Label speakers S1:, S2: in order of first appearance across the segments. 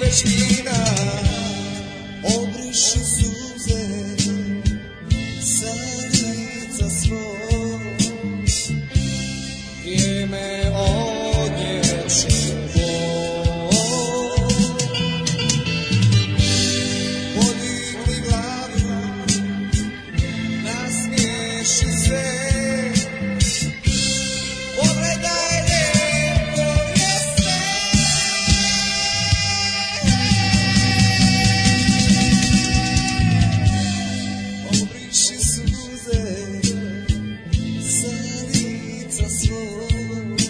S1: veština Obriši suze sa lica svog Vrijeme odječe bol Podigni glavu, nasmiješi se Pogledaj lijepo mjesto Obriši suze sa lica svog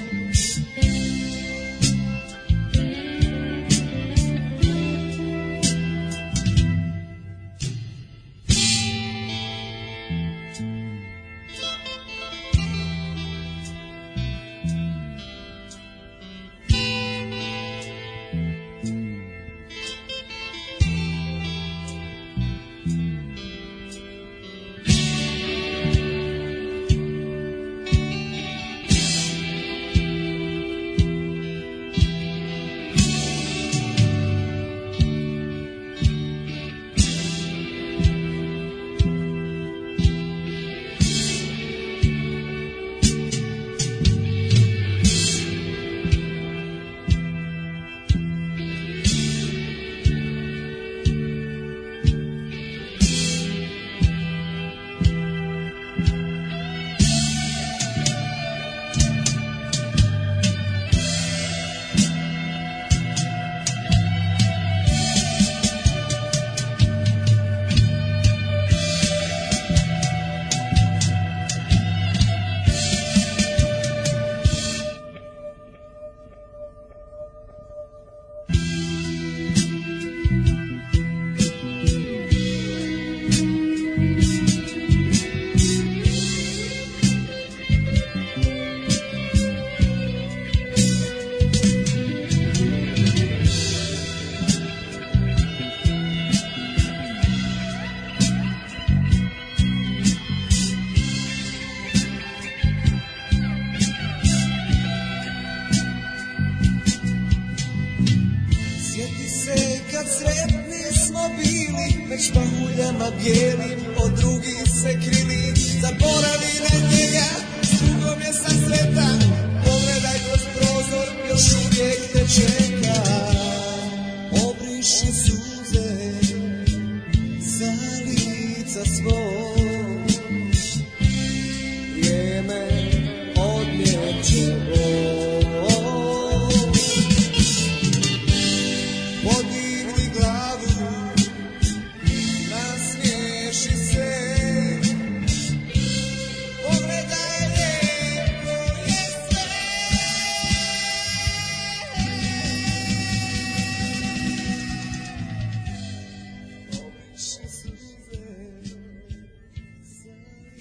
S1: Sjeti se kad sretni smo bili, već pahuljama bijelim, od drugih se krili. Zaboravi na njega, s drugom je sa sveta, pogledaj kroz prozor, još uvijek te čeka. Obriši suze sa lica svog, vrijeme odneće bol. Podigni glavu, nasmiješi se, pogledaj lijepo je sve. Obriši suze sa lica svog.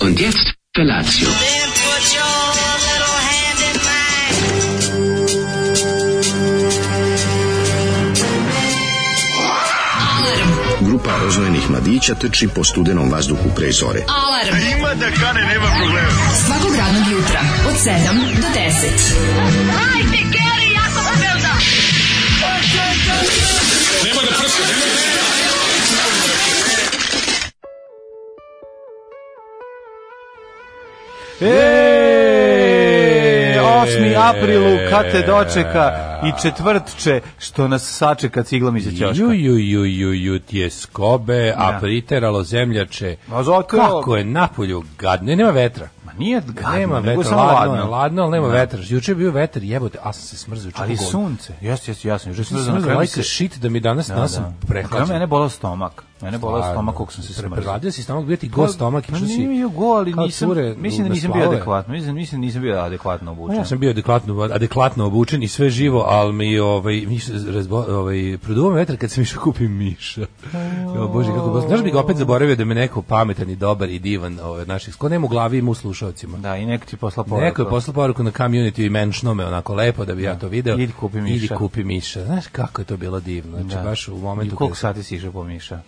S2: Und jetzt Felatio.
S3: Then put your little hand in mine.
S4: Grupa oznojenih mladića trči po studenom vazduhu pre zore.
S5: Alarm. Ima da kane, nema problema. Svakog radnog jutra, od 7 do 10. Hajde, Geri, jako se velda.
S6: E, 8. aprilu kad te dočeka i četvrtče što nas sačeka ciglom iza ćoška.
S7: Ju, ju, ju, ju, ju, tje skobe, a priteralo zemljače.
S6: A zato-
S7: Kako je napolju gadno, i nema vetra.
S6: Ma nije gadno,
S7: Nema
S6: nego je
S7: vetra,
S6: samo
S7: ladno, je,
S6: ladno.
S7: ladno, ali nema vetra. Juče je bio vetar, jebote, a sam se smrzao. čuko
S6: Ali
S7: god.
S6: sunce. Jeste, jeste, jasno. Juče sam
S7: Smrzao
S6: na kraju
S7: like
S6: se
S7: a shit da mi danas, danas
S6: Da.
S7: sam
S6: Na kraju
S7: prehlađen.
S6: Mene je bolao stomak. Mene je bolao
S7: Stvarno.
S6: stomak kako sam se
S7: Pre-
S6: smrzao.
S7: Preradio si stomak, bio ti go stomak i
S6: Ma
S7: što si...
S6: nije mi bio gol, ali
S7: kao
S6: nisam,
S7: cure
S6: mislim da
S7: na
S6: nisam bio
S7: splavove.
S6: adekvatno. Mislim, mislim da nisam bio adekvatno obučen.
S7: Pa Ja sam bio adekvatno, adekvatno obučen i sve živo, ali mi ovaj, mi se razbo, ovaj, produvam vetar kad sam išao kupim miša. O, Bože, kako bol... Znaš bi ga opet zaboravio da me neko pametan i dobar i divan ovaj, od naših, ko nema u glavi ima u slušalcima.
S6: Da, i neko ti posla poruku.
S7: Neko je poslao poruku na community i menšno me onako lepo da bi ja to video.
S6: Idi kupi Miša.
S7: Idi kupi miša. Znaš kako je to bilo divno. Znači baš u
S6: I
S7: momentu
S6: koliko
S7: kad-
S6: sati si išao po Miša?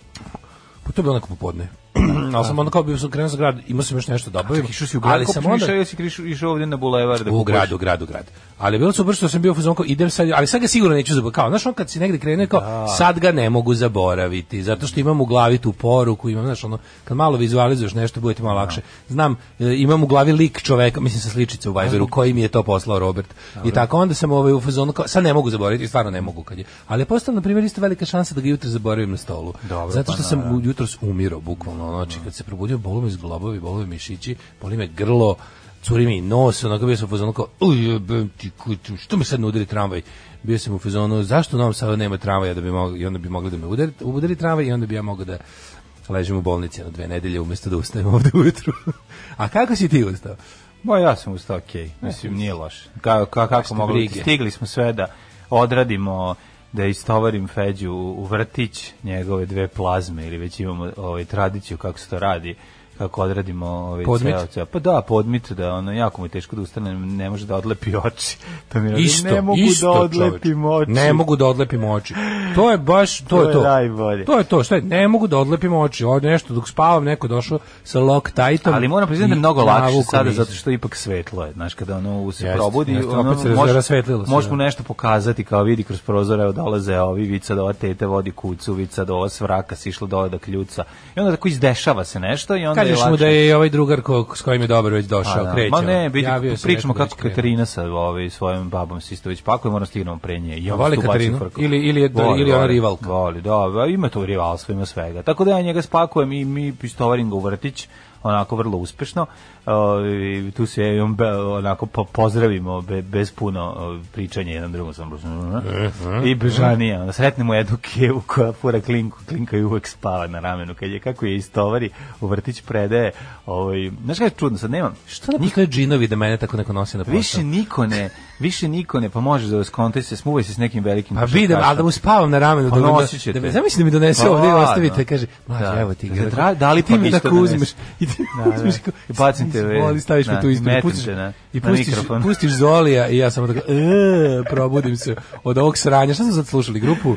S7: Pa to je bilo neko popodne. ali sam onda kao bio sam krenuo sa grad, imao sam još nešto da obavim.
S6: Išao si u
S7: Pa ali
S6: grad,
S7: sam
S6: kako
S7: onda
S6: onda... išao, si kriš- išao ovdje na bulevar da
S7: u
S6: kupuješ?
S7: gradu, u gradu, u gradu. Ali je bilo super što sam bio u fazonu kao idem sad, ali sad ga sigurno neću zaboraviti. Kao, znaš, on kad si negde krenuo je kao sad ga ne mogu zaboraviti, zato što imam u glavi tu poruku, imam, znaš, ono, kad malo vizualizuješ nešto, bude ti malo lakše. Znam, e, imam u glavi lik čoveka, mislim sa sličice u Viberu, koji mi je to poslao Robert. I tako onda sam ovaj u fazonu kao sad ne mogu zaboraviti, i stvarno ne mogu kad je. Ali je postala na primjer isto velika šansa da ga jutro zaboravim na stolu.
S6: Dobro,
S7: zato
S6: pa
S7: što sam u- jutros umirao bukvalno, ono, znači kad se probudio bolu mi iz glavovi, bolu mi mišići, boli me grlo, curi mi nos, onako bio sam u fazonu kao, "Uj, jebem ti kuću, što me sad ne udari tramvaj? Bio sam u fazonu, zašto u Novom Sadu nema tramvaja da bi mogli, i onda bi mogli da me udari, udari tramvaj i onda bi ja mogao da ležim u bolnici na dve nedelje umjesto da ustajem ovde ujutru. A kako si ti ustao?
S6: Ma ja sam ustao okej, mislim nije loše. Ka, ka, kako
S7: Jeste
S6: mogu,
S7: brige.
S6: stigli smo sve da odradimo, da istovarim Feđu u u vrtić njegove dve plazme ili već imamo ovaj, tradiciju kako se to radi kako odradimo ovaj
S7: Podmit?
S6: ceo- ceo- pa da podmit da ono jako mu je teško da ustane ne može da odlepi oči to mi radi,
S7: Isto,
S6: ne mogu
S7: isto,
S6: da
S7: čoveče.
S6: odlepim oči
S7: Ne mogu da odlepim oči. To je baš, to,
S6: To
S7: je
S6: je
S7: to.
S6: najbolje.
S7: To je to, šta je, ne mogu da odlepim oči. Ovdje nešto dok spavam, neko došao sa lock tightom.
S6: ali moram priznati da je
S7: i
S6: mnogo lakše
S7: navukao
S6: sada
S7: mi.
S6: zato što ipak svetlo je znaš kada ono u se
S7: Jeste,
S6: probudi
S7: jeste,
S6: ono,
S7: opet se
S6: može-
S7: rasvetlilo se,
S6: može mu
S7: da.
S6: nešto pokazati kao vidi kroz prozor evo dolaze ovi vica da ova tete vodi kucu vica da ova svraka si išla dole do kljuca i onda tako izdešava se nešto i onda
S7: Kažeš
S6: je
S7: mu da
S6: lakše
S7: je i ovaj drugar ko, s kojim je dobro već došao,
S6: Pa da.
S7: kreće. ono.
S6: Ma ne, vidi,
S7: Javio se
S6: pričamo
S7: neko da
S6: kako
S7: će krenuti.
S6: Katarina sa ovaj, svojom babom se isto već pakuje, moramo stignemo pre nje. I on
S7: Voli Katarinu? Ili- ili je- ili je ona rivalka?
S6: Voli, da, ima tu rivalstvo, ima svega. Tako da ja njega spakujem i mi pistovarim ga u vrtić, onako vrlo uspešno. Ovaj, tu se i on be- onako po- pozdravimo be- bez puno ovaj, pričanja jedan drugom sam i bežanije onda sretnemo jednu kevu koja fura klinku klinka i uvek spava na ramenu kad je kako je istovari u vrtić predaje ovaj znaš kako je čudno sad nema
S7: Što ne postoje džinovi da mene tako neko nosi na posao?
S6: Više niko ne, više niko ne, pa možeš da skontaj se, smuvaj se s nekim velikim
S7: Pa vidim, ali da mu spavam na ramenu.
S6: Pa
S7: da, mu-
S6: nosit će
S7: da,
S6: te.
S7: me- zamisli da mi donese
S6: Pa
S7: ovdje i
S6: ladno.
S7: ostavite. Kaže, mlađe,
S6: Da.
S7: evo ti
S6: Da,
S7: ga.
S6: da, da li
S7: I ti
S6: pa
S7: mi
S6: isto
S7: tako
S6: donese?
S7: uzmeš. I ti mi
S6: Da, da.
S7: uzmeš. kao-
S6: I bacim te, ve-
S7: Voli, staviš mi
S6: da,
S7: tu ispred.
S6: i
S7: pustiš-
S6: metam te na-
S7: I
S6: na
S7: pustiš,
S6: mikrofon.
S7: pustiš Zolija i ja samo tako, e, probudim se od ovog sranja. Šta smo sad slušali? Grupu?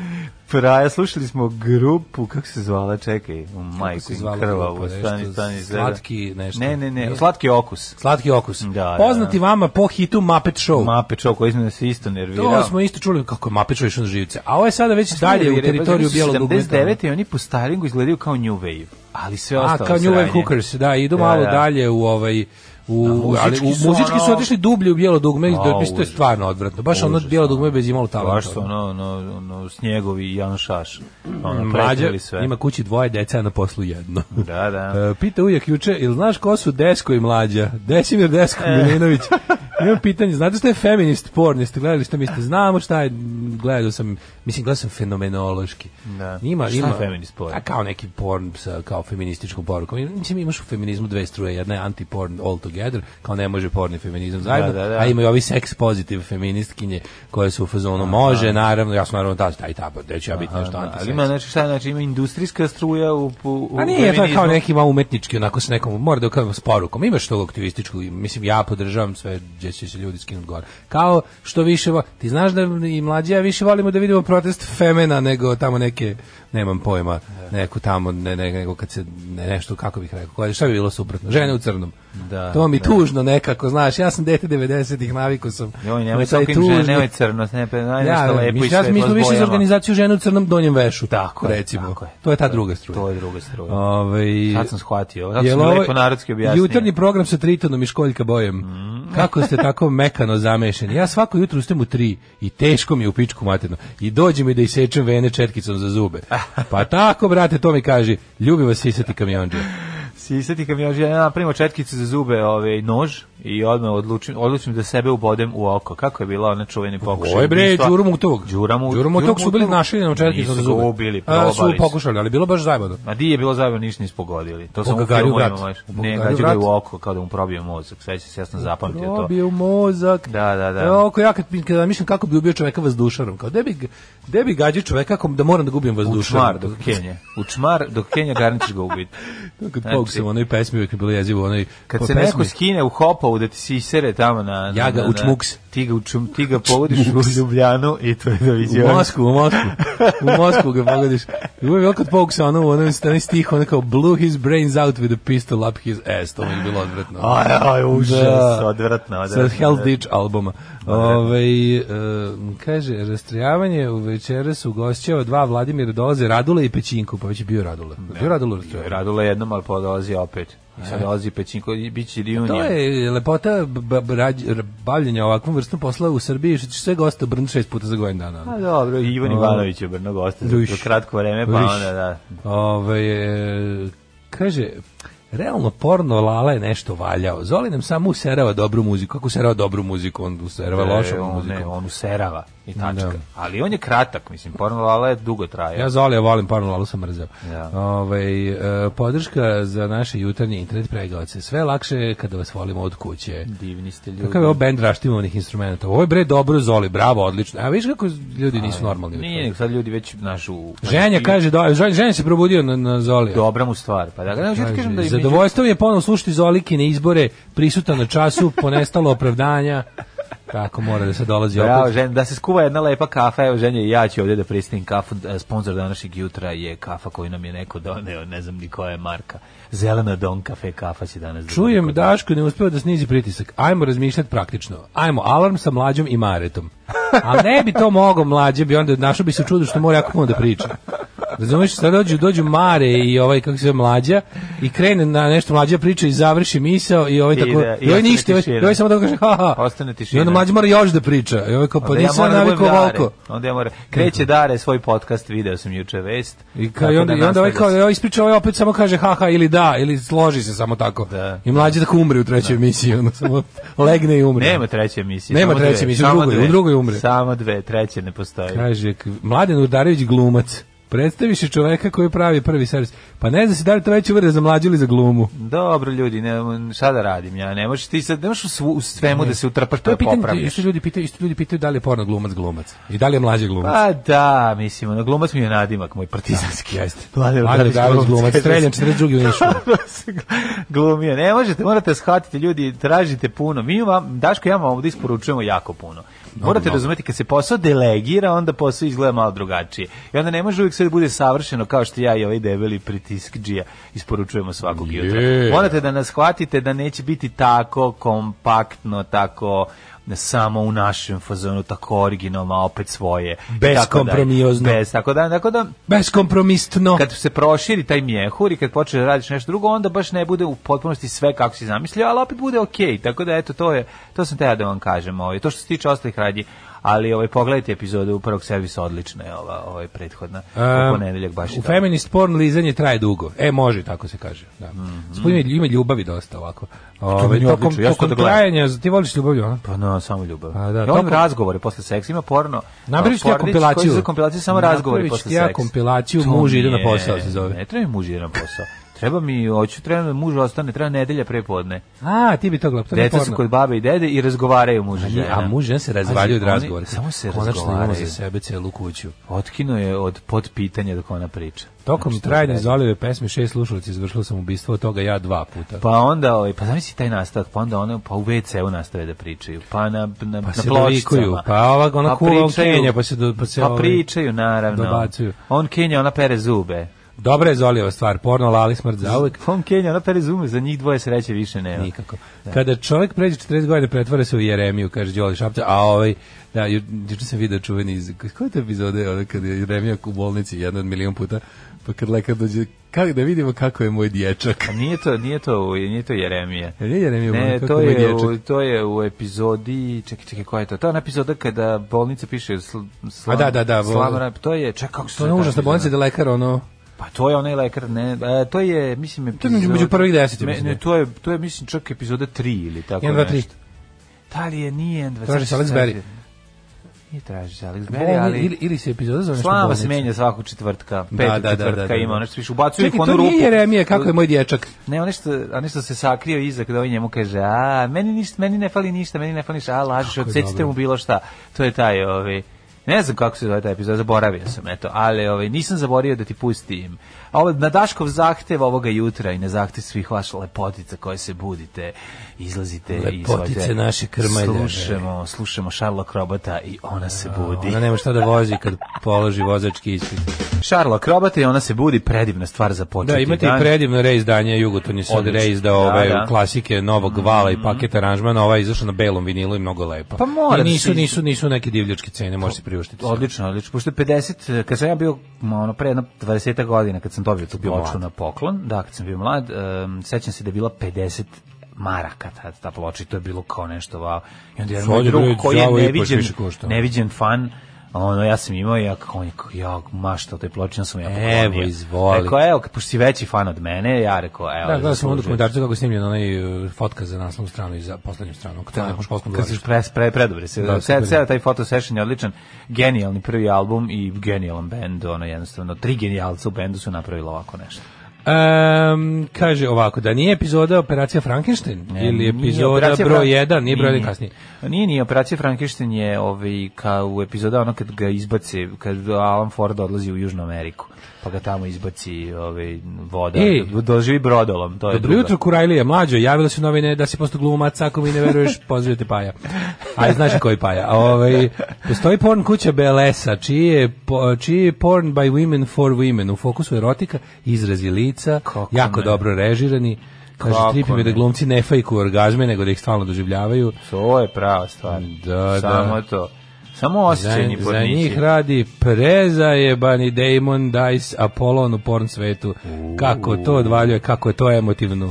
S6: Praja, slušali smo grupu, kako se zvala, čekaj, u majku,
S7: se zvala
S6: krvavu,
S7: grupa,
S6: stani,
S7: nešto,
S6: stani, sve da-
S7: slatki nešto.
S6: Ne, ne, ne,
S7: Nije?
S6: slatki okus.
S7: Slatki okus.
S6: Da,
S7: Poznati
S6: da,
S7: vama po hitu Muppet Show.
S6: Mape čov, koji smo se isto
S7: To
S6: nervirao.
S7: smo isto čuli kako je Muppet Show išao na živce. A ovo je sada već dalje u teritoriju bijelog dugmeta.
S6: 79. i oni po staringu izgledaju kao New Wave, ali sve
S7: A,
S6: ostalo
S7: kao New Wave
S6: sranje.
S7: Hookers, da, idu
S6: Da,
S7: malo
S6: da.
S7: dalje u ovaj u,
S6: muzički
S7: ali, u,
S6: su
S7: muzički su
S6: ono-
S7: otišli dublje u bijelo dugme, i
S6: A,
S7: da, mislim, to je
S6: užas.
S7: stvarno odvratno. Baš ono
S6: Užas,
S7: bijelo
S6: ono.
S7: dugme bez imalo talenta.
S6: Baš su ono, ono, ono, snjegovi i Jan Šaš. Ono,
S7: Mlađe,
S6: pretili sve.
S7: ima kući dvoje deca, a na poslu jedno.
S6: Da, da.
S7: E, Pita ujak juče, ili znaš ko su Desko i mlađa? Desimir Desko
S6: E.
S7: Milinović. Imam pitanje, znate što je feminist porn? Jeste gledali što mislite? Znamo šta je, m, gledao sam, mislim, gledao sam fenomenološki.
S6: Da.
S7: Ima,
S6: Šta je
S7: ima,
S6: feminist porn?
S7: A kao neki porn sa kao feminističkom porukom. I, Mislim, imaš u feminizmu dve struje. Jedna je anti-porn altogether, kao ne može porn i feminizam zajedno.
S6: da, da.
S7: A ima i ovi sex pozitiv feministkinje koje su u fazonu može, naravno, ja sam naravno ta, ta i ta, pa gde ću ja biti nešto
S6: Da,
S7: anti
S6: ali ima znači šta znači ima industrijska struja u u, u
S7: A Pa nije, to je kao
S6: feminizmu.
S7: neki malo umetnički, onako s nekom, mora da kao s porukom. Imaš tog aktivističkog, i, mislim, ja podržavam sve gdje će se ljudi skinuti gore. Kao što više, vo- ti znaš da i mlađi, ja više volimo da vidimo protest femena nego tamo neke, nemam pojma, neku tamo, ne, ne, nego kad se, ne, nešto, kako bih rekao, koje- šta bi bilo suprotno, žene u crnom.
S6: Da,
S7: to mi
S6: da.
S7: tužno nekako, znaš, ja sam dete 90-ih, naviku sam.
S6: Joj,
S7: na
S6: nemoj
S7: Ovaj, taj
S6: tako im žene,
S7: tužni-
S6: nemoj crno, ne, pa naj
S7: ja,
S6: nešto lepo i
S7: mislim, ja
S6: sve
S7: sam mislio više za organizaciju žene u crnom donjem vešu.
S6: Tako je,
S7: recimo.
S6: tako je.
S7: To je ta druga struja.
S6: To je druga struja.
S7: Ovaj
S6: Sad sam shvatio, sad
S7: Jel
S6: sam
S7: ovo-
S6: lepo narodski objasnio. Mm.
S7: Jutarnji pa- program sa Tritonom i Školjka Bojem. Kako ste tako mekano zamešani? Ja svako jutro ustajem u tri i teško mi je u pičku materno. I dođe mi da isečem vene četkicom za zube. Pa tako, brate, to mi kaže. Ljubi vas sisati kamionđe.
S6: Sisati kamion, ja napravimo četkice za zube, ovaj nož i odmah odlučim, odlučim da sebe ubodem u oko. Kako je bila ona čuveni pokušaj.
S7: Oj bre,
S6: ubistva?
S7: Đuro Mugtovog.
S6: Đura Mug-
S7: Đuro Mugtovog su bili
S6: Mugtovog.
S7: našli na četkicom za
S6: Nisu
S7: zube.
S6: ga ubili,
S7: A,
S6: probali
S7: su pokušali, ali bilo baš zajebano.
S6: Ma di je bilo zabavno, ništa nisu pogodili. To sam u
S7: Bogagariju
S6: filmu
S7: vrat.
S6: imao. baš.
S7: U
S6: Ne,
S7: Bogagariju
S6: gađu ga
S7: vrat.
S6: u oko, kao da mu probio mozak. Sveća se, ja sam zapamtio to.
S7: Probio mozak.
S6: Da, da, da.
S7: Evo, ako ja kad, kad mislim kako bi ubio čoveka vazdušarom, kao gde bi, gde bi gađao čoveka ako da moram da gubim
S6: U čmar
S7: vazdušarom.
S6: dok Kenja. U čmar dok Kenja garnićeš ga ubiti.
S7: Kad
S6: Znači-
S7: Bog sam onoj pesmi uvijek je bilo jezivo, onoj
S6: Kad
S7: po
S6: se
S7: Pa pesmi.
S6: neko skine u hopa u povu da ti sisere tamo na... na
S7: Ja ga
S6: na- na-
S7: učmuks.
S6: Ti ga, učum, ti ga povodiš u Ljubljanu i to je doviđenje.
S7: U Moskvu, u Moskvu. U Moskvu ga pogodiš. I uvijek bilo kod Pokesa, ono, ono, ono stih, ono kao blew his brains out with a pistol up his ass. To mi je bilo odvratno.
S6: Aj, aj, užas,
S7: Da.
S6: odvratno, odvratno.
S7: Sa Hell Ditch albuma. Ove, kaže, rastrojavanje u večera su gošćava dva Vladimira dolaze, Radule i Pećinku, pa već je bio Radule. Bio Radule rastrojavanje.
S6: Radula jednom, ali podolazi opet. I sad dolazi Pećinko, i bit će reunion.
S7: E. To je lepota b- b- rađ- r- bavljenja ovakvom vrstom posla u Srbiji, što će sve gosta brn šest puta za godin dana. ono.
S6: A dobro, i Ivan Ivanović je brno gosta za
S7: Duš.
S6: to kratko vreme, pa
S7: Duš.
S6: onda da.
S7: Ove, e, kaže, realno porno Lala je nešto valjao. Zoli nam samo userava dobru muziku. Kako userava dobru muziku? On userava
S6: E,
S7: lošu
S6: on, Ne,
S7: muziku.
S6: on userava i tačka.
S7: Da.
S6: Ali on je kratak, mislim, porno lala je dugo traje.
S7: E, Ja Zoli volim porno Lalu sam mrzeo.
S6: Ja.
S7: Ovaj, e, podrška za naše jutarnje internet pregaoce. Sve je lakše je kada vas volimo od kuće.
S6: Divni ste ljudi.
S7: Kakav je ovo bend raštimanih instrumenta? Ovo je bre dobro, Zoli, bravo, odlično. A vidiš kako ljudi nisu normalni.
S6: Nije, nego sad ljudi već našu...
S7: Ženja
S6: i-
S7: kaže, da, Ženja- Ženja se probudio na, na Zoli.
S6: Dobra mu stvar. Pa da, ne, hoću da kažem da je
S7: Zadovoljstvo mi je ponovno slušati Zolikine izbore, prisutan na času, ponestalo opravdanja. Tako mora da se dolazi
S6: Bravo,
S7: opet.
S6: žen, da se skuva jedna lepa kafa, evo ženje i ja ću ovdje da pristajem kafu, E, sponsor današnjeg jutra je kafa koju nam je neko doneo, ne znam ni koja je marka, zelena Don Cafe kafa će danas da bude
S7: Čujem
S6: kod
S7: Daško ne uspeo da snizi pritisak. Ajmo razmišljati praktično. Ajmo alarm sa mlađom i Maretom. A ne bi to mogao mlađe, bi onda našao bi se u čudu što mora jako puno da priča. Razumeš, sad dođu, dođu Mare i ovaj, kako se zove, mlađa, i krene na nešto mlađa priča i završi misao i ovaj
S6: I
S7: tako,
S6: da, i
S7: i ovaj
S6: ostane
S7: ništa, i ovaj-
S6: tišina.
S7: i ovaj samo tako kaže, ha, ha.
S6: Ostane
S7: I
S6: tišina.
S7: onda mlađa mora još da priča. I ovaj kao, pa
S6: Onda ja
S7: nisam
S6: moram da
S7: navikao
S6: budem
S7: ovako.
S6: Dare. Onda ja moram. Kreće Dare svoj podcast, video sam juče vest.
S7: I, kao,
S6: tako
S7: i onda,
S6: da
S7: i onda ovaj
S6: nastavlja
S7: kao,
S6: se.
S7: ovaj ispriča, ovaj opet samo kaže haha ili da, ili složi se samo tako.
S6: Da.
S7: I mlađi tako umre u trećoj emisiji, ono, samo legne i umre.
S6: Nema treće emisije.
S7: Nema
S6: samo dve,
S7: treće emisije, u
S6: samo
S7: drugoj,
S6: dve.
S7: u drugoj umre.
S6: Samo dve, treće ne postoji.
S7: Kaže, k- Mladen Urdarević glumac. Predstaviš je čoveka koji pravi prvi servis. Pa ne zna se da li to već uvrde za mlađu ili za glumu.
S6: Dobro ljudi, ne, šta da radim ja, ne možeš ti sad, ne možeš u svu- u svemu da se utrpaš pa
S7: To je pitanje,
S6: popraviš.
S7: isto ljudi pitaju, isto ljudi pitaju da li je porno glumac glumac i da li je mlađi glumac.
S6: Pa da, mislim, ono, glumac mi je nadimak, moj partizanski.
S7: Pa, Jeste.
S6: Mladen
S7: Mladen Urdarević glumac, streljan 42. u Nišu.
S6: glumio. Ne možete, morate shvatiti ljudi, tražite puno. Mi vam, Daško i ja vam ovdje isporučujemo jako puno. Morate razumeti, kad se posao delegira, onda posao izgleda malo drugačije. I onda ne može uvijek sve da bude savršeno kao što ja i ovaj debeli pritiskđija isporučujemo svakog jutra. Morate da nas shvatite da neće biti tako kompaktno, tako ne samo u našem fazonu, tako originalno, a opet svoje. i tako dalje.
S7: Beskompromiozno.
S6: Bez, tako da, tako da,
S7: Beskompromisno.
S6: kad se proširi taj mjehur i kad počneš da radiš nešto drugo, onda baš ne bude u potpunosti sve kako si zamislio, ali opet bude okej. Tako da eto to je, to sam teo da vam kažem, ovaj to što se tiče ostalih radnji, ali ovaj pogledajte epizodu u prvog servisa odlična je ova, ovaj prethodna.
S7: Ehm,
S6: u ponedeljak baš je
S7: u
S6: dobro.
S7: feminist porn lizanje traje dugo. E, može, tako se kaže. Da.
S6: Mhm.
S7: Spod ima, ima ljubavi dosta ovako. Ove,
S6: meni je
S7: tokom,
S6: odlično, ja sam
S7: tokom
S6: to gledao.
S7: trajanja, ti voliš ono? ljubavlju, a?
S6: Pa no, samo ljubav.
S7: A, da,
S6: I on
S7: tokom-
S6: razgovore posle seksa ima porno.
S7: Napraviš ti ja
S6: Pornić koji
S7: kompilaciju.
S6: za kompilaciju samo
S7: Napraviš
S6: razgovori
S7: ti
S6: posle
S7: ja
S6: seksa.
S7: kompilaciju
S6: To
S7: Muž ide na
S6: nije-
S7: posao se zove.
S6: Ne treba mi muž ide na posao. Treba mi, hoću, treba mi muž ostane, treba nedelja prepodne.
S7: A, ti bi to gledao, to nije
S6: Deca su
S7: porno.
S6: kod babe i dede i razgovaraju muž i
S7: Nije,
S6: žena.
S7: a muž i žena se razvaljuju od
S6: Pazi, oni
S7: razgovora.
S6: Samo se
S7: Konačno imamo za
S6: razgovaraju.
S7: sebe celu kuću.
S6: Otkino je od potpitanja dok ona priča.
S7: Tokom
S6: Znači,
S7: trajanja
S6: to je-
S7: Zolijeve pesme šest slušalaca izvršilo sam ubistvo, od toga ja dva puta.
S6: Pa onda, ovaj, pa zamisli taj nastavak, pa onda ono, pa u WC-u nastave da pričaju, pa na, na,
S7: Pa
S6: na
S7: se
S6: pločicama,
S7: dovikuju, pa ova- ona kula, on Kenja, pa se do- pa se, ovaj,
S6: pričaju, naravno.
S7: dobacuju.
S6: On Kenja, ona pere zube.
S7: Dobra je Zolijeva stvar, porno, lali, smrt za uvek.
S6: On Kenja, ona pere zube, za njih dvoje sreće više nema.
S7: Nikako. Kada čovjek pređe 40 godina pretvara se u Jeremiju, kaže Đoli Šapca, a ovaj da ju- juče sam video čuveni iz koje te epizode ona kad je Jeremija u bolnici jedna od milion puta, pa kad lekar dođe, kako da vidimo kako je moj dječak.
S6: A Pa nije to, nije to, u- nije to Jeremija.
S7: Jel je Jeremija u
S6: Ne,
S7: bolnici,
S6: to
S7: kako moj
S6: je,
S7: dječak?
S6: u, to je u epizodi, čekaj, čekaj, koja je to? To je ona epizoda kada bolnica piše sl, slam,
S7: A da, da, da,
S6: slam,
S7: bo-
S6: rap, to je, čekaj, kako se
S7: To je
S6: zove ta
S7: užasna bolnica da lekar ono
S6: Pa to je onaj lekar, ne, e, to je, mislim,
S7: To
S6: epizoda...
S7: je među prvih deset, ja
S6: Me-
S7: mislim,
S6: ne,
S7: da.
S6: to je, to je, mislim, čak epizoda 3 ili tako
S7: 1 2 3.
S6: Da li je, nije N23.
S7: Traži se Alex Berry.
S6: Nije traži se Alex Berry,
S7: Bolni-
S6: ali...
S7: Ili, ili se epizoda zove nešto
S6: Slava
S7: bolnica.
S6: se menja svakog četvrtka,
S7: Da,
S6: petog
S7: da, da,
S6: četvrtka
S7: da, da, da.
S6: ima, ono što više ubacuju ih
S7: Čekaj,
S6: u
S7: to
S6: onu rupu.
S7: nije Jeremija, kako je moj dječak.
S6: Ne, ono što, ono što se sakrio iza kada ovaj njemu kaže, a, meni, ništa, meni ne fali ništa, meni ne fali ništa, a, lažeš,
S7: je
S6: odsecite
S7: dobro.
S6: mu bilo šta. To je taj, ovaj, Ne znam kako se zove taj epizod, zaboravio sam, eto, ali ovaj, nisam zaboravio da ti pustim. A ovaj, na Daškov zahtev ovoga jutra i na zahtev svih vaša lepotica koje se budite, izlazite i
S7: Lepotice
S6: izvojte.
S7: naše krmaljane.
S6: Slušamo, slušamo Sherlock Robota i ona se budi.
S7: Ona nema šta da vozi kad položi vozački ispit.
S6: Sherlock Robota i ona se budi, predivna stvar za početi
S7: Da, imate
S6: dan.
S7: i predivno reizdanje Jugoton je sad
S6: Odlično.
S7: reizdao ove
S6: Da, Mm. da.
S7: klasike Novog vala i paket aranžmana, ova je izašla na belom vinilu i mnogo lepa.
S6: Pa mora
S7: I
S6: da
S7: nisu,
S6: se-
S7: nisu, nisu neke divljačke cene, može se priuštiti. sve.
S6: Odlično, odlično. Pošto je 50, eh, kad sam ja bio ma, ono, pre jedno 20 godina, kad sam dobio tu ploču
S7: mlad.
S6: na poklon, da, kad sam bio mlad, um, sećam se da je bila 50 maraka ta, ta ploča i to je bilo kao nešto, wow. I onda jedan
S7: Sad
S6: moj
S7: je,
S6: drug
S7: bre,
S6: koji je
S7: đavo i po
S6: neviđen,
S7: više košta.
S6: neviđen fan, ono, ja sam imao i ja, kao, on je kao, ja maštao taj ploči, ja sam ja poklonio.
S7: Evo, izvoli.
S6: Rekao, evo, pošto si veći fan od mene, ja rekao, evo,
S7: Da, gledao sam onda
S6: zaslužuješ.
S7: dokumentarcu kako je snimljena onaj e, fotka za naslovnu stranu i za poslednju stranu, kada je nekom školskom
S6: Kad se
S7: dvorištu.
S6: pre, pre, predobre se,
S7: Da,
S6: da,
S7: super.
S6: ceo taj foto session je odličan, genijalni prvi album i genijalan bend, ono jednostavno, tri genijalca u bendu su napravili ovako nešto.
S7: Ehm, kaže ovako, da nije epizoda Operacija Frankenstein ili
S6: Nije
S7: epizoda
S6: Operacija
S7: broj
S6: Fran-
S7: 1, nije broj 1 kasnije.
S6: Nije, nije, Operacija Frankenstein je ovaj, kao u epizoda ono kad ga izbace, kad Alan Ford odlazi u Južnu Ameriku, pa ga tamo izbaci ovaj, voda,
S7: Ej.
S6: do- doživi brodolom, to je
S7: Dobro
S6: druga.
S7: jutro, Kurajlija, mlađo, javila se u novine da si posto glumac, ako mi ne veruješ, pozdravite Paja. A znaš i koji Paja. Ovaj, postoji porn kuća Belesa, čiji je, po- čiji je porn by women for women, u fokusu erotika, izrazi lica,
S6: Kako
S7: jako
S6: ne.
S7: dobro režirani, Kaže,
S6: Kako
S7: tripi me da
S6: ne.
S7: glumci ne fajkuju orgazme, nego da ih stalno doživljavaju.
S6: To je prava stvar.
S7: Da,
S6: Samo
S7: da.
S6: to. Samo
S7: Za,
S6: osjećajni
S7: za
S6: podnići.
S7: njih radi prezajebani Damon Dice Apollon u porn svetu. Kako to odvaljuje, kako je to emotivno.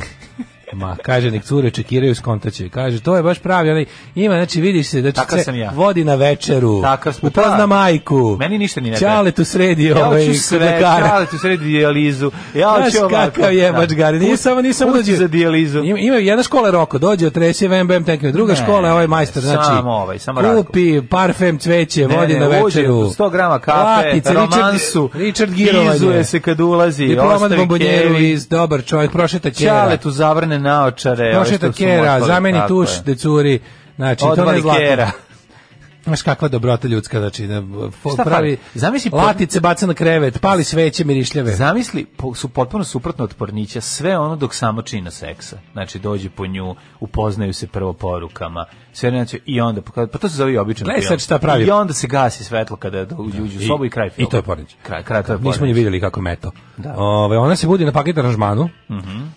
S7: Ma, kaže, nek cure čekiraju, skontaće. Kaže, to je baš pravi, onaj, ima, znači, vidiš se, znači,
S6: Takav
S7: ce-
S6: sam ja.
S7: vodi na večeru,
S6: Takav smo,
S7: upozna
S6: da.
S7: majku,
S6: Meni ništa ni ne treba.
S7: čale tu sredi,
S6: Ja
S7: ovaj,
S6: hoću sve,
S7: kudakara.
S6: ja hoću sve dijalizu. Ja hoću
S7: Znaš
S6: ovako.
S7: kakav je bačgari, nije samo, nije samo
S6: Put
S7: dođe.
S6: za dijalizu.
S7: Ima, ima jedna škola je roko, dođe, otresi VMBM tenkove, druga
S6: Ne,
S7: škola, ovaj majstor,
S6: ne,
S7: znači,
S6: samo ovaj, samo
S7: kupi parfem, cveće,
S6: Ne,
S7: vodi
S6: ne,
S7: na
S6: uđe
S7: večeru,
S6: u 100 grama kafe,
S7: platice,
S6: romansu,
S7: Richard, Richard Girovanje,
S6: izuje se kad ulazi,
S7: diplomat
S6: ostavi
S7: bombonjeru
S6: kevi.
S7: iz dobar čovjek, prošeta kjera,
S6: Čale tu zavrne naočare. ove
S7: prošeta
S6: što su mu
S7: kjera,
S6: ostale,
S7: zameni
S6: tako
S7: tuš,
S6: je.
S7: decuri, znači, to ne
S6: Odvali
S7: zlato.
S6: kjera.
S7: Znaš kakva dobrota ljudska, znači, da, fo-
S6: Šta
S7: pravi,
S6: fali? Zamisli po-
S7: latice baca na krevet, pali sveće mirišljave.
S6: Zamisli, po- su potpuno suprotno od pornića, sve ono dok samo čina seksa. Znači, dođe po nju, upoznaju se prvo porukama, sve znači, i onda, pa to se zove i običan
S7: Gledaj
S6: film.
S7: sad šta pravi.
S6: I onda se gasi svetlo kada do- uđu u sobu i, kraj filma.
S7: I to je pornić.
S6: Kraj, kraj, to je
S7: Nismo ni
S6: pornić.
S7: vidjeli kako meto.
S6: Da. Mhm.
S7: Ove, ona se budi na paket aranžmanu,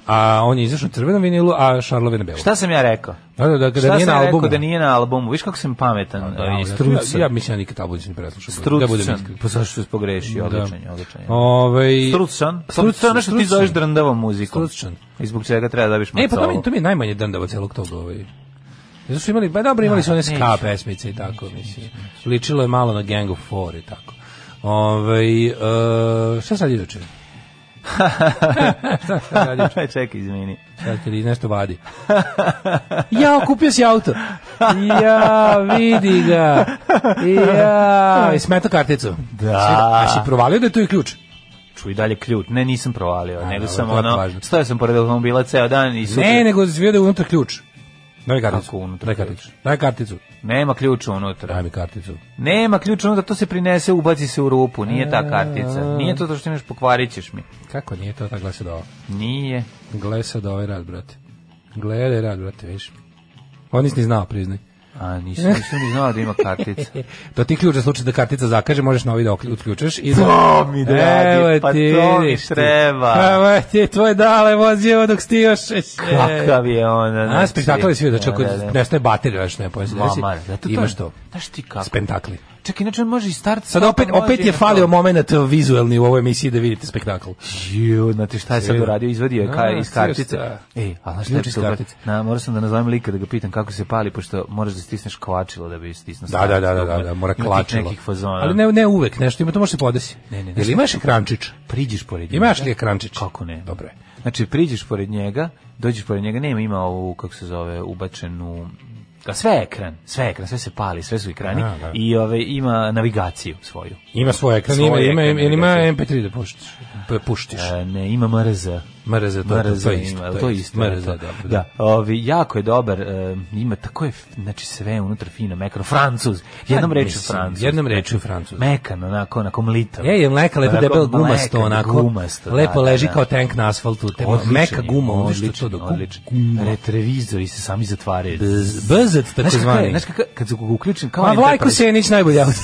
S7: a on je izašao na crvenom vinilu, a Šarlove na belom.
S6: Šta sam ja rekao?
S7: Da, da, da, da
S6: Šta
S7: nije
S6: sam
S7: na
S6: ja
S7: albumu. Pa
S6: rekao da nije na albumu? Viš kako sam pametan
S7: Da,
S6: e, i
S7: ja,
S6: strucan.
S7: ja, ja mislim ja nikad album nisam preslušao. Da budem
S6: strucan.
S7: iskren.
S6: pa zašto se pogrešio? Odličan je, odličan je.
S7: Ovaj
S6: Strucan?
S7: Strucan,
S6: Strucan, ono što ti
S7: strucan.
S6: zoveš drandavom muzikom.
S7: Strucan.
S6: I zbog čega treba da dobiš
S7: E, pa to
S6: macovu.
S7: mi, to mi je najmanje dandava celog toga. Ovaj. Zato su imali, ba dobro, imali su one
S6: neću.
S7: ska pesmice i tako, mislim. Ličilo je malo na Gang of Four i tako. Ovaj e, šta sad iduće? šta sad radi juče?
S6: Čekaj, izmini.
S7: Sad kad iz nešto vadi. Ja, kupio si auto. Ja, vidi ga. Ja, i smeta karticu.
S6: Da.
S7: A si provalio da je tu i ključ?
S6: Čuj dalje ključ. Ne, nisam provalio, nego
S7: dobro,
S6: sam
S7: to je
S6: ono,
S7: važno.
S6: stojao sam pored automobila ceo dan i super.
S7: Ne, nego zvio da je unutra ključ. Daj mi karticu.
S6: Kako unutra
S7: Daj
S6: ključ?
S7: karticu. Daj karticu.
S6: Nema ključa unutra.
S7: Daj mi karticu.
S6: Nema ključa unutra, to se prinese, ubaci se u rupu. Nije ta kartica. Nije to to što imaš, pokvarit ćeš mi.
S7: Kako nije to ta glasa da ovo?
S6: Nije.
S7: Gle sad ovaj rad, brate. Gledaj rad, brate, vidiš. On nisi ni znao, priznaj.
S6: A, nisam, nisam ni znao da ima kartica.
S7: To ti ključ za slučaj da kartica zakaže, možeš novi da okl- otključaš. I da...
S6: To mi dragi,
S7: Evo
S6: pa
S7: ti,
S6: to mi
S7: vidiš ti.
S6: treba.
S7: Evo ti, tvoj dale vozio dok ti još... e,
S6: Kakav je on.
S7: A, spektakl je svi da čak
S6: Da, da, da.
S7: nestaje baterija, već ne pojem se desi.
S6: Mama, zato to
S7: Imaš
S6: je-
S7: to.
S6: Znaš ti kako?
S7: Spektakli.
S6: Čak inače on može i start.
S7: Sad
S6: stop,
S7: opet,
S6: može
S7: opet
S6: i
S7: je
S6: to.
S7: falio moment vizuelni u ovoj emisiji da vidite spektakl.
S6: Ju, znate šta je sad uradio, izvadio je kaj
S7: A,
S6: iz kartice.
S7: cijesta.
S6: Ej, a znaš šta je
S7: Ključ iz
S6: super?
S7: kartice.
S6: Na, morao sam da nazovem lika da ga pitam kako se pali, pošto moraš da stisneš kvačilo da bi stisnuo
S7: Da, da, da, da, da, da, mora
S6: Ima tih
S7: klačilo.
S6: nekih fazona.
S7: Ali ne, ne uvek, nešto ima, to može se podesi.
S6: Ne, ne, ne.
S7: Jel imaš ekrančić?
S6: priđeš pored njega.
S7: Imaš li ekrančić?
S6: Kako ne?
S7: Dobro je.
S6: Znači, priđeš pored njega, dođeš pored njega, nema, ima ovu, kako se zove, ubačenu Ka- Sve je ekran, sve je ekran, sve se pali, sve su ekrani
S7: Da, da.
S6: i ove, ima navigaciju svoju.
S7: Ima svoj ekran,
S6: Svoj
S7: ima, ima,
S6: ekran,
S7: ima,
S6: da kažem.
S7: ima MP3 da puštiš. P- puštiš.
S6: E, ne, ima MRZ.
S7: MRZ, to, to, to je
S6: ima,
S7: isto.
S6: to je isto.
S7: MRZ,
S6: eto.
S7: da. da.
S6: da. Ovi, jako je dobar, e, ima tako je, f- znači sve unutra fino, mekano, francuz, jednom
S7: Pa,
S6: rečju
S7: mislim,
S6: francuz.
S7: jednom rečju Francuz.
S6: Mekan, onako, onako mlitav.
S7: Je, je mleka, lepo
S6: Onako
S7: debel
S6: mlekan,
S7: gumasto, onako.
S6: Gumasto, da,
S7: lepo
S6: da,
S7: leži
S6: da.
S7: kao tank na asfaltu. Te,
S6: Odličan
S7: meka
S6: je,
S7: guma, odlično
S6: odličan
S7: to do
S6: je, odličan. Retrovizori se sami zatvaraju.
S7: Brzet,
S6: Znaš kako je,
S7: takozvani.
S6: Znaš kako, kad su ga uključen, kao
S7: Pa Vlajko
S6: Enterprise.
S7: Senić najbolji autor.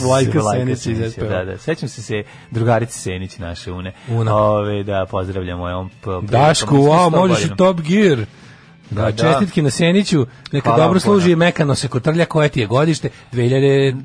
S7: Vlajko
S6: Vlajko
S7: Senić iz
S6: Senić,
S7: SPO.
S6: Da, da. Sećam se se drugarice Senić naše une.
S7: Una.
S6: Ove, da, pozdravljamo je on. p-
S7: Daško,
S6: prilikom
S7: wow,
S6: 100
S7: možeš
S6: godina.
S7: i Top Gear. Da,
S6: Da, da.
S7: čestitke na Seniću, neka
S6: Hvala vam
S7: dobro služi
S6: puno.
S7: i mekano se kotrlja, koje ti je godište? 2009.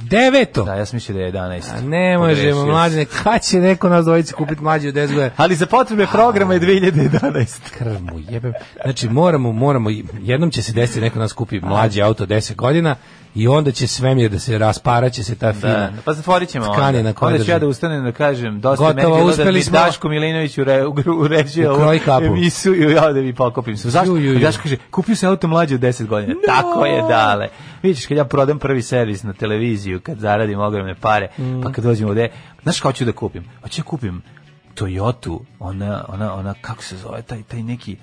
S6: Deveto. Da, ja sam mislio da je 11.
S7: A ne možemo,
S6: Pogrešio sam.
S7: mlađe, kad će neko nas dvojice kupiti mlađe od 10 godina?
S6: Ali za potrebe programa je 2011.
S7: krmu jebem. Znači moramo, moramo, jednom će se desiti da neko nas kupi mlađi auto 10 godina i onda će svemir da se raspara, će se ta
S6: Da,
S7: fina.
S6: pa zatvorit ćemo
S7: Tkanina
S6: onda.
S7: koja
S6: Onda ću ja
S7: drži.
S6: da ustanem da kažem, dosta
S7: Gotovo,
S6: meni bilo da
S7: uspeli
S6: mi
S7: smo.
S6: Daško Milinović ure, ugr- uređuje
S7: U kroj
S6: ovu
S7: kapu.
S6: emisiju i ja da mi pokopim se. Zašto?
S7: Ju, ju, ju.
S6: Daško kaže, kupio sam auto mlađe od 10 godina. Tako je, dale. Vidiš, kad ja prodam prvi servis na televiziju, kad zaradim ogromne pare,
S7: Mm.
S6: pa kad dođem ovde, znaš kao ću da kupim? Hoću da kupim Toyotu, ona, ona, ona, kako se zove, taj, taj neki,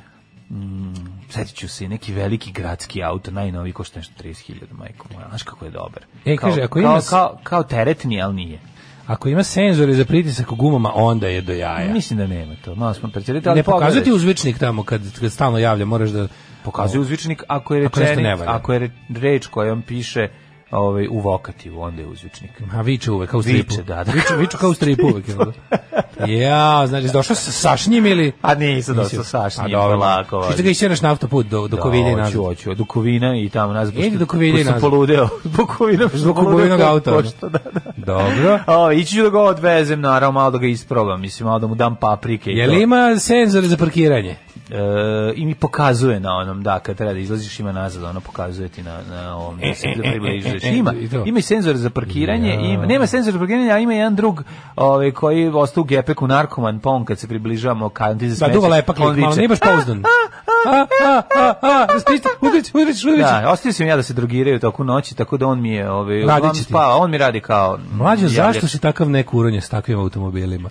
S6: mm, setit ću se, neki veliki gradski auto, najnoviji, košta nešto 30.000, majko moja, znaš kako je dobar.
S7: E,
S6: Kao-
S7: kaže, ako
S6: kao-
S7: ima s-
S6: kao, kao teretni, ali nije.
S7: Ako ima senzore za pritisak u gumama, onda je do jaja.
S6: Mislim da nema to. Malo smo preterali, ali
S7: ne pokazuje
S6: pogledaj.
S7: ti uzvičnik tamo kad, kad stalno javlja, moraš da...
S6: pokazuje uzvičnik ako je
S7: Ako nešto
S6: rečenik,
S7: ne
S6: ako,
S7: valja.
S6: je re- reč kojom piše ovaj u vokativu, onda je uzvičnik.
S7: A viče uvek, kao u stripu.
S6: Viče, da, da.
S7: Viče, viče kao u stripu uvek. jel da? ja, znači, došao sa Sašnjim ili...
S6: A nisu dosta
S7: Nisi-
S6: sašnji,
S7: A, dobro.
S6: polako.
S7: Što ti
S6: vadi.
S7: ga išćeraš na autoput do, do
S6: pa Da,
S7: Kovilje i nazad?
S6: Hoću, hoću, do Kovina i tamo nazad.
S7: Idi
S6: pošto-
S7: do Kovine i
S6: pošto sam
S7: nazad.
S6: poludeo. Zbog Kovina. pošto
S7: Zbog
S6: sam poludeo
S7: Kovinog
S6: kao
S7: auta, ono.
S6: Pošto, da, da.
S7: Dobro.
S6: O, ići ću da ga odvezem, naravno, malo da ga isprobam. Mislim, malo da mu dam paprike. i
S7: Je
S6: to.
S7: li ima senzore za parkiranje?
S6: E, i mi pokazuje na onom, da, kad treba da izlaziš ima nazad, ono pokazuje ti na, na ovom, da se da približuješ.
S7: e, e,
S6: Ima,
S7: i to.
S6: ima i senzor za parkiranje, ima, nema senzor za parkiranje, a ima jedan drug ovaj, koji je ostao u gepeku narkoman, pa on kad se približavamo kanti za
S7: Da,
S6: smeće,
S7: duva lepa klik,
S6: on
S7: malo,
S6: viče,
S7: nije baš pouzdan. A, a, a, a, raspišite, udrić, udrić, udrić.
S6: Da, ostavio sam ja da se drogiraju toku noći, tako da on mi je ovaj,
S7: Radit će
S6: uglavnom
S7: ti.
S6: spava, on mi radi kao... mm,
S7: Mlađo,
S6: javljač.
S7: zašto si takav nekuronje s takvim automobilima?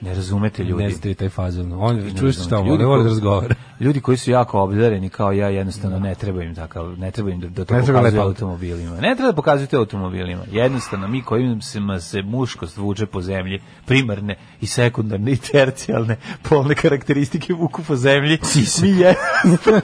S6: Ne razumete ljudi.
S7: Ne znate vi taj fazon. On, čuješ šta
S6: razumete.
S7: on,
S6: Ljudi
S7: ne voli da
S6: koji-
S7: razgovara.
S6: Ljudi koji su jako obdareni kao ja jednostavno ne treba im takav, ne treba im da, da to
S7: Ne treba
S6: pokazuju
S7: lepo.
S6: automobilima. Ne treba da pokazujete automobilima. Jednostavno mi kojim se ma se muškost vuče po zemlji, primarne i sekundarne i tercijalne polne karakteristike vuku po zemlji. Mi je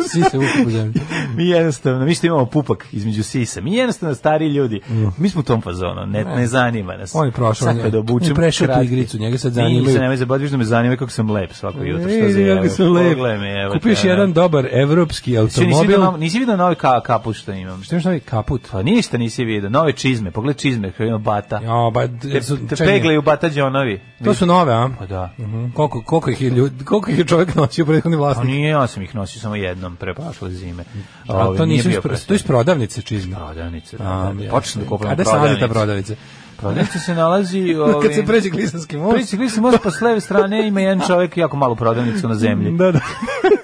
S7: Svi se vuku po zemlji.
S6: mi jednostavno, mi što imamo pupak između sisa, mi jednostavno stari ljudi, mi smo u tom fazonu, ne, ne zanima nas.
S7: Mm. On je prošao,
S6: Sad
S7: on je-
S6: kad obučem
S7: on je prešao tu
S6: kratke-
S7: igricu, njega sad
S6: Nije,
S7: zanimaju-
S6: se nemoj zabaviti, viš da me zanima kako sam lep svako Pa jutro, što za
S7: Vidi
S6: jebe.
S7: kako sam lep.
S6: Pogledaj me, evo
S7: Kupiš
S6: te, ono.
S7: jedan dobar evropski
S6: Sve nisi
S7: automobil.
S6: vidio, nov- nisi vidio novi ka, kaput što imam.
S7: Što imaš novi kaput?
S6: Pa ništa nisi vidio, nove čizme, pogled čizme koje ima bata.
S7: Jo, ba,
S6: Te,
S7: su-
S6: te
S7: čekaj,
S6: pegle i u bata džonovi.
S7: To su nove, a?
S6: Pa da.
S7: Mhm. Koliko, koliko, ih je ljudi, koliko ih je čovjek nosio prethodni
S6: Pa
S7: vlasnik?
S6: nije, ja sam ih nosio samo jednom pre prošle zime.
S7: A
S6: Ovaj,
S7: to
S6: nije
S7: nisu
S6: bio
S7: iz, pro-
S6: presen.
S7: to je iz prodavnice čizme.
S6: Prodavnice, da,
S7: A,
S6: da, da.
S7: ja.
S6: Počnem da kupujem
S7: A gde se nalazi
S6: prodavnice.
S7: ta prodavnica?
S6: Prodavnica Pa se nalazi... Ovaj,
S7: Kad se pređe Klisanski most.
S6: Prici Glisi most, pa s leve strane ima jedan čovjek jako malu prodavnicu na zemlji.
S7: Da, da.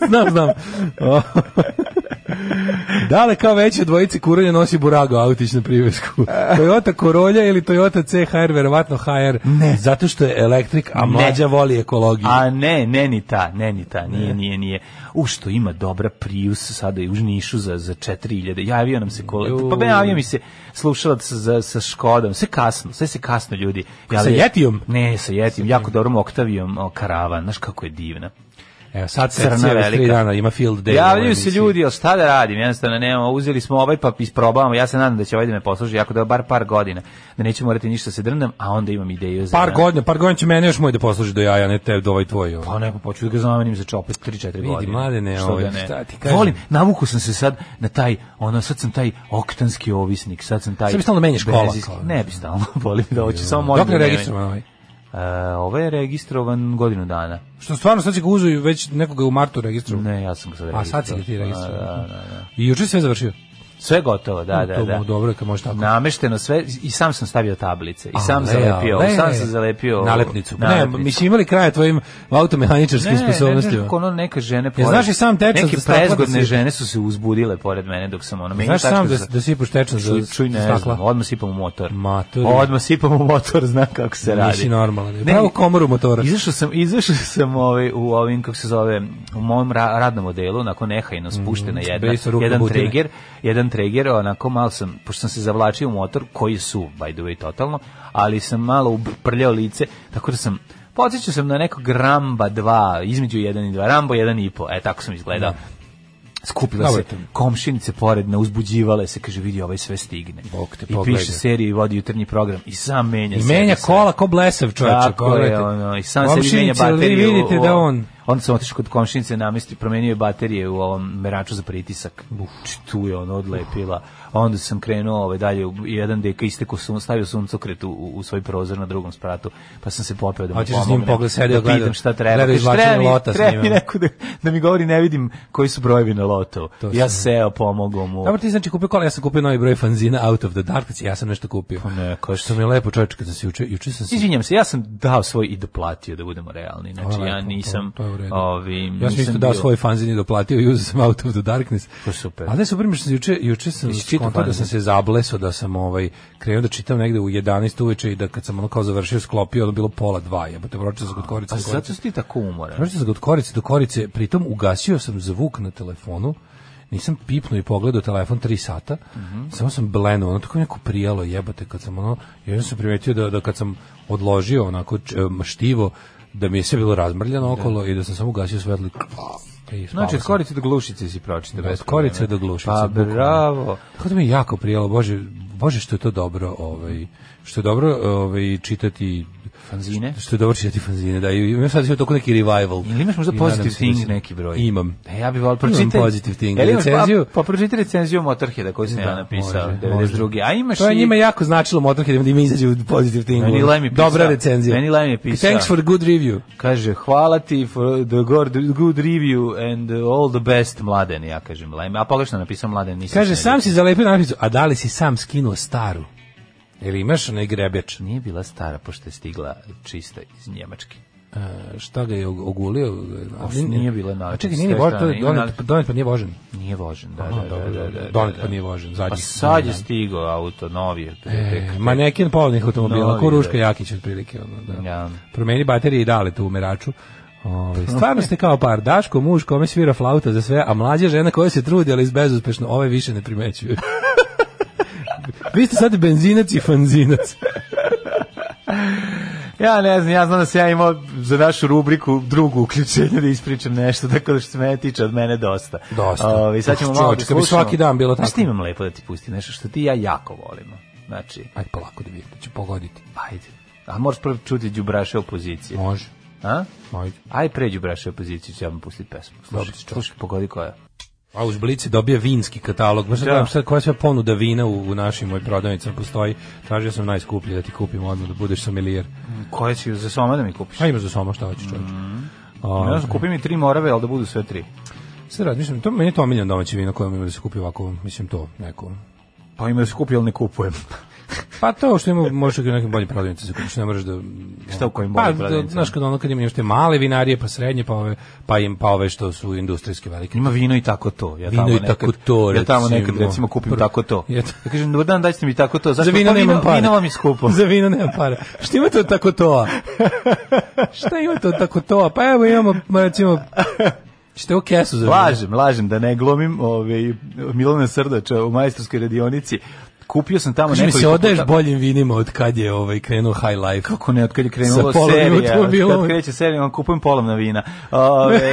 S7: znam, znam. O. Dale kao veće dvojice kuranje nosi Burago autić na privesku. Toyota Corolja ili Toyota CHR, verovatno HR. Ne. Zato što je elektrik,
S6: Ne.
S7: a mlađa voli ekologiju.
S6: A ne, ne ni ta, ne ni ta, nije, nije, nije. U što ima dobra Prius sada i u Nišu za, za 4000. Javio nam se kolega, pa
S7: Juj.
S6: me javio mi se slušalac za, sa Škodom, sve kasno, sve se kasno ljudi.
S7: Sa Jetijom?
S6: Ne, sa Jetijom, jako dobrom Oktavijom o, karavan, znaš kako je divna.
S7: Evo, sad se
S6: Crna
S7: cijeli
S6: velika.
S7: tri dana, ima field day. u ovoj
S6: Javljaju se
S7: emisiji.
S6: ljudi, ali šta da radim, jednostavno nemamo, uzeli smo ovaj pa isprobavamo, ja se nadam da će ovaj da me posluži jako da bar par godina, da neću morati ništa da se drndam, a onda imam ideju za...
S7: Par godina, par godina će mene još moj da posluži do jaja, ne te, do ovaj tvoj. ovaj.
S6: Pa neko poču da ga zamenim za čopet 3-4 godine.
S7: mladene,
S6: Što
S7: ovaj,
S6: da ne?
S7: šta ti kažem?
S6: Volim, navuku sam se sad na taj, ono, sad sam taj oktanski ovisnik, sad sam taj...
S7: Sad bi stalno menjaš kola,
S6: benzinski-
S7: kao.
S6: Ne bi stalno, volim da hoću, samo molim.
S7: Dokle
S6: da ne
S7: registrovan ovaj?
S6: menjam. E, ovaj je registrovan godinu dana.
S7: Što stvarno sad će ga uzu i već nekoga u martu registrovao.
S6: Ne, ja sam ga sad
S7: A
S6: registrovao.
S7: sad si ga ti registrovao.
S6: A, pa, Da, da, da.
S7: I juče si sve završio.
S6: Sve gotovo, da,
S7: U,
S6: da,
S7: to
S6: da.
S7: mu dobro je kad može tako.
S6: Namešteno sve i sam sam stavio tablice i sam
S7: Ale,
S6: zalepio,
S7: ale.
S6: sam sam zalepio
S7: nalepnicu.
S6: nalepnicu.
S7: Ne, mislim imali kraja tvojim automehaničarskim
S6: Ne, Ne,
S7: sposobnostima.
S6: ne, ono neke žene
S7: Ja, znaš i sam tečan
S6: Neke
S7: za stakla
S6: prezgodne
S7: da si-
S6: žene su se uzbudile pored mene dok sam ono meni
S7: Znaš
S6: tačka
S7: sam da,
S6: za-
S7: da sipaš tečan za
S6: čuj, čuj,
S7: za
S6: ne znam, odmah sipam u motor.
S7: Matori.
S6: Odmah sipam u motor, znam kako se radi.
S7: Nisi normalan. Pravo komoru motora.
S6: Izašao sam, izašao sam ovaj, u ovim, kako se zove, u mom ra radnom odelu, onako nehajno spuštena jedna,
S7: bej sa Mm, rukom
S6: jedan
S7: butine.
S6: treger, jedan treger, onako malo sam, pošto sam se zavlačio u motor, koji su, by the way, totalno, ali sam malo uprljao lice, tako da sam, podsjećao sam na nekog Ramba 2, između 1 i 2, Rambo 1 i po, e, tako sam izgledao. Skupila
S7: Dobro
S6: se,
S7: je to.
S6: komšinice pored me uzbuđivale se, kaže, vidi, ovaj sve stigne.
S7: Bog te
S6: I
S7: pogledaj.
S6: piše seriju i vodi jutarnji program i sam menja
S7: I
S6: sebi
S7: menja
S6: sve.
S7: kola ko blesav čovječe.
S6: Tako je,
S7: pogledajte.
S6: ono, i sam sebi menja
S7: ovaj Komšinice,
S6: baterije.
S7: Vi
S6: u-
S7: vidite
S6: u-
S7: da on...
S6: Onda sam otišao kod komšinice namesti, promenio je baterije u ovom meraču za pritisak. Či tu je ono odlepila. A onda sam krenuo ovaj, dalje, u- jedan deka isteko sun, stavio suncokret u, u, u svoj prozor na drugom spratu, pa sam se popeo da mu
S7: Hoćeš s njim pogled,
S6: da
S7: sedeo, gledao-
S6: pitam šta treba.
S7: gledao
S6: Kaže,
S7: izvlačenje
S6: treba mi-
S7: lota s
S6: treba mi
S7: njim.
S6: neko da, da mi govori, ne vidim koji su brojevi na lotu.
S7: To
S6: Ja
S7: sam-
S6: seo, pomogao mu.
S7: Dobro, ti znači kupio kola, ja sam kupio novi broj fanzina Out of the Dark, ja sam nešto kupio. Pa
S6: ne, kaži.
S7: Što mi je lepo čovječe, kad sam se juče, juče sam se...
S6: Izvinjam se, ja sam dao svoj i doplatio da budemo realni. Znači
S7: Hvala,
S6: ja
S7: to-
S6: nisam
S7: to je u redu.
S6: ovi
S7: Ja sam isto
S6: nisam
S7: dao
S6: bio-
S7: svoj fanzin i doplatio i uzeo sam Out of the Darkness.
S6: To je super.
S7: A da se primiš, juče, juče sam
S6: Jesi čitao
S7: skontao da
S6: fanzin?
S7: sam se zableso, da sam ovaj, krenuo da čitam negde u 11 uveče i da kad sam ono kao završio sklopio, ono bilo pola dva, jebote, pročitao sam kod korice.
S6: A
S7: do korice.
S6: zato si ti tako umoran.
S7: Prošao sam ga od korice do korice, pritom ugasio sam zvuk na telefonu, nisam pipnuo i pogledao telefon 3 sata, samo sam blenuo, ono tako neko prijelo jebate kad sam ono, jedno sam primetio da, da kad sam odložio onako č- em, štivo, da mi je sve bilo razmrljano okolo i da sam samo ugasio svetlo. i- i spavao
S6: Znači, od
S7: sam.
S6: korice do glušice si pročite.
S7: Da, od korice do glušice.
S6: Pa
S7: bukvalno.
S6: bravo.
S7: Tako da mi je jako prijelo, bože, bože što je to dobro, ovaj, što je dobro ovaj, čitati
S6: Fanzine?
S7: Što je dobro čitati fanzine, da. I imam sad sve toliko neki revival.
S6: Ili imaš možda
S7: I nadam
S6: positive
S7: se da
S6: thing
S7: se-
S6: neki broj?
S7: Imam.
S6: E, ja bih volao pročitati.
S7: Imam positive thing.
S6: Jel imaš, pa-
S7: Recenziju?
S6: Pa pročiti recenziju Motorheada koju sam ja
S7: Da,
S6: napisao,
S7: može,
S6: 92. A imaš
S7: To je
S6: i-
S7: njima jako značilo Motorhead da im izađe u Positive Thing.
S6: pa Meni
S7: ono.
S6: Lem je pisao.
S7: Dobra recenzija.
S6: Meni Lem je pisao.
S7: Thanks for good review.
S6: Kaže, hvala ti for the good, good review and all the best, mladen, ja kažem. Lem. A pogrešno napisao mladen, nisam.
S7: Kaže,
S6: se-
S7: sam si zalepio napisu, a da li si sam skinuo staru? Ili imaš onaj grebeč?
S6: Nije bila stara, pošto je stigla čista iz Njemačke.
S7: E, šta ga je og- ogulio?
S6: A nije bila na-
S7: A čekaj, nije
S6: s
S7: ni
S6: te
S7: božen, to
S6: strane,
S7: je
S6: ima
S7: donet,
S6: na-
S7: donet pa nije božen.
S6: Nije vožen, da,
S7: Aha,
S6: da,
S7: dobro,
S6: da, da,
S7: dobro.
S6: da,
S7: Donet
S6: da,
S7: pa
S6: da.
S7: nije vožen, zadnji.
S6: Pa sad je
S7: Da.
S6: stigao auto, novi je. Tek,
S7: E,
S6: tek,
S7: maneken polovnih automobila,
S6: Novi,
S7: ko Ruška
S6: da.
S7: Jakić otprilike. Ono, da.
S6: Ja.
S7: Promeni baterije i dale tu u meraču. Ove, stvarno ste kao par, Daško, muž kome svira flauta za sve, a mlađa žena koja se trudi, ali bezuspešno, ove više ne primećuju. Vi ste sad benzinac i fanzinac.
S6: Ja ne znam, ja znam da sam ja imao za našu rubriku drugu uključenje da ispričam nešto, tako da što se mene tiče od mene dosta.
S7: Dosta.
S6: Ovi, sad ćemo
S7: Uf,
S6: malo da
S7: čovječe, kad bi
S6: slušamo.
S7: svaki dan bilo
S6: Znaš
S7: tako.
S6: ti imam lepo da ti pustim nešto što ti i ja jako volimo. Znači,
S7: Aj, polako da vidim, da ću pogoditi.
S6: ajde. A moraš prvo čuti đubraše opozicije.
S7: Može,
S6: A?
S7: ajde.
S6: Aj pre đubraše opozicije, ću ja vam pustiti pesmu. Slušaj, slušaj, pogodi koja.
S7: A uz Blici dobije vinski katalog. Možda
S6: Da.
S7: gledam sad koja sve ponuda vina u, u našim moj prodavnicama postoji. Tražio sam najskuplje da ti kupim odmah da budeš sommelier.
S6: Koja će za soma da mi kupiš?
S7: A Pa imaš za soma šta hoćeš čovječe. A,
S6: Mhm. Ne znam, kupi mi tri morave, ali da budu sve tri.
S7: Sad razmišljam, to meni je to omiljeno domaće vino koje ima da se kupi ovako, mislim to neko.
S6: Pa ima da se kupi, ali ne kupujem.
S7: Pa to što ima možeš i u nekim boljim prodavnicama se kupiš, ne moraš da
S6: Šta u kojim
S7: pa,
S6: boljim
S7: da,
S6: prodavnicama?
S7: znaš kad ono kad ima još te male vinarije, pa srednje, pa ove pa im pa ove što su industrijske velike.
S6: Ima vino i tako to. Ja
S7: Vino
S6: tamo
S7: i
S6: nekad-
S7: tako to,
S6: Ja tamo nekad
S7: recimo.
S6: recimo kupim
S7: Prvo-
S6: tako to.
S7: Ja
S6: Ja
S7: to-
S6: kažem, dobar dan, dajte mi tako to. Zašto?
S7: Za vino
S6: Pa
S7: nemam para.
S6: Vino vam je skupo.
S7: Za vino nemam para. Šta imate od tako toa? Šta imate od tako toa? Pa evo imamo recimo Šta je ovo kesu za vino?
S6: Lažem, lažem, da ne glomim ovaj, Milana Srdača u majstorskoj radionici. Kupio sam tamo
S7: Kaže mi
S6: nekoliko...
S7: se odaješ
S6: puta-
S7: boljim vinima od kad je ovaj krenuo High Life.
S6: Kako ne, od kad je
S7: Sa
S6: krenula
S7: polovnim
S6: serija, od
S7: automobilom.
S6: kad kreće serija, vam kupujem polovna vina. Ovaj, Ove,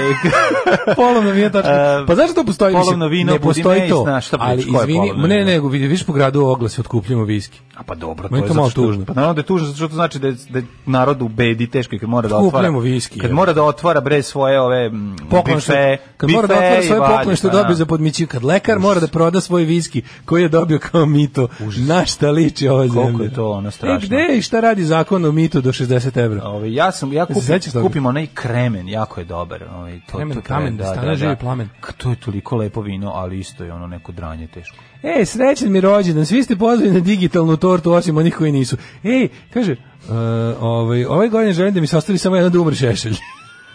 S7: polovno vino tačno.
S6: E,
S7: Pa zašto to postoji? Mislim,
S6: polovno vino,
S7: ne postoji
S6: Budimej,
S7: to.
S6: znaš šta
S7: ali
S6: pričaš, koje
S7: izvini,
S6: polovno
S7: ne,
S6: vino?
S7: ne, vidi, vidiš po gradu oglase otkupljujemo viski.
S6: A pa dobro,
S7: Meni
S6: to je
S7: to malo
S6: zato što,
S7: tužno.
S6: Pa naravno da je tužno, zato što to znači da je, da je narod u bedi teško i kad mora da
S7: Kupujemo
S6: otvara.
S7: viski,
S6: Kad
S7: je.
S6: mora da otvara bre svoje ove mm,
S7: Poklon što,
S6: bife,
S7: kad mora da
S6: bife
S7: otvara
S6: i
S7: svoje
S6: vadi,
S7: poklon što
S6: pa da.
S7: dobije za podmićiju, kad lekar mora da proda svoj viski koji je dobio kao mito to, na šta liči ova zemlja.
S6: Koliko je to ono strašno.
S7: E gde i šta radi zakon o mitu do 60 evra?
S6: Ove, Ovaj, ja sam, ja kupim,
S7: sećaš toga?
S6: kupim onaj kremen, jako je dobar. Ove, to,
S7: Kremen,
S6: to,
S7: kamen, da stane živi plamen.
S6: K- To je toliko lepo vino, ali isto je ono neko dranje teško.
S7: Ej, E, srećan mi rođendan, svi ste pozvani na digitalnu tortu, osim onih koji nisu. Ej, kaže, e, ovaj, ovaj godine želim da mi se ostavi samo jedan da umre šešelj.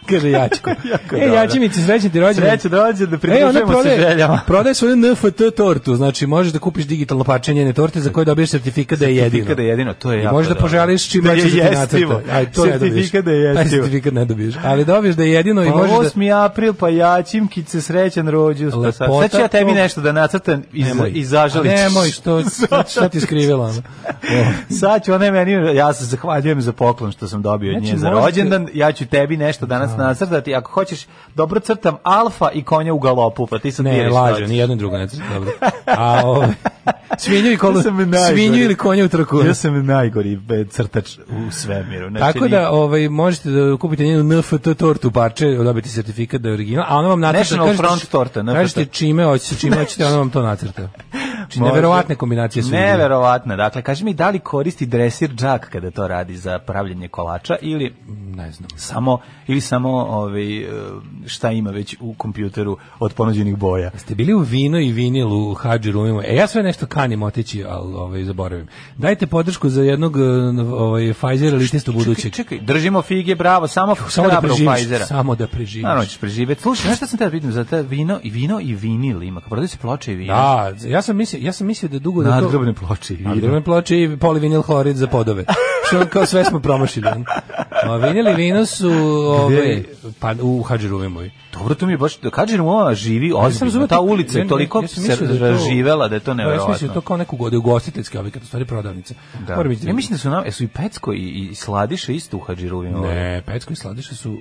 S7: kaže Jačko.
S6: Jako je
S7: Ej,
S6: dobro.
S7: Jačimici, srećan ti rođendan.
S6: Srećan rođendan, da
S7: E, ona
S6: pridružujemo se željama.
S7: prodaje, prodaje svoju NFT tortu, znači možeš da kupiš digitalno parče njene torte za koje dobiješ sertifikat da je jedino.
S6: Sertifikat da je jedino, to je
S7: I
S6: jako
S7: možeš da
S6: dobro.
S7: poželiš čim
S6: Da je
S7: hoćeš da ti
S6: jestivo.
S7: nacrta. Aj, to ne dobiješ.
S6: Sertifikat da je
S7: Taj
S6: jestivo.
S7: sertifikat ne dobiješ. Ali dobiješ da je jedino i
S6: Pa
S7: možeš da...
S6: 8. april, pa jačimkice, srećan rođus. Pa sad,
S7: Lepota
S6: sad ću ja tebi
S7: tog-
S6: nešto da nacrtam i,
S7: Nemoj.
S6: i zažalit ćeš.
S7: Nemoj, što, šta ti skrivila? ono?
S6: Sad ću ona je meni, ja se zahvaljujem za poklon što sam dobio od
S7: Znači,
S6: nje za
S7: možete-
S6: rođendan, ja ću tebi nešto danas nacrtati, ako hoćeš, dobro crtam alfa i konja u galopu, pa ti sad
S7: Ne,
S6: biraš
S7: laže,
S6: šta
S7: ni jedno ni drugo ne treba. Dobro. A ovo, svinju, i kolu,
S6: Ja sam najgori.
S7: svinju ili konje u trku.
S6: ćeš. Ja sam najgori
S7: e,
S6: be, crtač u svemiru. Znači,
S7: Tako da ovaj možete da kupite njenu NFT tortu parče, dobiti sertifikat da je original, a ona vam nacrta
S6: National
S7: kažete-
S6: Front torta, NFT.
S7: Kažete čime hoćete, čime hoćete, ona vam to nacrta. Znači
S6: Može.
S7: neverovatne kombinacije su.
S6: Neverovatno. Dakle, kaži mi da li koristi dresir džak kada to radi za pravljenje kolača ili
S7: Ne znam.
S6: samo ili samo ovaj e, šta ima već u kompjuteru od ponuđenih boja.
S7: Ste bili u vino i vinil u Hadži Rumimu. E, ja sve nešto kanim otići, ali ovaj, zaboravim. Dajte podršku za jednog eh, ovaj, Pfizer elitistu budućeg.
S6: Čekaj, držimo fige, bravo, samo
S7: Samo da
S6: hrabro
S7: preživiš.
S6: Pfizera.
S7: Samo da preživiš.
S6: Naravno ćeš preživeti. Slušaj, znaš šta sam te vidim za te vino i vino i vinil ima, kao prodaju se ploče i vino.
S7: Da, ja sam mislio, ja sam mislio da dugo da to...
S6: Nadgrobne ploče i vino.
S7: Nadgrobne ploče i polivinil hlorid za podove. Što kao sve smo promašili. ono. A vinil i vino su ovaj, pa, u Hadžeruvimovoj.
S6: Dobro, to mi je baš, kažem, ova živi ozbiljno,
S7: razumeo
S6: ta
S7: to-
S6: ulica
S7: ja-
S6: je
S7: ja-
S6: toliko
S7: ja sam
S6: se
S7: mislio da je to-
S6: razživela da je to
S7: Da, ja sam mislio
S6: nevjerojatno.
S7: to kao neku godinu ugostiteljski objekat, u stvari prodavnice.
S6: Da.
S7: Moram ići
S6: Ja mislim da su nam, su i Pecko i, i Sladiše isto u Hadžirovima.
S7: Ne, Pecko i Sladiše su...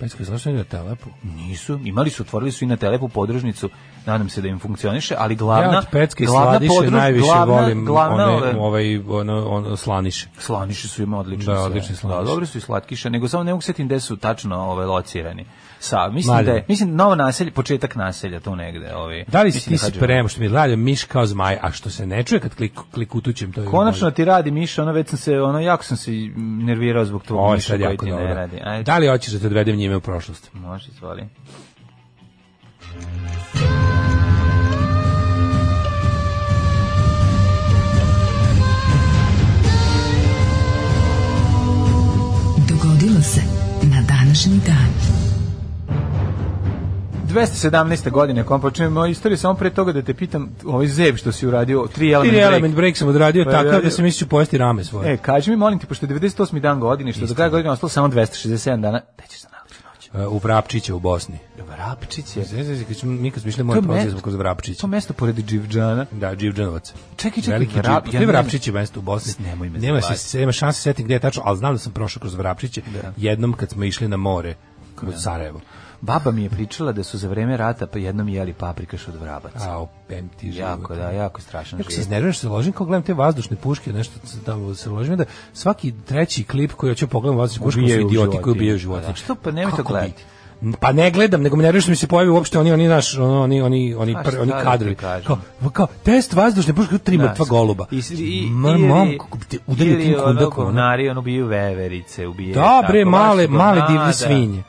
S7: Pecko i Sladiše su na telepu.
S6: Nisu, imali su, otvorili su i na telepu podružnicu, nadam se da im funkcioniše, ali glavna,
S7: ja od Pecka i
S6: glavna
S7: Sladiše
S6: podruž-
S7: najviše
S6: glavna-
S7: volim
S6: glavna,
S7: one,
S6: ove-
S7: ovaj, ono, ono, slaniše.
S6: Slaniši su ima odlični.
S7: Da,
S6: sve.
S7: odlični slaniši.
S6: Da, dobri su i slatkiše, nego samo ne mogu setim gde su tačno ove locirani. Sa, mislim
S7: Mladen.
S6: da je, mislim novo naselje, početak naselja tu negde, ovaj.
S7: Da li si
S6: mislim
S7: ti
S6: da Hadži-
S7: spremao što mi je radio miš kao zmaj, a što se ne čuje kad klik, klikutućem to je...
S6: Konačno ti radi Miša, ono već sam se, ono jako sam se nervirao zbog tvog
S7: Ovo je
S6: Miša Pa
S7: sad
S6: koji
S7: jako
S6: ti ne
S7: dobro.
S6: radi. Ajde,
S7: Da li hoćeš da te odvedem njime u prošlost?
S6: može, izvoli.
S5: Dogodilo se na današnji dan.
S6: 217. godine, kom počinjemo moju istoriju, samo pre toga da te pitam, ovaj zeb što si uradio, tri element,
S7: Ili
S6: break.
S7: element break sam odradio
S6: Pa,
S7: takav da
S6: radio-
S7: se misliću pojesti rame svoje.
S6: E, kaži mi, molim te, pošto je 98. dan godine, što do kraja godine ostalo samo 267 dana, da ćeš za najlepšu noć.
S7: E, U Vrapčiće u Bosni.
S6: Vrapčić je
S7: Znači, znači, kad smo- mi kad smo išli
S6: To
S7: moje
S6: je
S7: proces
S6: mesto-
S7: kroz Vrapčić.
S6: To mesto pored Đivđana.
S7: Da, Đivđanovac.
S6: Čekaj, čekaj,
S7: Veliki
S6: Vrap-
S7: Vrap,
S6: ja
S7: ja
S6: ne-
S7: Vrapčić je mesto u Bosni.
S6: Nemoj me
S7: nema
S6: zabaviti.
S7: se nema šanse setim gde je tačno, ali znam da sam prošao kroz Vrapčiće jednom kad smo išli na more kroz Sarajevo.
S6: Baba mi je pričala da su za vreme rata pa jednom jeli paprikaš od vrabaca.
S7: A, opem ti život.
S6: jako, da, jako strašan
S7: Jako se
S6: život.
S7: iznerviram što se ložim, kao gledam te vazdušne puške, nešto tamo se ložim, da svaki treći klip koji hoću pogledam vazdušne puške,
S6: Ubijaju
S7: su idioti koji
S6: životinje.
S7: ubijaju životinje.
S6: Da, što? Pa nemoj to
S7: Kako bi?
S6: gledati.
S7: Pa ne gledam, nego mi nervira što mi se pojavi uopšte oni oni naš ono, oni oni oni
S6: A
S7: pr-
S6: Pa šta
S7: oni
S6: da ti
S7: kadrovi.
S6: kažem?
S7: Kao, kao test vazdušne puške tri
S6: Da.
S7: mrtva goluba. Znači,
S6: I, i, i,
S7: Ma,
S6: ili-
S7: mam, kako bi te udario
S6: ili
S7: tim
S6: ono
S7: kundakom. ono.
S6: govnari, ono biju veverice, ubije.
S7: Da, bre,
S6: tako,
S7: male,
S6: baš su
S7: male
S6: govnada.
S7: divlje svinje.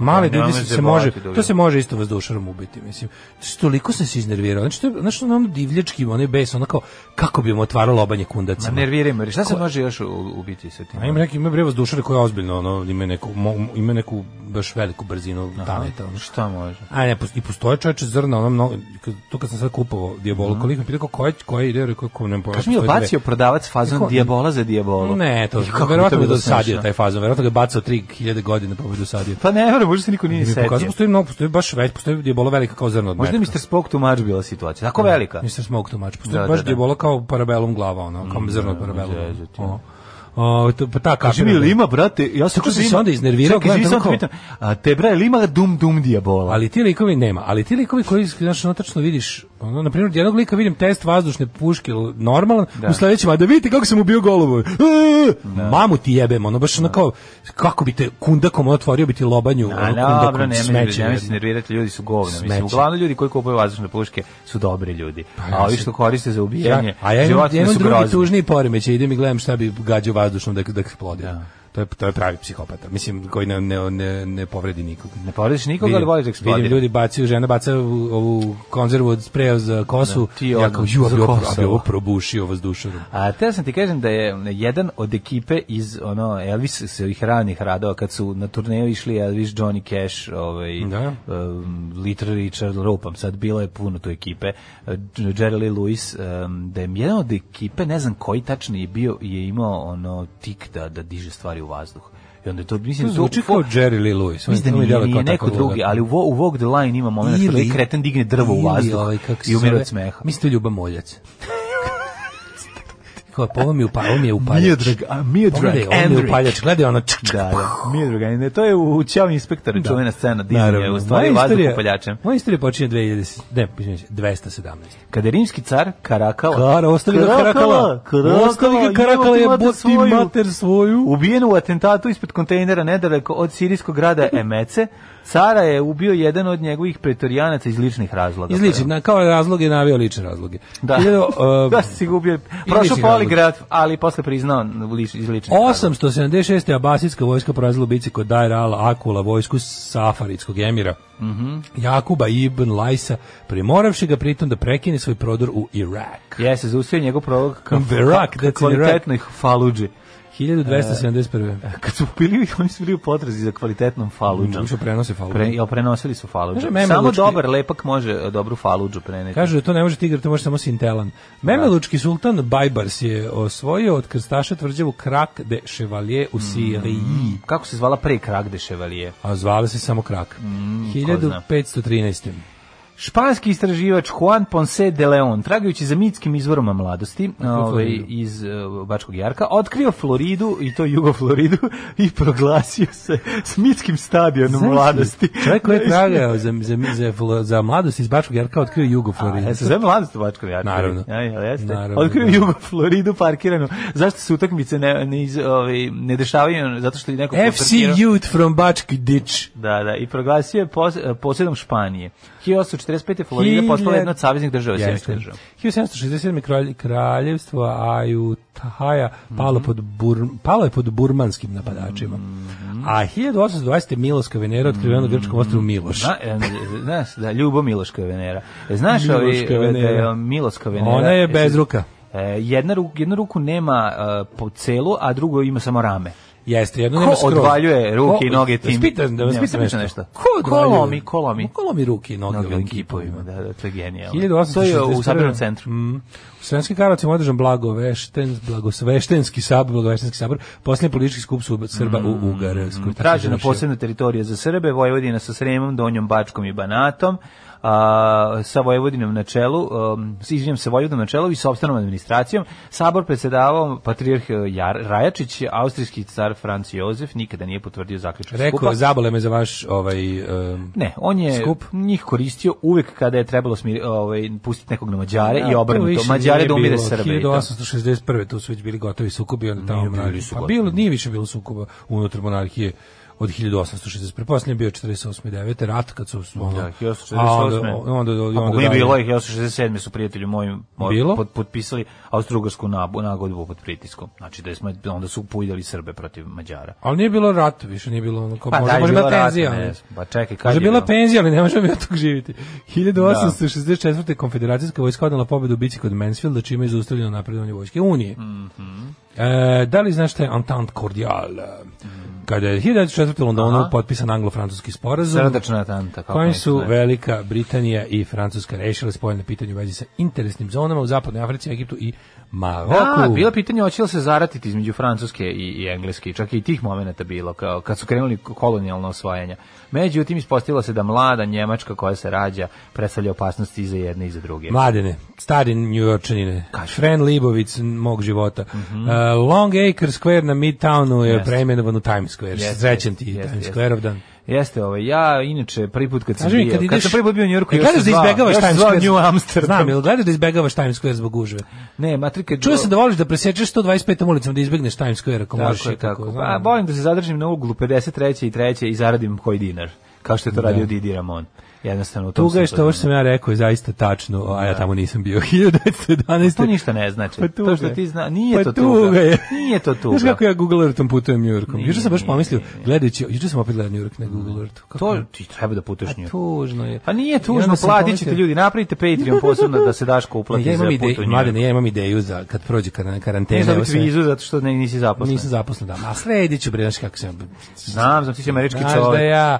S7: Male
S6: Pa
S7: divlje
S6: nemoj
S7: svinje
S6: se
S7: se može,
S6: bojati da
S7: to
S6: ubiju.
S7: se može isto vazdušarom ubiti, mislim. Znači, toliko sam se iznervirao. Znači, to je, znači, ono divljački, onaj bes, ono kao, kako bi mu otvaralo obanje
S6: Ma
S7: kundacima.
S6: nerviraj me, šta se može još u- ubiti sa tim?
S7: A ima neki ima bre vazdušare koja je ozbiljno ono ima neku mo- ima neku baš veliku brzinu taleta ono.
S6: Šta može?
S7: A ne, pos- i postoje čoveče zrna, ono mnogo, kad- to kad sam sad kupovao Diabolo, koliko mi pitao kao koja, koja ide, rekao kao ne pojma.
S6: Kaži mi, je li
S7: postoje dve.
S6: bacio prodavac fazon
S7: Kako-
S6: dijabola za dijabolu?
S7: Ne, to,
S6: I kako bi
S7: verovatno
S6: to
S7: mi
S6: bilo
S7: dosadio
S6: smešno?
S7: taj fazon, verovatno ga je bacao 3000 godina pa bi dosadio.
S6: Pa ne, vrlo, možda se niko nije
S7: Mi pokazao
S6: setio.
S7: postoji mnogo, postoji baš već, postoji Diabolo velika kao zrno od
S6: Možda je
S7: metka.
S6: Mr. Spock tu mač bila situacija, tako velika.
S7: Mr. Smoke Too Much. Postoji
S6: Da, Mm, da,
S7: baš
S6: da.
S7: Diabolo kao parabelum glava, ono, kao zrno od parabelum.
S6: zezati.
S7: Ono. O, to, pa ta
S6: Kaži mi,
S7: kapiram.
S6: jel ima, brate, ja sam
S7: Tako sam
S6: čuo da
S7: se
S6: ima-
S7: onda iznervirao,
S6: Čekaj,
S7: gledam
S6: izvini,
S7: tamo
S6: samo te
S7: kao-
S6: pitam, A te, bre, jel ima dum dum dijabola?
S7: Ali ti likovi nema, ali ti likovi koji znaš ono tačno vidiš Ono, na primjer, jednog lika vidim test vazdušne puške l- normalan, u sledećem, a da vidite kako sam ubio golubu. Mamu ti jebem, ono baš ono kao, kako bi te kundakom otvorio bi ti lobanju, ono,
S6: A dobro,
S7: kundakom,
S6: ne
S7: smeće.
S6: ne
S7: jedno.
S6: nervirati, ljudi su govna. Mislim,
S7: Smeće. Pa
S6: uglavnom ljudi koji kupuju vazdušne puške su dobri ljudi. A ovi što koriste za ubijanje,
S7: Ja, a ja imam, ja
S6: životinje
S7: imam
S6: su
S7: drugi
S6: grozni.
S7: tužniji poremeć, idem i gledam šta bi gađao vazdušnom da, da eksplodira. To, je, to je pravi psihopata, mislim, koji ne, ne, ne, ne povredi nikog.
S6: Ne poradiš nikoga, ali
S7: Vidim-
S6: voliš da eksplodira.
S7: Vidim ljudi bacaju, žena baca ovu- ovu konzervu od spreja za kosu,
S6: ti
S7: ja
S6: odmah,
S7: kao, ju, a
S6: za
S7: bi ovo-
S6: kosu,
S7: a bi ovo
S6: ovo."
S7: probušio vazdušarom.
S6: A teo sam ti kažem da je jedan od ekipe iz ono Elvis svih ranih radova kad su na turneju išli Elvis, Johnny Cash, ovaj
S7: Da.
S6: um, Little Richard, lupam, sad bilo je puno tu ekipe, uh, Jerry Lee Lewis, um, da je jedan od ekipe, ne znam koji tačno je bio, je imao ono tik da, da diže stvari u vazduh. I onda je to, mislim,
S7: To
S6: da
S7: zvuči kao Jerry Lee Lewis.
S6: Mislim da
S7: On je delo
S6: nije, nije
S7: kao
S6: neko
S7: tako
S6: drugi,
S7: ludak.
S6: ali u, Vo- u Walk the Line ima moment kada je kreten digne drvo u
S7: ili
S6: vazduh
S7: ovaj, kako se
S6: i umire
S7: zove,
S6: od smeha.
S7: Mislim to je Ljuba Moljac. Kao, pa ovo mi je upa- ovo mi je upaljač.
S6: Miodrag- a, Miodrag
S7: Pogledaj, ovo mi je
S6: Andrić.
S7: upaljač. Gledaj ono, čk, čk,
S6: Da, da. Mio Drugani, ne, to je u Ćao inspektora da. čuvena scena Disneya, u stvari
S7: Moja
S6: vazduh
S7: istorija-
S6: upaljačem.
S7: Moja istorija počinje 2010, ne, izvinjam se, 217.
S6: Kada je rimski car Karakala,
S7: Kara, ostavi ga karakala. Ostavi ga karakala,
S6: jebote,
S7: je
S6: imate
S7: bot ti
S6: svoju.
S7: mater svoju.
S6: Ubijen u atentatu ispred kontejnera nedaleko od sirijskog grada Emece, cara je ubio jedan od njegovih pretorijanaca iz ličnih razloga.
S7: Izličen, na- kao razloge je navio lične razloge.
S6: Da.
S7: Hiljadu, uh,
S6: da si ga ubio. Prošao
S7: ličnih
S6: poligraf, ali posle priznao lič, iz ličnih razloga.
S7: 876. Abasijska vojska porazila ubici kod Dajr al-Akula, vojsku Safaridskog emira.
S6: Mhm.
S7: Jakuba ibn Lajsa, primoravši ga pritom da prekine svoj prodor u Irak.
S6: Jese, zaustavio njegov prolog ka,
S7: The Rock,
S6: ka
S7: that's in the Rock.
S6: kvalitetnoj faluđi.
S7: 1271.
S6: Kad su bili, oni su bili u potrazi za kvalitetnom faluđom.
S7: Što prenose falu.
S6: Pre, jel prenosili su faluđu?
S7: Kaže, Meme
S6: Samo
S7: Lučki-
S6: dobar lepak može e, dobru faluđu preneti.
S7: Kažu da to ne može tigar, to može samo sintelan. Memelučki sultan Bajbars je osvojio od krstaša tvrđavu Krak de Chevalier u Siriji.
S6: Kako se zvala pre Kragde Chevalije?
S7: A zvala se samo Krak.
S6: Mm, ko zna.
S7: 1513.
S6: Španski istraživač Juan Ponce de Leon, tragajući za mitskim izvoroma mladosti ovaj,
S7: Floridu.
S6: iz e, Bačkog Jarka, otkrio Floridu, i to jugo Floridu, i proglasio se s mitskim stadionom
S7: Znaš li,
S6: mladosti.
S7: Čovjek koji je tragao za, za, za, flo- za mladost iz Bačkog Jarka otkrio Jugo Floridu.
S6: Ja E, se zove mladost u Bačkoj Jarkovi.
S7: Naravno.
S6: Ja, jel jeste?
S7: Naravno,
S6: Otkrio
S7: da.
S6: jugo Floridu parkiranu. Zašto se utakmice ne, ne, iz, ovaj, ne dešavaju? Zato što je neko
S7: FC
S6: parkirao-
S7: Youth from Bački Ditch.
S6: Da, da, i proglasio je pos, eh, posjedom Španije. 1845. je Florida postala jedna od saveznih država Sjemička država.
S7: 1767. kralj, kraljevstvo Ajutahaja palo, pod Bur, palo je pod burmanskim napadačima.
S6: Mhm.
S7: A 1820. Miloska Venera otkrivena na grčkom ostrovu Miloš.
S6: Na, e, znaš, da, Ljubo Miloška Venera. E, Znaš ovi,
S7: Miloška
S6: e, da
S7: Venera.
S6: je Miloška Venera.
S7: Ona je
S6: e,
S7: bez ruka.
S6: E, jedna, ru, jednu ruku nema e, po celu, a drugo ima samo rame.
S7: Jeste, jedno
S6: Ko
S7: nema skroz.
S6: odvaljuje ruke i noge
S7: Da vas
S6: tim-
S7: pitam, da vas
S6: Ne,
S7: pitam
S6: sam
S7: nešto.
S6: pitan nešto. Ko
S7: odvaljuje-
S6: lomi, ko lomi?
S7: Ko lomi ruke i noge ovim kipovima?
S6: Da, da, to je genijalno.
S7: 1861.
S6: To je u Sabirnom centru.
S7: Mm. U Sremskim Karlovcima održan blagovešten, blagosveštenski sabor, blagoveštenski sabor, posljednji politički skup su- Srba
S6: Mm.
S7: u Ugarskoj. Tako je
S6: Tražena
S7: završio.
S6: posebna teritorija za Srbe, Vojvodina sa Sremom, Donjom Bačkom i Banatom, a, sa Vojvodinom na čelu, um, s- izvinjam se Vojvodinom na čelu i sopstvenom administracijom. Sabor predsedavao patrijarh e, Jar, Rajačić, austrijski car Franc Jozef nikada nije potvrdio zaključak
S7: Rekao,
S6: skupa.
S7: je, zabole me za vaš ovaj... em,
S6: Ne, on je
S7: Skup?
S6: njih koristio uvek kada je trebalo smiri, ovaj, pustiti nekog na Mađare
S7: a,
S6: i
S7: to
S6: obrnuto.
S7: više
S6: Mađare
S7: nije
S6: da umire
S7: bilo.
S6: Srbe. i to.
S7: 1861. tu su već bili gotovi sukobi, onda tamo
S6: Nije bili
S7: mrađi. Pa
S6: sukobi.
S7: bilo, nije više bilo sukoba unutar monarhije od 1861. Posljednji je bio 48. i 9. rat kad su... Ono,
S6: Da,
S7: a onda-
S6: 1848.
S7: Onda, onda, onda,
S6: Ako Pa nije
S7: dalje.
S6: bilo ih, 1867. su prijatelju mojim moj,
S7: Bilo?
S6: pot- potpisali austrougarsku nabu- nagodbu pod pritiskom. Znači da smo onda su pujdali Srbe protiv Mađara.
S7: Ali nije bilo rat više, nije bilo ono kao...
S6: Pa,
S7: možda,
S6: da, je
S7: možda
S6: bilo
S7: bila
S6: rata,
S7: tenzija.
S6: ne
S7: ali-
S6: znam. Pa čekaj, kad
S7: Kaže
S6: je
S7: bila
S6: bilo?
S7: penzija, ali ne možemo ja tog živiti. 1864. konfederacijska vojska odnala pobedu u bici kod Mansfielda, čime je zaustavljeno napredovanje vojske Unije.
S6: Mhm.
S7: E, da li znaš šta je Entente Cordiale?
S6: Mhm.
S7: Kada je 1904. u Londonu potpisan anglo-francuski sporazum,
S6: Srdačna tanta. kako
S7: kojim
S6: pa, ne
S7: su
S6: znaš.
S7: Velika Britanija i Francuska rešile spojene pitanje u vezi sa interesnim zonama u Zapadnoj Africi, Egiptu i Maroku.
S6: Da, bilo je pitanje hoće li se zaratiti između Francuske i, i Engleske, čak je i tih momenata bilo, kao, kad su krenuli kolonijalno osvajanja. Međutim, ispostavilo se da mlada Njemačka koja se rađa predstavlja opasnosti i za jedne i za druge.
S7: Mladene, stari njujorčanine,
S6: Kaži.
S7: Fran Libovic n- mog života. Uh, Long Acre Square na Midtownu je
S6: Mhm. Jeste.
S7: preimenovan u Times Square.
S6: Jeste,
S7: Srećan ti
S6: jeste,
S7: Times
S6: jeste.
S7: Squareov dan.
S6: Jeste, ovaj ja inače prvi put kad sam
S7: Kaži mi,
S6: bio,
S7: kad
S6: kad,
S7: ideš-
S6: sam prvi put bio u Njujorku,
S7: E,
S6: još
S7: gledaš
S6: sam
S7: da
S6: zvao-
S7: izbegavaš
S6: još sam
S7: Times
S6: zvao
S7: Square.
S6: New Amsterdam.
S7: Znam, jel gledaš da izbegavaš Times Square zbog užve?
S6: Ne, matri kad
S7: Čuo sam da voliš da presečeš 125. ulicom da izbegneš Times Square ako možeš.
S6: Tako
S7: i
S6: je, tako.
S7: znam.
S6: Pa, volim da se zadržim na uglu 53. i 3. i zaradim koji dinar, kao što je to radio Didi Ramon. Jednostavno, u tom
S7: Tuga je
S6: sam
S7: što ovo što
S6: poznao.
S7: sam ja rekao je zaista tačno, a ja tamo nisam bio. 1911.
S6: To ništa ne znači.
S7: Pa tuga
S6: to
S7: je.
S6: što ti zna, nije
S7: Pa
S6: to tuga.
S7: tuga je.
S6: Nije to tuga.
S7: Znaš kako ja Google Earthom putujem New Yorkom?
S6: Nije,
S7: Juče sam baš
S6: nije,
S7: pomislio,
S6: nije. Mm.
S7: gledajući, juče sam opet gledao New York na Google Earthu. Kako
S6: To
S7: ne?
S6: ti treba da putuješ
S7: A
S6: nju.
S7: tužno je.
S6: Pa nije
S7: I onda
S6: tužno,
S7: sam
S6: platit ćete
S7: pomislio-
S6: ljudi, napravite Patreon posebno da se Daško uplati
S7: E, Ja
S6: za
S7: imam
S6: put u
S7: ideju,
S6: Njujorku.
S7: mladine, ja imam ideju za kad prođe kar- karantena.
S6: Nećeš
S7: evo
S6: dobiti
S7: sve.
S6: vizu zato što ne, nisi zaposlen.
S7: Nisam zaposlen, da. A sredit ću, bre, znaš kako sam...
S6: Znam, znam, ti si američki
S7: Znaš da
S6: čovjek.
S7: ja...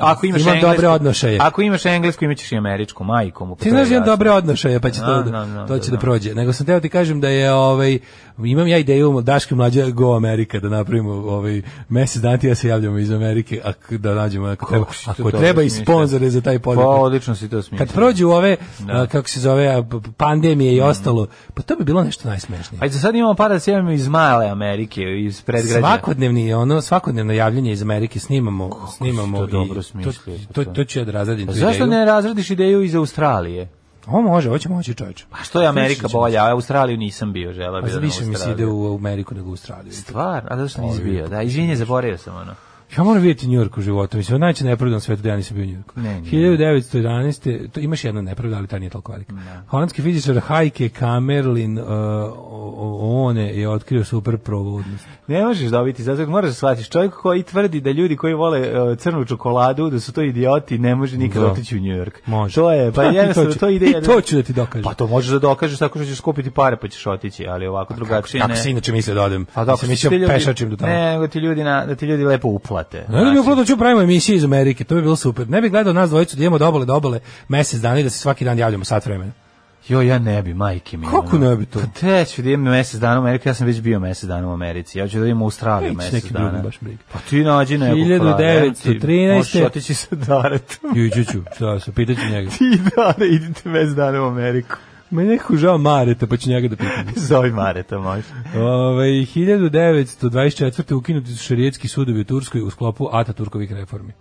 S6: Ako imaš
S7: imam
S6: englesku-
S7: dobre odnošaje.
S6: Ako imaš englesku, imaćeš i američku, majkom.
S7: Ti znaš imam dobre odnošaje, pa će to,
S6: Znam, znam, znam,
S7: to će da,
S6: da,
S7: prođe. Nego sam teo ti kažem da je, ovaj, imam ja ideju Daške mlađe Go Amerika, da napravimo ovaj, mesec dana ti i ja se javljamo iz Amerike, ako, da nađemo, ako treba,
S6: si to
S7: ako
S6: dobro
S7: treba i
S6: smislio?
S7: sponzore za taj
S6: Pa,
S7: podcast.
S6: odlično si to smislio.
S7: Kad prođu ove, a, kako se zove, a, p- p- pandemije
S6: Mm.
S7: i ostalo, pa to bi bilo nešto najsmešnije.
S6: Pa i za sad imamo par da se javimo iz male Amerike, iz predgrađa.
S7: Svakodnevni je ono, svakodnevno javljanje iz Amerike snimamo, snimamo
S6: si to
S7: i
S6: dobro
S7: to,
S6: smislio,
S7: to,
S6: pa to.
S7: to ću ja da razradim.
S6: Pa
S7: tu
S6: Zašto
S7: ideju.
S6: ne razradiš ideju iz Australije?
S7: Ovo može, ovo će moći čovječe.
S6: Pa što je Amerika
S7: Slično ćemo
S6: bolja, a Australiju nisam bio, žela
S7: Pa
S6: bi da
S7: više mi se ide u Ameriku nego u Australiju.
S6: Stvar, a zašto nisi bio? Da, izvinje, zaboravio sam ono.
S7: Ja moram vidjeti New York u životu. Mislim, najče nepravdan svetu da ja nisam bio u New Yorku.
S6: Ne, ne.
S7: 1911. To imaš jednu nepravdu, ali ta nije toliko velika. Holandski fizičar Heike Kamerlin uh, o- o- one je otkrio super provodnost.
S6: Ne možeš dobiti, zato što moraš da shvatiš. Čovjek koji tvrdi da ljudi koji vole e, crnu čokoladu, da su to idioti, ne može nikad
S7: Da.
S6: otići u New York.
S7: Može.
S6: To je, pa
S7: I to
S6: jednostavno,
S7: ću-
S6: to ide...
S7: i
S6: jedno-
S7: to ću da ti dokažem.
S6: Pa to možeš da dokažeš tako što ćeš skupiti pare pa ćeš otići, ali ovako drugačije
S7: Kako
S6: ne.
S7: se inače mislio da odem?
S6: Pa
S7: Pa
S6: da,
S7: da, sam mislio pešačim do tamo.
S6: Ne, nego ti ljudi, na, da ti ljudi lepo uplate.
S7: Ne bi
S6: Znači,
S7: bilo fudbal da ću pravimo emisije iz Amerike, to bi bilo super. Ne bi gledao nas dvojicu da idemo do obale do obale mesec dana i da se svaki dan javljamo sat vremena.
S6: Jo, ja ne bi, majke mi.
S7: Kako ne bi to?
S6: Pa te ću da idem mesec dana u Ameriku, ja sam već bio mesec dana u Americi. Ja ću da idem u Australiju
S7: Ići
S6: mesec
S7: neki
S6: dana.
S7: drugi, baš briga.
S6: Pa ti nađi nekog
S7: 1913.
S6: Možeš otići sa daretom.
S7: Ići ću, šta se, pitaću njega.
S6: Ti dare, idite mesec dana u Ameriku.
S7: Me neko žao Mareta, pa ću njega da pitam. Ovaj,
S6: Zovi Mareta, može.
S7: Ove, 1924. ukinuti su šarijetski sudovi u Turskoj u sklopu Ataturkovih reformi.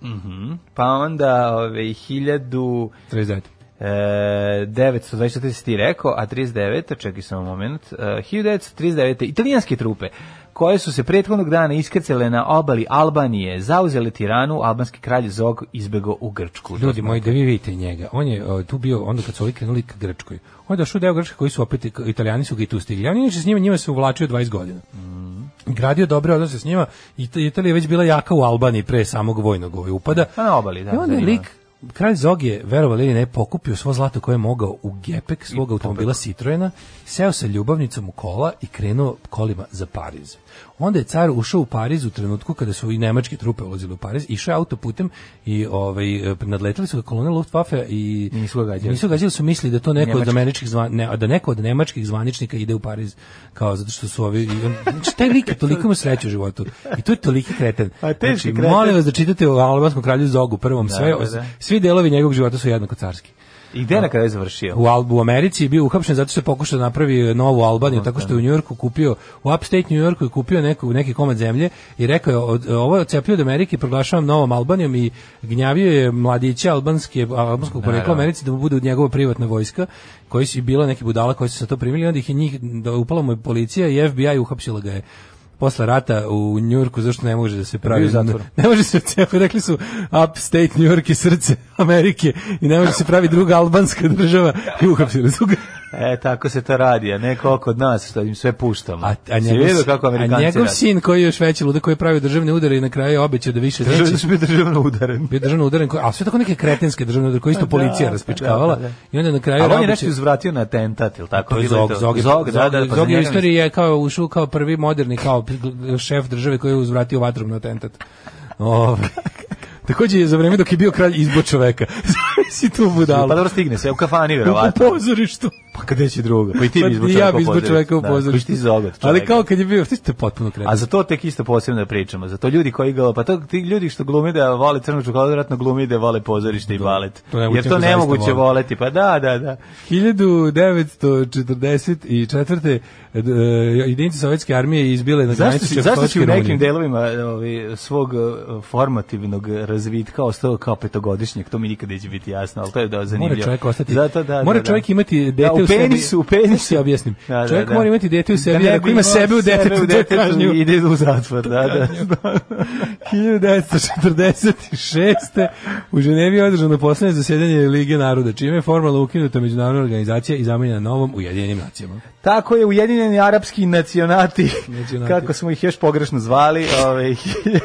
S6: Pa onda, ovaj, ove, 1000...
S7: 39.
S6: E, 924 si ti rekao, a 39, čekaj samo moment, e, 1939. Italijanske trupe koje su se prethodnog dana iskrcale na obali Albanije, zauzele Tiranu, albanski kralj Zog izbego u Grčku.
S7: Ljudi moji, da vi vidite njega. On je o, tu bio, onda kad su ovi krenuli k Grčkoj. On je došao u deo Grčke koji su opet, italijani su ga i tu stigli. Ja inače s njima, njima se uvlačio 20 godina.
S6: Mhm.
S7: Gradio dobre odnose s njima. Ita- Italija je već bila jaka u Albaniji pre samog vojnog ovaj upada.
S6: Pa na obali, da.
S7: I onda je
S6: zanima.
S7: lik, kralj Zog je, verovali ili ne, pokupio svo zlato koje je mogao u gepek svog automobila Citroena, seo sa ljubavnicom u kola i krenuo kolima za Pariz. Onda je car ušao u Pariz u trenutku kada su i nemačke trupe ulazile u Pariz, išao je autoputem i ovaj, e, nadletali su ga kolone Luftwaffe i
S6: Nisu ga gađali.
S7: nisu gađali, su mislili da to neko
S6: Nemački.
S7: od američkih zvan, ne, da neko od nemačkih zvaničnika ide u Pariz kao zato što su ovi i on, znači, taj lik je toliko ima sreće u životu i to je toliki kreten.
S6: A Pa teški
S7: Znači,
S6: kreten.
S7: molim vas da čitate o albanskom kralju Zogu prvom sve,
S6: da, da.
S7: svi delovi njegovog života su jednako carski.
S6: I gde na kraju je završio?
S7: U Albu u Americi je bio uhapšen zato što je pokušao da napravi e, novu Albaniju, tako što je u Njujorku kupio, u upstate New Yorku je kupio neku, neki komad zemlje i rekao je, od, ovo je ocepio od Amerike, proglašavam novom Albanijom i gnjavio je mladiće albanske, albanskog porekla u Americi da mu bude njegova privatna vojska, koji su i bila neki budala koji su se to primili, onda ih je njih, da upala mu je policija i FBI uhapšila ga je posle rata u Njurku zašto ne može da se pravi
S6: u zatvoru.
S7: ne može se cepati, rekli su upstate New York je srce Amerike i ne može se pravi druga albanska država i uhapsili su ga.
S6: E, tako se to radi, a ne koliko od nas, što im sve puštamo.
S7: A, a,
S6: Si
S7: njegov,
S6: vidio kako
S7: a
S6: Amerikanci
S7: njegov
S6: rade?
S7: sin koji je još veći luda koji je pravio državne udare i na kraju je obećao da više
S6: Državno-
S7: neće
S6: da bi državno udaren.
S7: bio državno udaren, koji- a sve tako neke kretenske državne udare koje isto policija
S6: da,
S7: raspičkavala
S6: da, da, da.
S7: i onda na kraju
S6: Ali on je
S7: obećao-
S6: nešto uzvratio na atentat, ili tako?
S7: To je
S6: Bilo
S7: Zog, Zog, je-
S6: Zog, da, da,
S7: Zog-
S6: pa za
S7: Zog je u
S6: njega
S7: istoriji je kao ušao kao prvi moderni kao šef države koji je uzvratio vatrom na atentat. Ovaj. Takođe je za vreme dok je bio kralj izbo čoveka. Zavisi tu
S6: Pa
S7: budalo.
S6: dobro stigne se, u kafani
S7: U
S6: verovatno.
S7: pozorištu.
S6: Pa kada će druga. Koji ti
S7: Pa
S6: bi izbao
S7: ja
S6: čovjeka
S7: bi
S6: u pozorištu.
S7: izbao čovjeka u
S6: Da,
S7: pozorištu.
S6: koji ti zogat
S7: Ali
S6: čovjeka.
S7: kao kad je bio, ti ste potpuno kretan.
S6: A za to tek isto posebno da pričamo. Za to ljudi koji ga, pa to ti ljudi što glume da vole crnu čokoladu, vjerojatno glume da vole pozorište i balet.
S7: to ne mogu,
S6: Jer
S7: to
S6: to
S7: zaista
S6: nemoguće
S7: volim.
S6: voleti. Pa da, da, da.
S7: 1944. e, jedinice sovjetske armije izbile na
S6: Zašto
S7: granicu
S6: si, zašto si
S7: Čehoslovačke
S6: u
S7: i
S6: nekim
S7: Rumunije.
S6: delovima e, ovi, svog e, formativnog razvitka ostao kao petogodišnjak? To mi nikad neće biti jasno, ali to je da zanimljivo.
S7: Mora čovjek ostati.
S6: Zato, da,
S7: mora
S6: da, da.
S7: čovjek imati dete
S6: da, u,
S7: u sebi.
S6: penisu, u penisu.
S7: Sad ti objasnim.
S6: Da, da,
S7: čovjek
S6: da.
S7: mora imati dete u sebi, jer
S6: ne
S7: ako
S6: bi
S7: ima
S6: imao
S7: sebe u detetu, to je
S6: detetu,
S7: kažnjivo.
S6: Ide u zatvor, da, da.
S7: 1946. u Ženevi je održano poslednje zasjedanje Lige naroda, čime je formalno ukinuta međunarodna organizacija i zamenjena novom Ujedinjenim nacijama.
S6: Tako je Ujedinjeni arapski nacionati,
S7: Nacionati.
S6: kako smo ih još pogrešno zvali, ovaj 1953.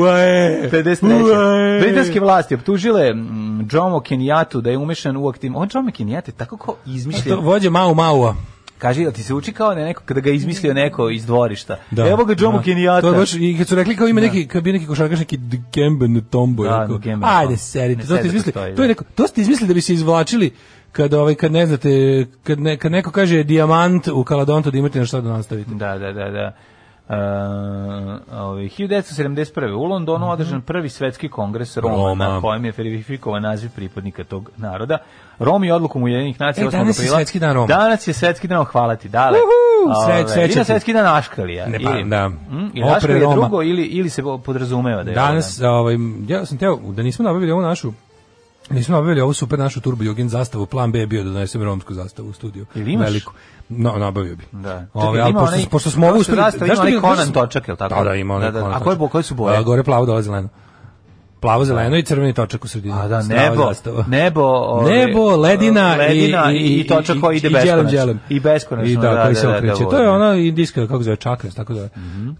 S7: Uae! Uae!
S6: Britanske vlasti optužile mm, Jomo Kenyatta da je umešan u aktiv... On Jomo Kenyatta je tako kao
S7: E, To
S6: izmišljen.
S7: vođe Mau Maua.
S6: Kaži, jel ti se uči kao na neko, kada ga je izmislio neko iz dvorišta?
S7: Da.
S6: Evo ga Jomo
S7: Da.
S6: Kenyatta.
S7: To je baš, i kad su rekli kao ima neki, kao bio neki košarkaš, neki Gemben Tombo.
S6: Da,
S7: Da,
S6: Dikembe
S7: Ajde,
S6: Mutombo.
S7: serite,
S6: Ne
S7: to ste
S6: sedi
S7: izmislili.
S6: postoji,
S7: To, je
S6: da.
S7: neko, to ste izmislili da bi se izvlačili kad ovaj kad ne znate kad, ne, kad neko kaže dijamant u Kaladontu da imate na šta da nastavite.
S6: Da, da, da, da. Uh, ovaj, 1971. u Londonu održan prvi svetski kongres Roma,
S7: Mhm. Roma.
S6: na kojem je verifikovan naziv pripadnika tog naroda. Rom je odlukom Ujedinjenih nacija
S7: E,
S6: 8.
S7: danas je
S6: aprila-
S7: svetski dan Roma.
S6: Danas je svetski dan, hvala ti, dale.
S7: Uhu, sve-
S6: Ovaj,
S7: sveća
S6: ili na
S7: ti.
S6: svetski dan Aškalija.
S7: Ne, pa,
S6: ili,
S7: da.
S6: Mm, ili
S7: Opere
S6: Aškalija
S7: Roma.
S6: drugo, ili, ili se podrazumeva da je
S7: Danas, ovaj, ja sam teo, da nismo nabavili ovu našu, nismo nabavili ovu super našu Turbo Jugend zastavu, plan B je bio da donesem romsku zastavu u studiju.
S6: Ili imaš?
S7: No, nabavio bi.
S6: Da.
S7: Ovaj,
S6: Čekaj,
S7: ali
S6: ima
S7: pošto,
S6: onaj-
S7: pošto smo ovo
S6: kao što
S7: uspeli...
S6: zastava ima
S7: Znaš što
S6: onaj
S7: bi-
S6: Conan točak, jel tako?
S7: Da, da, ima onaj
S6: Da, da,
S7: Conan
S6: a koje
S7: točak.
S6: bo- koje su boje?
S7: A, gore plavo, dole zeleno. Plavo, zeleno i crveni točak u sredini.
S6: A da,
S7: Strava
S6: nebo,
S7: zastava.
S6: nebo, ove,
S7: Nebo, ledina,
S6: ledina
S7: i, i,
S6: i točak koji ide
S7: i đelem,
S6: beskonačno.
S7: đelem.
S6: I beskonačno,
S7: I da,
S6: da,
S7: koji
S6: da,
S7: se
S6: da, da,
S7: okreće.
S6: da,
S7: to je
S6: da. Mhm.
S7: ono indijska, kako se zove, čakras, tako da.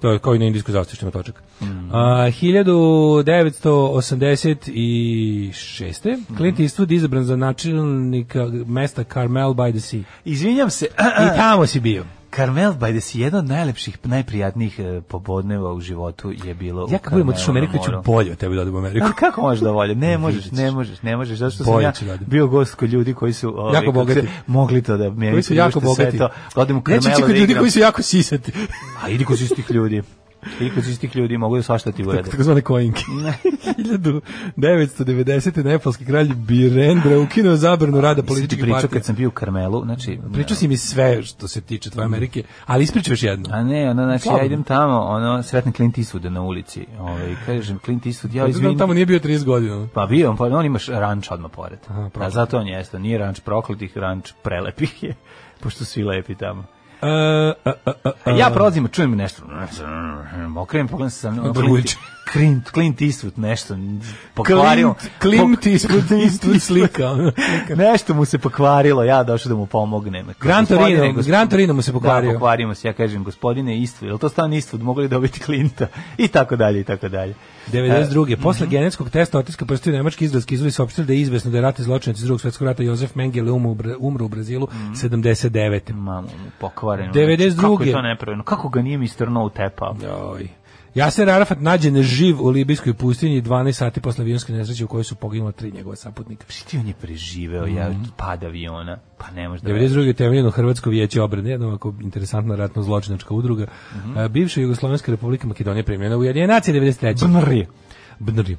S7: To je kao i na indijskoj zastavi što ima točak. A, 1986.
S6: Mhm.
S7: Clint Eastwood izabran za načelnika mesta Carmel by the Sea.
S6: Izvinjam se,
S7: I tamo si bio.
S6: Carmel by the Sea, jedan od najlepših, najprijatnijih e, pobodneva u životu je bilo u
S7: Ja kad budem otišao u
S6: Carmelu na
S7: Ameriku, ću
S6: moru.
S7: bolje od tebe da odem u Ameriku.
S6: Ali kako možeš da volje? Ne možeš, ne možeš, ne možeš, zato što sam
S7: Bolje
S6: ja
S7: ću da odem.
S6: bio gost kod ljudi koji su ovaj, kako se-
S7: Jako bogati.
S6: mogli to da meni
S7: Koji su jako bogati.
S6: To, da odem u
S7: Neću
S6: Carmelo
S7: ići kod
S6: da
S7: ljudi
S6: igram.
S7: koji su jako sisati.
S6: A idi kod istih ljudi. Idi kod istih ljudi, mogu da svašta ti urede.
S7: Tako zvane kojinke. 1990. nepalski kralj Birendra ukinuo zabranu rada
S6: Sad ti
S7: političkih
S6: pričao
S7: partija.
S6: kad sam bio u Karmelu, znači...
S7: Pričao si mi sve što se tiče
S6: Mm.
S7: tvoje Amerike, ali ispričavaš jedno.
S6: A ne, ono, znači,
S7: Slobodno.
S6: ja idem tamo, ono, sretnem Clint Eastwooda na ulici. Ovaj, kažem, Clint Eastwood, ja
S7: Izvini.
S6: izvinim,
S7: Tamo nije bio 30 godina. Uh,
S6: Pa bio, on, pa on imaš ranč odmah pored. Aha,
S7: prokleti.
S6: zato on jeste, nije ranč prokletih, ranč prelepih je, pošto svi lepi tamo.
S7: E, a, a, a, a.
S6: A ja prolazim, čujem nešto, okrenem, pogledam se sam,
S7: Drgulić.
S6: Clint, Clint Eastwood nešto pokvario.
S7: Klimt- Klimt
S6: Pok-
S7: Eastwood, Eastwood slika. ono.
S6: Nešto mu se pokvarilo, ja došao da mu pomognem.
S7: Gran
S6: Gospodine,
S7: Torino,
S6: gospod-
S7: Gran Torino mu se pokvario.
S6: Da, pokvario mu se, ja kažem, gospodine Eastwood, je li to stan Eastwood, mogli dobiti Clinta? I tako dalje, i tako dalje.
S7: 92. Posle
S6: Mhm.
S7: genetskog testa otiska prstiju nemački izraelski izvori saopštili da je izvesno da je ratni zločinac iz drugog svetskog rata Jozef Mengele umro u Bra- umro u Brazilu
S6: Mhm.
S7: 79.
S6: Mamo, mu pokvareno.
S7: 92..
S6: Kako je to nepravedno? Kako ga nije Mr. No tepao?
S7: Joj. Jaser Arafat nađen živ u libijskoj pustinji 12 sati posle avionske nesreće u kojoj su poginula tri njegova saputnika.
S6: Šti on je preživeo, ja
S7: Mhm.
S6: pad aviona, pa ne može da... veruje.
S7: 92. je temeljeno Hrvatsko vijeće obrane, jedna ovako interesantna ratno zločinačka udruga,
S6: Mhm.
S7: A, bivša Jugoslovenska republika Makedonija primljena u Ujedinjene nacije E, 93.
S6: BNR.
S7: BNR.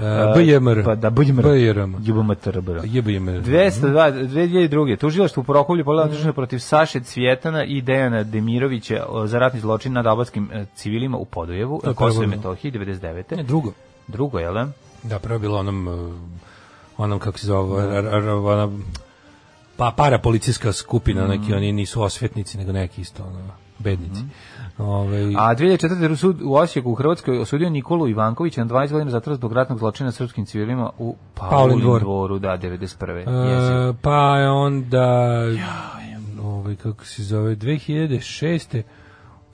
S7: A, BJMR.
S6: Pa da, BJMR.
S7: BJRM.
S6: JBMTRBR.
S7: Mhm. JBJMR.
S6: 202, 2002. Tužilaštvo u Prokovlju podala održano protiv Saše Cvjetana i Dejana Demirovića o, za ratni zločin nad albanskim e, civilima u Podujevu,
S7: To je
S6: Kosovo i
S7: prvo.
S6: Metohiji, 99.
S7: Ne, drugo.
S6: Drugo, jel da?
S7: Da, prvo je bilo onom eh, onom kako se zove ar- ar- ona pa parapolicijska skupina,
S6: Mm.
S7: neki oni nisu osvetnici, nego neki isto ono, bednici. Ovaj,
S6: Mm-hmm. A 2004. sud u Osijeku u Hrvatskoj osudio Nikolu Ivankovića na 20 godina zatvora zbog ratnog zločina srpskim civilima u
S7: Paulin
S6: Paulin
S7: dvor.
S6: dvoru, da, 91.
S7: eh,
S6: Jezivo.
S7: pa je onda ovaj, kako se zove 2006.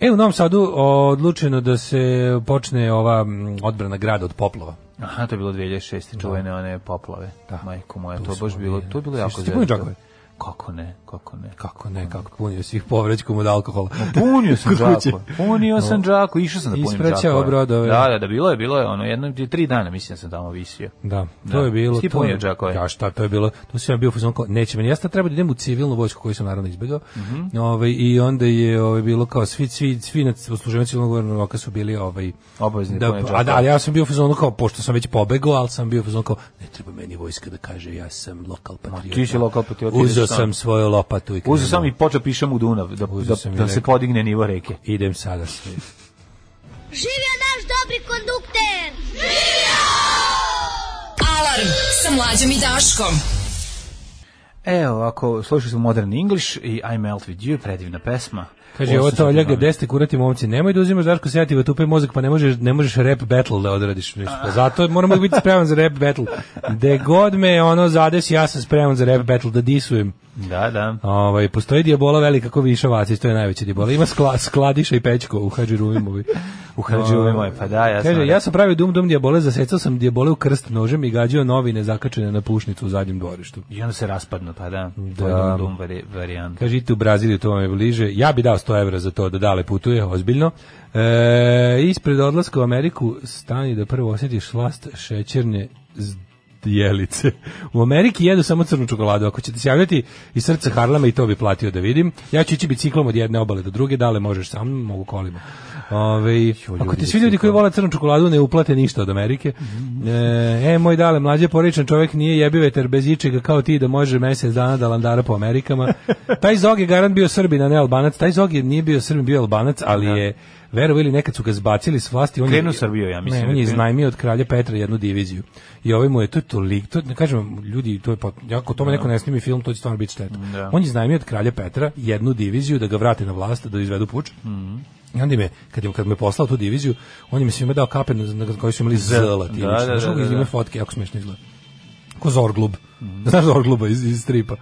S7: E, u Novom Sadu odlučeno da se počne ova mm, odbrana grada od poplova.
S6: Aha, to je bilo 2006. čuvene one poplave. Da. Majko moja, to, baš
S7: smo
S6: bilo,
S7: mi-
S6: to je bilo
S7: Sjećaš
S6: jako
S7: se ti Bundžakove?
S6: kako ne, kako ne.
S7: Kako ne, kako punio svih povraćkom od alkohola.
S6: Punio sam
S7: Kod kuće.
S6: džako. Punio sam džako, išao sam da punim džako.
S7: Ispraćao brodove.
S6: Da, da, da, bilo je, bilo je, ono, jedno, tri dana mislim da sam tamo visio.
S7: Da,
S6: Da.
S7: to je bilo.
S6: Svi
S7: to-
S6: punio džakove.
S7: Ja šta, to je bilo. Tu sam ja bio u fazonu kao, neće meni. Ja sam treba da idem u civilnu vojsku koju sam naravno izbegao.
S6: Mhm.
S7: ovaj, I onda je ovaj, bilo kao svi, svi, svi na posluženju civilnog vojnog roka su bili ovaj,
S6: Obavezni
S7: da,
S6: punio
S7: a, da,
S6: džakove.
S7: ali ja sam bio u fazonu kao, pošto sam već pobegao, ali sam bio u fazonu kao, ne treba meni vojska da kaže, ja sam lokal patriot.
S6: ti si lokal patriot, ideš
S7: Uzeo
S6: sam.
S7: sam svoju lopatu i
S6: Uzeo sam
S7: krenuo.
S6: i počeo pišem u Dunav, da,
S7: Uzeo sam
S6: da,
S7: i
S6: da se
S7: rekao.
S6: podigne nivo reke.
S7: Idem sada sve.
S5: Živio naš dobri kondukter!
S8: Alarm sa mlađom i Daškom.
S6: Evo, ako slušali smo Modern English i I Melt With You, predivna pesma.
S7: Kaže, ovo to ljaga, gde ste kurati momci? Nemoj da uzimaš Daško Sjativa, tupe mozak, pa ne možeš, ne možeš rap battle da odradiš. Mislim, Pa zato moramo biti spreman za rap battle. De god me ono zadesi, ja sam spreman za rap battle, da disujem.
S6: Da, da.
S7: Ovaj, postoji dijabola velika ko Viša Vacić, to je najveća dijabola. Ima skla, skladiša i pećko u Hadži Ruvimovi.
S6: U Hadžiuvi moj, pa da, ja sam...
S7: Kaže, ja sam pravio dum dum dijabole, zasecao sam dijabole u krst nožem i gađao novine zakačene na pušnicu u zadnjem dvorištu.
S6: I onda se raspadno, pa da.
S7: Da.
S6: To je dum vari, varijant.
S7: Kažite u Braziliju, to vam je bliže. Ja bi dao 100 evra za to da dale putuje, ozbiljno. E, ispred odlaska u Ameriku stani da prvo osjetiš slast šećerne z- jelice. U Ameriki jedu samo crnu čokoladu. Ako ćete se javljati iz srca Harlema i to bi platio da vidim. Ja ću ići biciklom od jedne obale do druge, dale možeš sam, mogu kolima. Ove, ako ti svi ljudi koji vole crnu čokoladu ne uplate ništa od Amerike. E, e, moj dale, mlađe poričan čovjek nije jebiveter bez ičega kao ti da može mjesec dana da landara po Amerikama. Taj Zog je garant bio Srbin, a ne Albanac. Taj Zog je nije bio Srbin, bio je Albanac, ali je verovo ili nekad su ga zbacili s vlasti. On je-
S6: Krenuo Srbiju, ja mislim
S7: Ne,
S6: da
S7: on je
S6: je krenuo.
S7: iznajmio od kralja Petra jednu diviziju. I ovaj mu je, to je toliko, to, ne kažem, vam, ljudi, to je, pot- ako tome neko ne snimi film, to će stvarno biti šteta.
S6: Da.
S7: On je iznajmio od kralja Petra jednu diviziju da ga vrate na vlast, da izvedu puč.
S6: Mhm.
S7: I onda me, kad, je- kad me poslao tu diviziju, on je mi svima dao kape na, na koji su imali zela ti.
S6: da, da, da, da, da. Mhm.
S7: fotke, jako smiješno izgleda. Ko Zorglub. Znaš Zorgluba iz, iz stripa?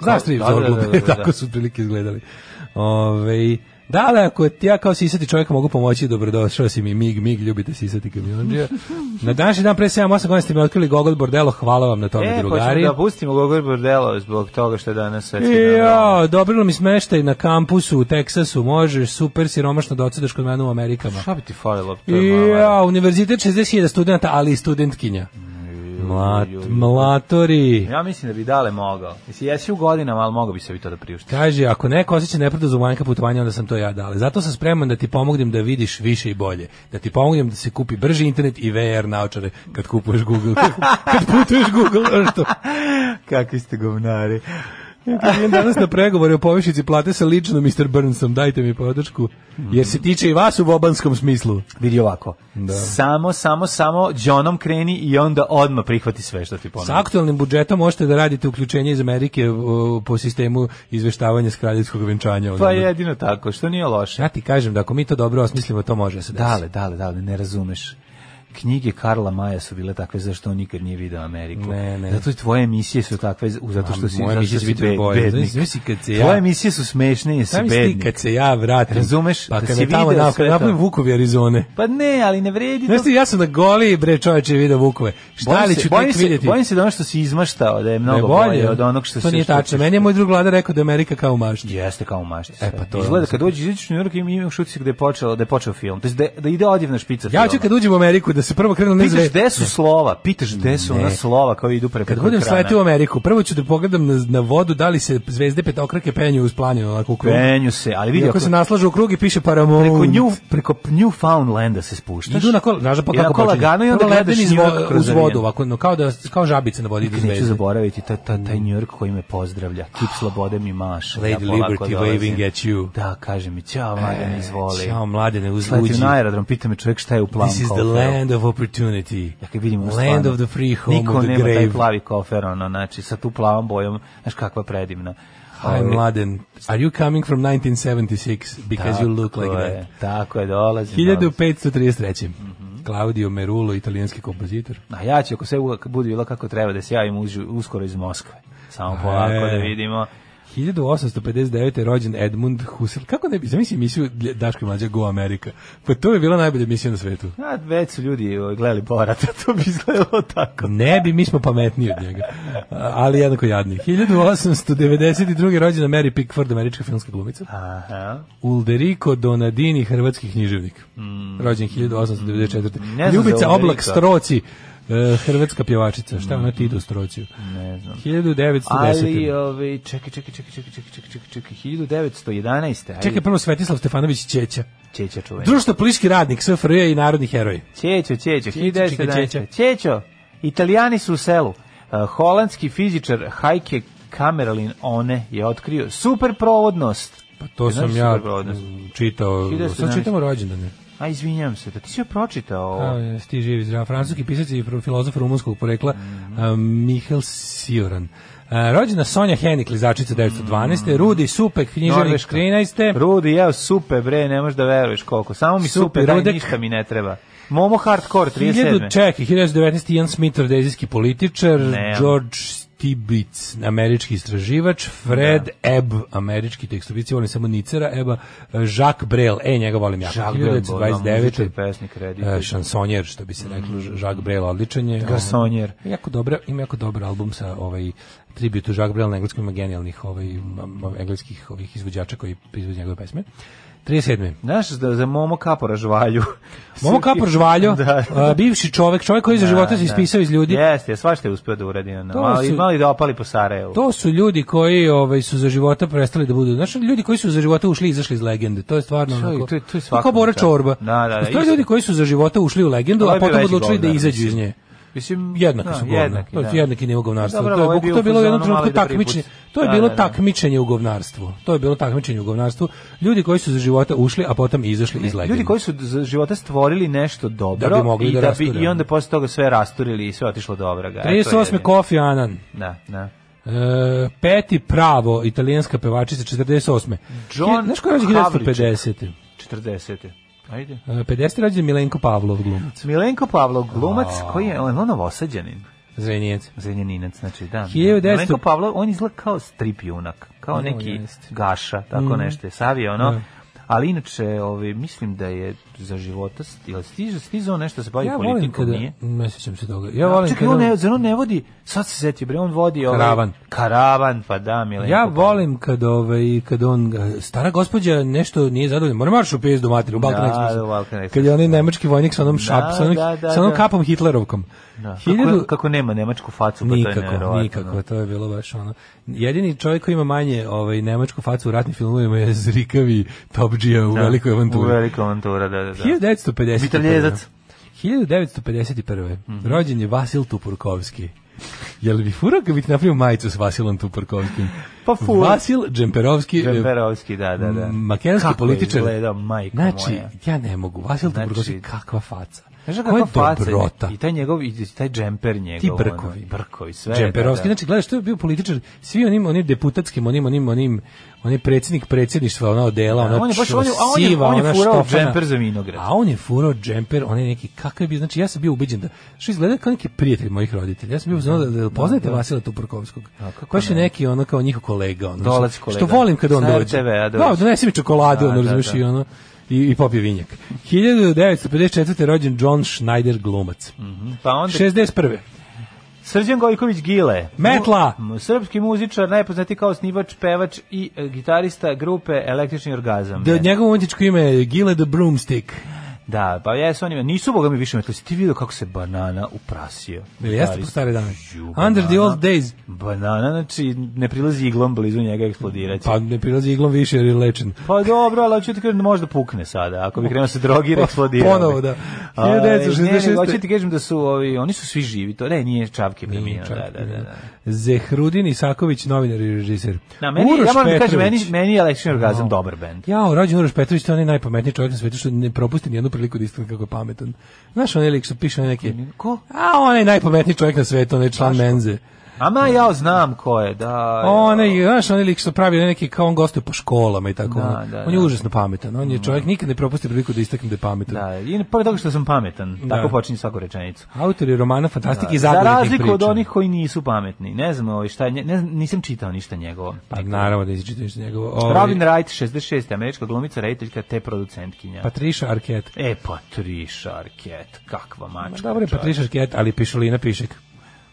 S7: Znaš strip
S6: Da, da, da,
S7: Zorglub?
S6: da, da, da.
S7: Tako su otprilike izgledali. Ove, da, ali ako ti ja kao sisati čovjek mogu pomoći, dobrodošao si mi, mig, mig, ljubite sisati kamionđija. Na današnji dan pre 7-8 godina ste mi otkrili Gogol Bordelo, hvala vam na
S6: E,
S7: tome, drugari.
S6: hoćemo da pustimo Gogor Bordelo zbog toga što je danas svetski dan.
S7: Ja, dobrilo mi smeštaj na kampusu u Teksasu, možeš, super siromašno da odsedaš kod mene u Amerikama.
S6: Šta bi ti falilo? To je mala-
S7: Ja, univerzitet 60.000 studenta, ali i studentkinja. Mlat, mlatori.
S6: Ja mislim da bi dale mogao. Mislim, jesi u godinama, ali mogao bi se bi to da priušti.
S7: Kaže, ako neko osjeća nepravdu za manjka putovanja, onda sam to ja dale. Zato sam spreman da ti pomognem da vidiš više i bolje. Da ti pomognem da se kupi brži internet i VR naočare kad kupuješ Google. kad putuješ Google Earth-om.
S6: Kakvi ste govnari.
S7: Ja kad idem danas na pregovore o povišici plate sa lično Mr. Burnsom, dajte mi podršku. Jer se tiče i vas u bobanskom smislu.
S6: Vidi ovako. Samo, samo, samo džonom kreni i onda odmah prihvati sve što ti
S7: Sa
S6: ponudim.
S7: aktualnim budžetom možete da radite uključenje iz Amerike o, po sistemu izveštavanja s kraljevskog venčanja. Ono,
S6: Pa jedino tako, što nije loše.
S7: Ja ti kažem da ako mi to dobro osmislimo, to može da se desiti.
S6: Dale, dale, dale, ne razumeš. Knjige Karla Maja su bile takve zašto on nikad nije video Ameriku.
S7: Ne, ne.
S6: Zato i tvoje emisije su takve zato što
S7: A
S6: si,
S7: moje
S6: zato
S7: emisije
S6: što
S7: su
S6: si
S7: biti
S6: bed,
S7: bolje.
S6: bednik.
S7: Znaš, znaš i kad se ja-
S6: Tvoje emisije su smešne jer si
S7: Sam ti
S6: bednik.
S7: kad se ja vratim.
S6: Razumeš?
S7: Pa
S6: Da
S7: kad
S6: si
S7: me tamo
S6: video
S7: nap-
S6: sve to.
S7: napravim Vukovi Arizone.
S6: Pa ne, ali ne vredi to.
S7: Znaš ti, ja sam na goli, bre, čoveče, video Vukove. Šta li
S6: Bojim se,
S7: ću
S6: bojim
S7: tek
S6: se,
S7: vidjeti?
S6: bojim se da ono što si izmaštao, da je
S7: Da je
S6: mnogo bolje, od onog što
S7: to
S6: se-
S7: nije
S6: što
S7: tačno.
S6: ćeš-
S7: Meni je moj drug vlada rekao da je Amerika kao mašti.
S6: Jeste kao u mašti. sve.
S7: pa to je ono
S6: Izgleda
S7: sve.
S6: kad dođe iz New Yorka ima imaš utisak da je počeo da je počeo film. To jest da, da ide odjevna špica.
S7: Ja ću
S6: filma.
S7: kad uđem u Ameriku da se prvo krenu na
S6: pitaš
S7: izve...
S6: gde su slova, pitaš gde su ona slova koji idu preko
S7: Kad budem sletio u Ameriku, prvo ću da pogledam na, na vodu da li se zvezde petokrake penju uz planinu onako u krug.
S6: Penju se, ali
S7: I
S6: vidi
S7: ako
S6: ako
S7: se naslažu u krug i piše Paramount.
S6: preko New preko Newfoundlanda se spuštaš.
S7: Idu na kol, znaš pa
S6: I na
S7: kako počinje?
S6: kolaganu i onda
S7: Prvo
S6: gledaš
S7: ledeni
S6: New
S7: zvo-
S6: York kroz
S7: uz
S6: avion.
S7: vodu, ovako, no, kao, da, kao žabice na vodi idu
S6: Nikad Neću
S7: zvezde.
S6: zaboraviti taj taj
S7: Mm.
S6: taj New York koji me pozdravlja. Kip slobode mi maše. ja
S7: Lady
S6: polako
S7: Ah. Liberty
S6: dolazim.
S7: waving at you. E,
S6: Da, kaže mi, ćao, mladene, izvoli.
S7: Ćao mladene, uz
S6: Sletim
S7: uđi.
S6: na aerodrom, pita me čovjek šta je u plavom
S7: This is the
S6: koferu.
S7: land of opportunity.
S6: Ja kad vidim ono
S7: land
S6: stvarno,
S7: of the free, home
S6: Niko
S7: of the
S6: nema
S7: grave.
S6: taj plavi kofer, ono, znači, sa tu plavom bojom, znaš kakva predivna.
S7: Hi,
S6: Ovaj,
S7: mladen. Are you coming from 1976? Because you look like
S6: tako je,
S7: that.
S6: Tako je, dolazim. dolazim.
S7: 1533. Claudio Merulo, italijanski kompozitor.
S6: A ja ću, ako sve uvek budu bilo kako treba, da se javim uži- uskoro iz Moskve. Samo polako
S7: E.
S6: da vidimo
S7: 1859. je rođen Edmund Husserl. Kako ne bi, zamisli emisiju Daško i Mlađa Go Amerika. Pa to je bila najbolja emisija na svetu.
S6: A, već su ljudi ovaj, gledali Borat, to bi izgledalo tako.
S7: Ne bi, mi smo pametniji od njega. A, Ali jednako jadni. 1892. rođena Mary Pickford, američka filmska glumica.
S6: Aha.
S7: Ulderico Donadini, hrvatski književnik. Rođen 1894.
S6: Hmm. znam za
S7: Ljubica
S6: Ulderica.
S7: Oblak Stroci, e, hrvatska pjevačica. Šta ona ti do Strociju?
S6: Hmm. Ne znam.
S7: 1910.
S6: Ali, ovaj, čekaj, čekaj, čekaj, čekaj, čekaj, čekaj, čekaj, čekaj, 1911. Ajde,
S7: Čekaj prvo Svetislav Stefanović Čeća.
S6: Čeća čuvena.
S7: Društvo politički radnik SFRJ i narodni heroj.
S6: Čećo, Čećo,
S7: čekaj,
S6: 1911.
S7: Čećo.
S6: Čećo, italijani su u selu. Uh, holandski fizičar Heike Kamerlin One je otkrio superprovodnost.
S7: Pa to
S6: Znaš
S7: sam ja
S6: superprovodnost?
S7: mm, čitao,
S6: 1911.
S7: sad čitamo rođendane.
S6: A, izvinjam se, da ti si joj pročitao
S7: A,
S6: ovo.
S7: jesi ti živi zdrav. Francuski pisac i pro- filozof rumunskog porekla
S6: Mhm.
S7: a, Mihael Sioran. A, rođena Sonja Henik, lizačica 912. Rudi Supek, književnik
S6: Mhm. Norveška.
S7: 13.
S6: Rudi, jeo supe, bre, ne možeš da veruješ koliko. Samo mi supe,
S7: Supe,
S6: daj,
S7: rudek.
S6: ništa mi ne treba. Momo Hardcore,
S7: 1000
S6: 37.
S7: čeki, 1919. Ian Smith, rodezijski političar,
S6: Ne.
S7: George Stibic, američki istraživač, Fred Ebb, američki tekstopici, volim samo Nicera Ebba, e, Jacques Brel, e, njega volim jako.
S6: Jacques Brel, da, muzičar i
S7: 1929.
S6: pesnik, reditelj.
S7: E, Šansonjer, što bi se
S6: Mhm.
S7: reklo, Ž- Jacques Brel, odličan je.
S6: Garsonjer.
S7: Ono, Jako dobra, ima jako dobar album sa ovaj tributu Jacques Brel na engleskom, ima genijalnih ovaj, m- m- engleskih ovih izvođača koji proizvode njegove pesme. 37.
S6: Znaš za, za Momo Kapora žvalju.
S7: Momo Kapor Žvaljo,
S6: Da.
S7: a, bivši čovek, čovek koji je za života se ispisao iz ljudi.
S6: Jeste, svašta je uspio da uradi. Ono.
S7: To
S6: Mali,
S7: su-
S6: mali da opali po Sarajevu.
S7: To su ljudi koji ovaj su za života prestali da budu, znači ljudi koji su za života ušli i izašli iz legende. To je stvarno
S6: To je-
S7: onako.
S6: to je- to je svaka
S7: kao Bora
S6: čast.
S7: Čorba.
S6: Da, da, da,
S7: Postoje
S6: isto.
S7: ljudi koji su za života ušli u legendu,
S6: Ovo
S7: a
S6: je bio
S7: potom
S6: veći
S7: odlučili da
S6: govnar,
S7: izađu iz
S6: mislim.
S7: nje.
S6: Mislim,
S7: Jednaki
S6: da,
S7: su govna.
S6: jednaki,
S7: to je
S6: da.
S7: jednaki nivo govnarstva.
S6: Dobro,
S7: to,
S6: ovo
S7: je,
S6: je
S7: buk-
S6: bio
S7: to je bilo u jednom
S6: fazonu mali
S7: trenutku
S6: da pripusti.
S7: takmičenje. To je
S6: Da,
S7: bilo
S6: da, da.
S7: takmičenje u govnarstvu. To je bilo takmičenje u govnarstvu. Ljudi koji su za života ušli, a potom izašli iz legende.
S6: Ljudi koji su za života stvorili nešto dobro
S7: Da bi mogli
S6: i, da
S7: da
S6: bi,
S7: rasture,
S6: i
S7: ono.
S6: onda posle toga sve rasturili i sve otišlo do obraga. E, to je
S7: 38.
S6: jedino.
S7: Kofi Annan.
S6: Da, da.
S7: E, Peti Pravo, italijanska pevačica 48.
S6: John
S7: Znaš koja je rođena
S6: Havlicek.
S7: 1950.
S6: 40. Ajde.
S7: E, 50. rođen Milenko Pavlov glumac.
S6: Milenko Pavlov, glumac koji je, on, on novosađanin,
S7: Zrenjinac.
S6: zrenjaninac, znači da.
S7: 1900
S6: Milenko Pavlov, on izgleda kao strip junak, kao
S7: No,
S6: neki
S7: jeste.
S6: gaša, tako nešto je savio, ono.
S7: Mm. Da.
S6: Ali inače, ovaj, mislim da je za života, st- jel stiže, stizao ono nešto da se bavi
S7: Ja volim
S6: politikom,
S7: kada...
S6: nije?
S7: Ne sjećam se toga. Ja volim
S6: Čekaj,
S7: kada...
S6: on ne, zar on ne vodi, sad se setio, bre, on vodi ovaj,
S7: Karavan.
S6: Karavan, pa da, Milenko.
S7: Ja
S6: Pavlov.
S7: volim kad ovaj kad on ga- stara gospođa nešto nije zadovoljna. Mora marš u pizdu materinu, Balkan
S6: Da,
S7: Express.
S6: da, Balkan Express.
S7: Kad je onaj nemački vojnik sa onom šap, sa onom,
S6: da, da,
S7: sa onom
S6: da.
S7: kapom Hitlerovkom.
S6: Da. Kako,
S7: Hiljadu-
S6: kako nema nemačku facu, pa to je
S7: Nikako,
S6: nevjerovatno.
S7: nikako, to je bilo baš ono. Jedini čovjek koji ima manje ovaj, nemačku facu u ratnim filmovima je zrikavi Top G u velikoj
S6: U
S7: avanturi.
S6: velikoj avantura, da, da, da.
S7: 1951.
S6: Mitraljezac.
S7: 1951.
S6: Mhm.
S7: Rođen je Vasil Tupurkovski. Jel bi furao kad bi ti napravio majicu s Vasilom Tupurkovskim?
S6: Pa furao.
S7: Vasil Džemperovski. e,
S6: Džemperovski, da, da, da.
S7: Mm, Makedonski
S6: Kako je
S7: političar.
S6: izgledao, majko
S7: znači,
S6: moja.
S7: ja ne mogu. Vasil
S6: Znači-
S7: Tupurkovski, kakva faca.
S6: Znaš
S7: Koja
S6: kakva faca je?
S7: dobrota.
S6: I taj njegov, i taj džemper njegov.
S7: Ti
S6: ono,
S7: brkovi.
S6: i brkovi, sve. da,
S7: Džemperovski,
S6: da.
S7: znači gledaš, to je bio političar, svi onim, onim deputatskim, onim, onim, onim, onim predsjednik predsjedništva, ono, ona odela, ona
S6: on je baš-
S7: čo-
S6: on je- a on je-
S7: siva,
S6: on je
S7: ona
S6: furao
S7: štofana.
S6: džemper za vinograd.
S7: A on je furao džemper, on je neki, kakav je bio, znači ja sam bio ubeđen da, što izgleda kao neki prijatelj mojih roditelja, ja sam bio znao da, da poznajete Vasila Tupurkovskog,
S6: kako
S7: baš je neki ono kao njihov kolega, ono,
S6: Dolac
S7: što-
S6: kolega.
S7: što volim kad on
S6: Sa
S7: dođe,
S6: RTV-a dođe.
S7: da, donesi mi čokoladu,
S6: Da, da,
S7: ono, razumeš,
S6: da.
S7: i ono, i, i popio vinjak. 1954. rođen John Schneider glumac.
S6: Pa onda
S7: 61.
S6: Srđan Gojković Gile.
S7: Metla!
S6: Mu- Srpski muzičar, najpoznati kao snivač, pevač i e, gitarista grupe Električni orgazam.
S7: Da, njegovo umjetničko ime je Gile the Broomstick.
S6: Da, pa jesu oni, nisu boga mi više metali. Si ti vidio kako se banana uprasio?
S7: Ili jeste po
S6: Gitarist.
S7: stare dane?
S6: Ju,
S7: Under the
S6: banana.
S7: old days.
S6: Banana, znači, ne prilazi iglom blizu njega eksplodiraće.
S7: Pa ne prilazi iglom više jer je lečen.
S6: Pa dobro, ali hoću ti kažem da možda pukne sada, ako bi krenuo se drogira,
S7: Pa,
S6: eksplodira.
S7: ponovo, da.
S6: A, ne, ne,
S7: 1966.
S6: Hoću ti kažem da su ovi, oni su svi živi, to ne, nije Čavke preminuo, da, da, da. da.
S7: Zehrudin Isaković, novinar i režiser.
S6: Na, meni, ja moram da kažem,
S7: Petrović.
S6: meni, meni je Električni orgazam dobar bend.
S7: Jao, rođen Uroš Petrović, to je onaj najpametniji čovjek na svetu što ne propusti nijednu priliku da iskreno kako je pametan. Znaš onaj lik što piše one neke...
S6: Ko?
S7: A, onaj najpametniji čovjek na svetu, onaj član Menze.
S6: Ama ja znam ko je, da.
S7: Ona je, znaš, on je lik što pravi neki kao on gostuje po školama i tako.
S6: Da,
S7: ono.
S6: da,
S7: on je
S6: da.
S7: užasno pametan. On je čovjek nikad ne propusti priliku da istakne da je pametan.
S6: Da, i pored toga što sam pametan, tako počinje svaku rečenicu.
S7: Autor je romana fantastike i
S6: Za
S7: zagoretnih
S6: razliku od
S7: priča.
S6: onih koji nisu pametni. Ne znam, ovaj, šta je, nje- ne, znam, nisam čitao ništa njegovo.
S7: Pa naravno da ovaj, izčitaš ništa njegovo. Ovi- Pa
S6: Robin Wright, 66. američka glumica, rediteljka te producentkinja.
S7: Patricia Arquette.
S6: E, Patricia Arquette, kakva mačka.
S7: Dobro pa je
S6: čovječe.
S7: Patricia Arquette, ali pišolina pišek.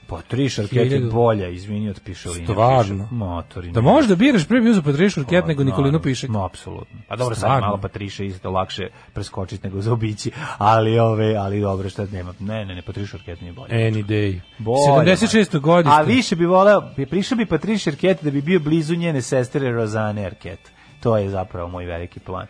S6: Patricia Arquette je
S7: Hiljadu-
S6: bolja, izvini, od pišolina.
S7: Stvarno?
S6: Motori.
S7: Da možda biraš pre bi uzeo Patricia
S6: Pa
S7: Arquette nego Nikolinu Pišek.
S6: No, apsolutno. Pa dobro, sad
S7: Stvarno?
S6: malo Patriša isto lakše preskočiti nego za obići, ali, ove, ali dobro, šta nema. Ne, ne, ne, Patriša Arquette nije bolja.
S7: Any day.
S6: Bolje,
S7: 76.
S6: man.
S7: godište.
S6: A više bi voleo, bi prišao bi Patricia Arquette da bi bio blizu njene sestre Rozane Arquette. To je zapravo moj veliki plan.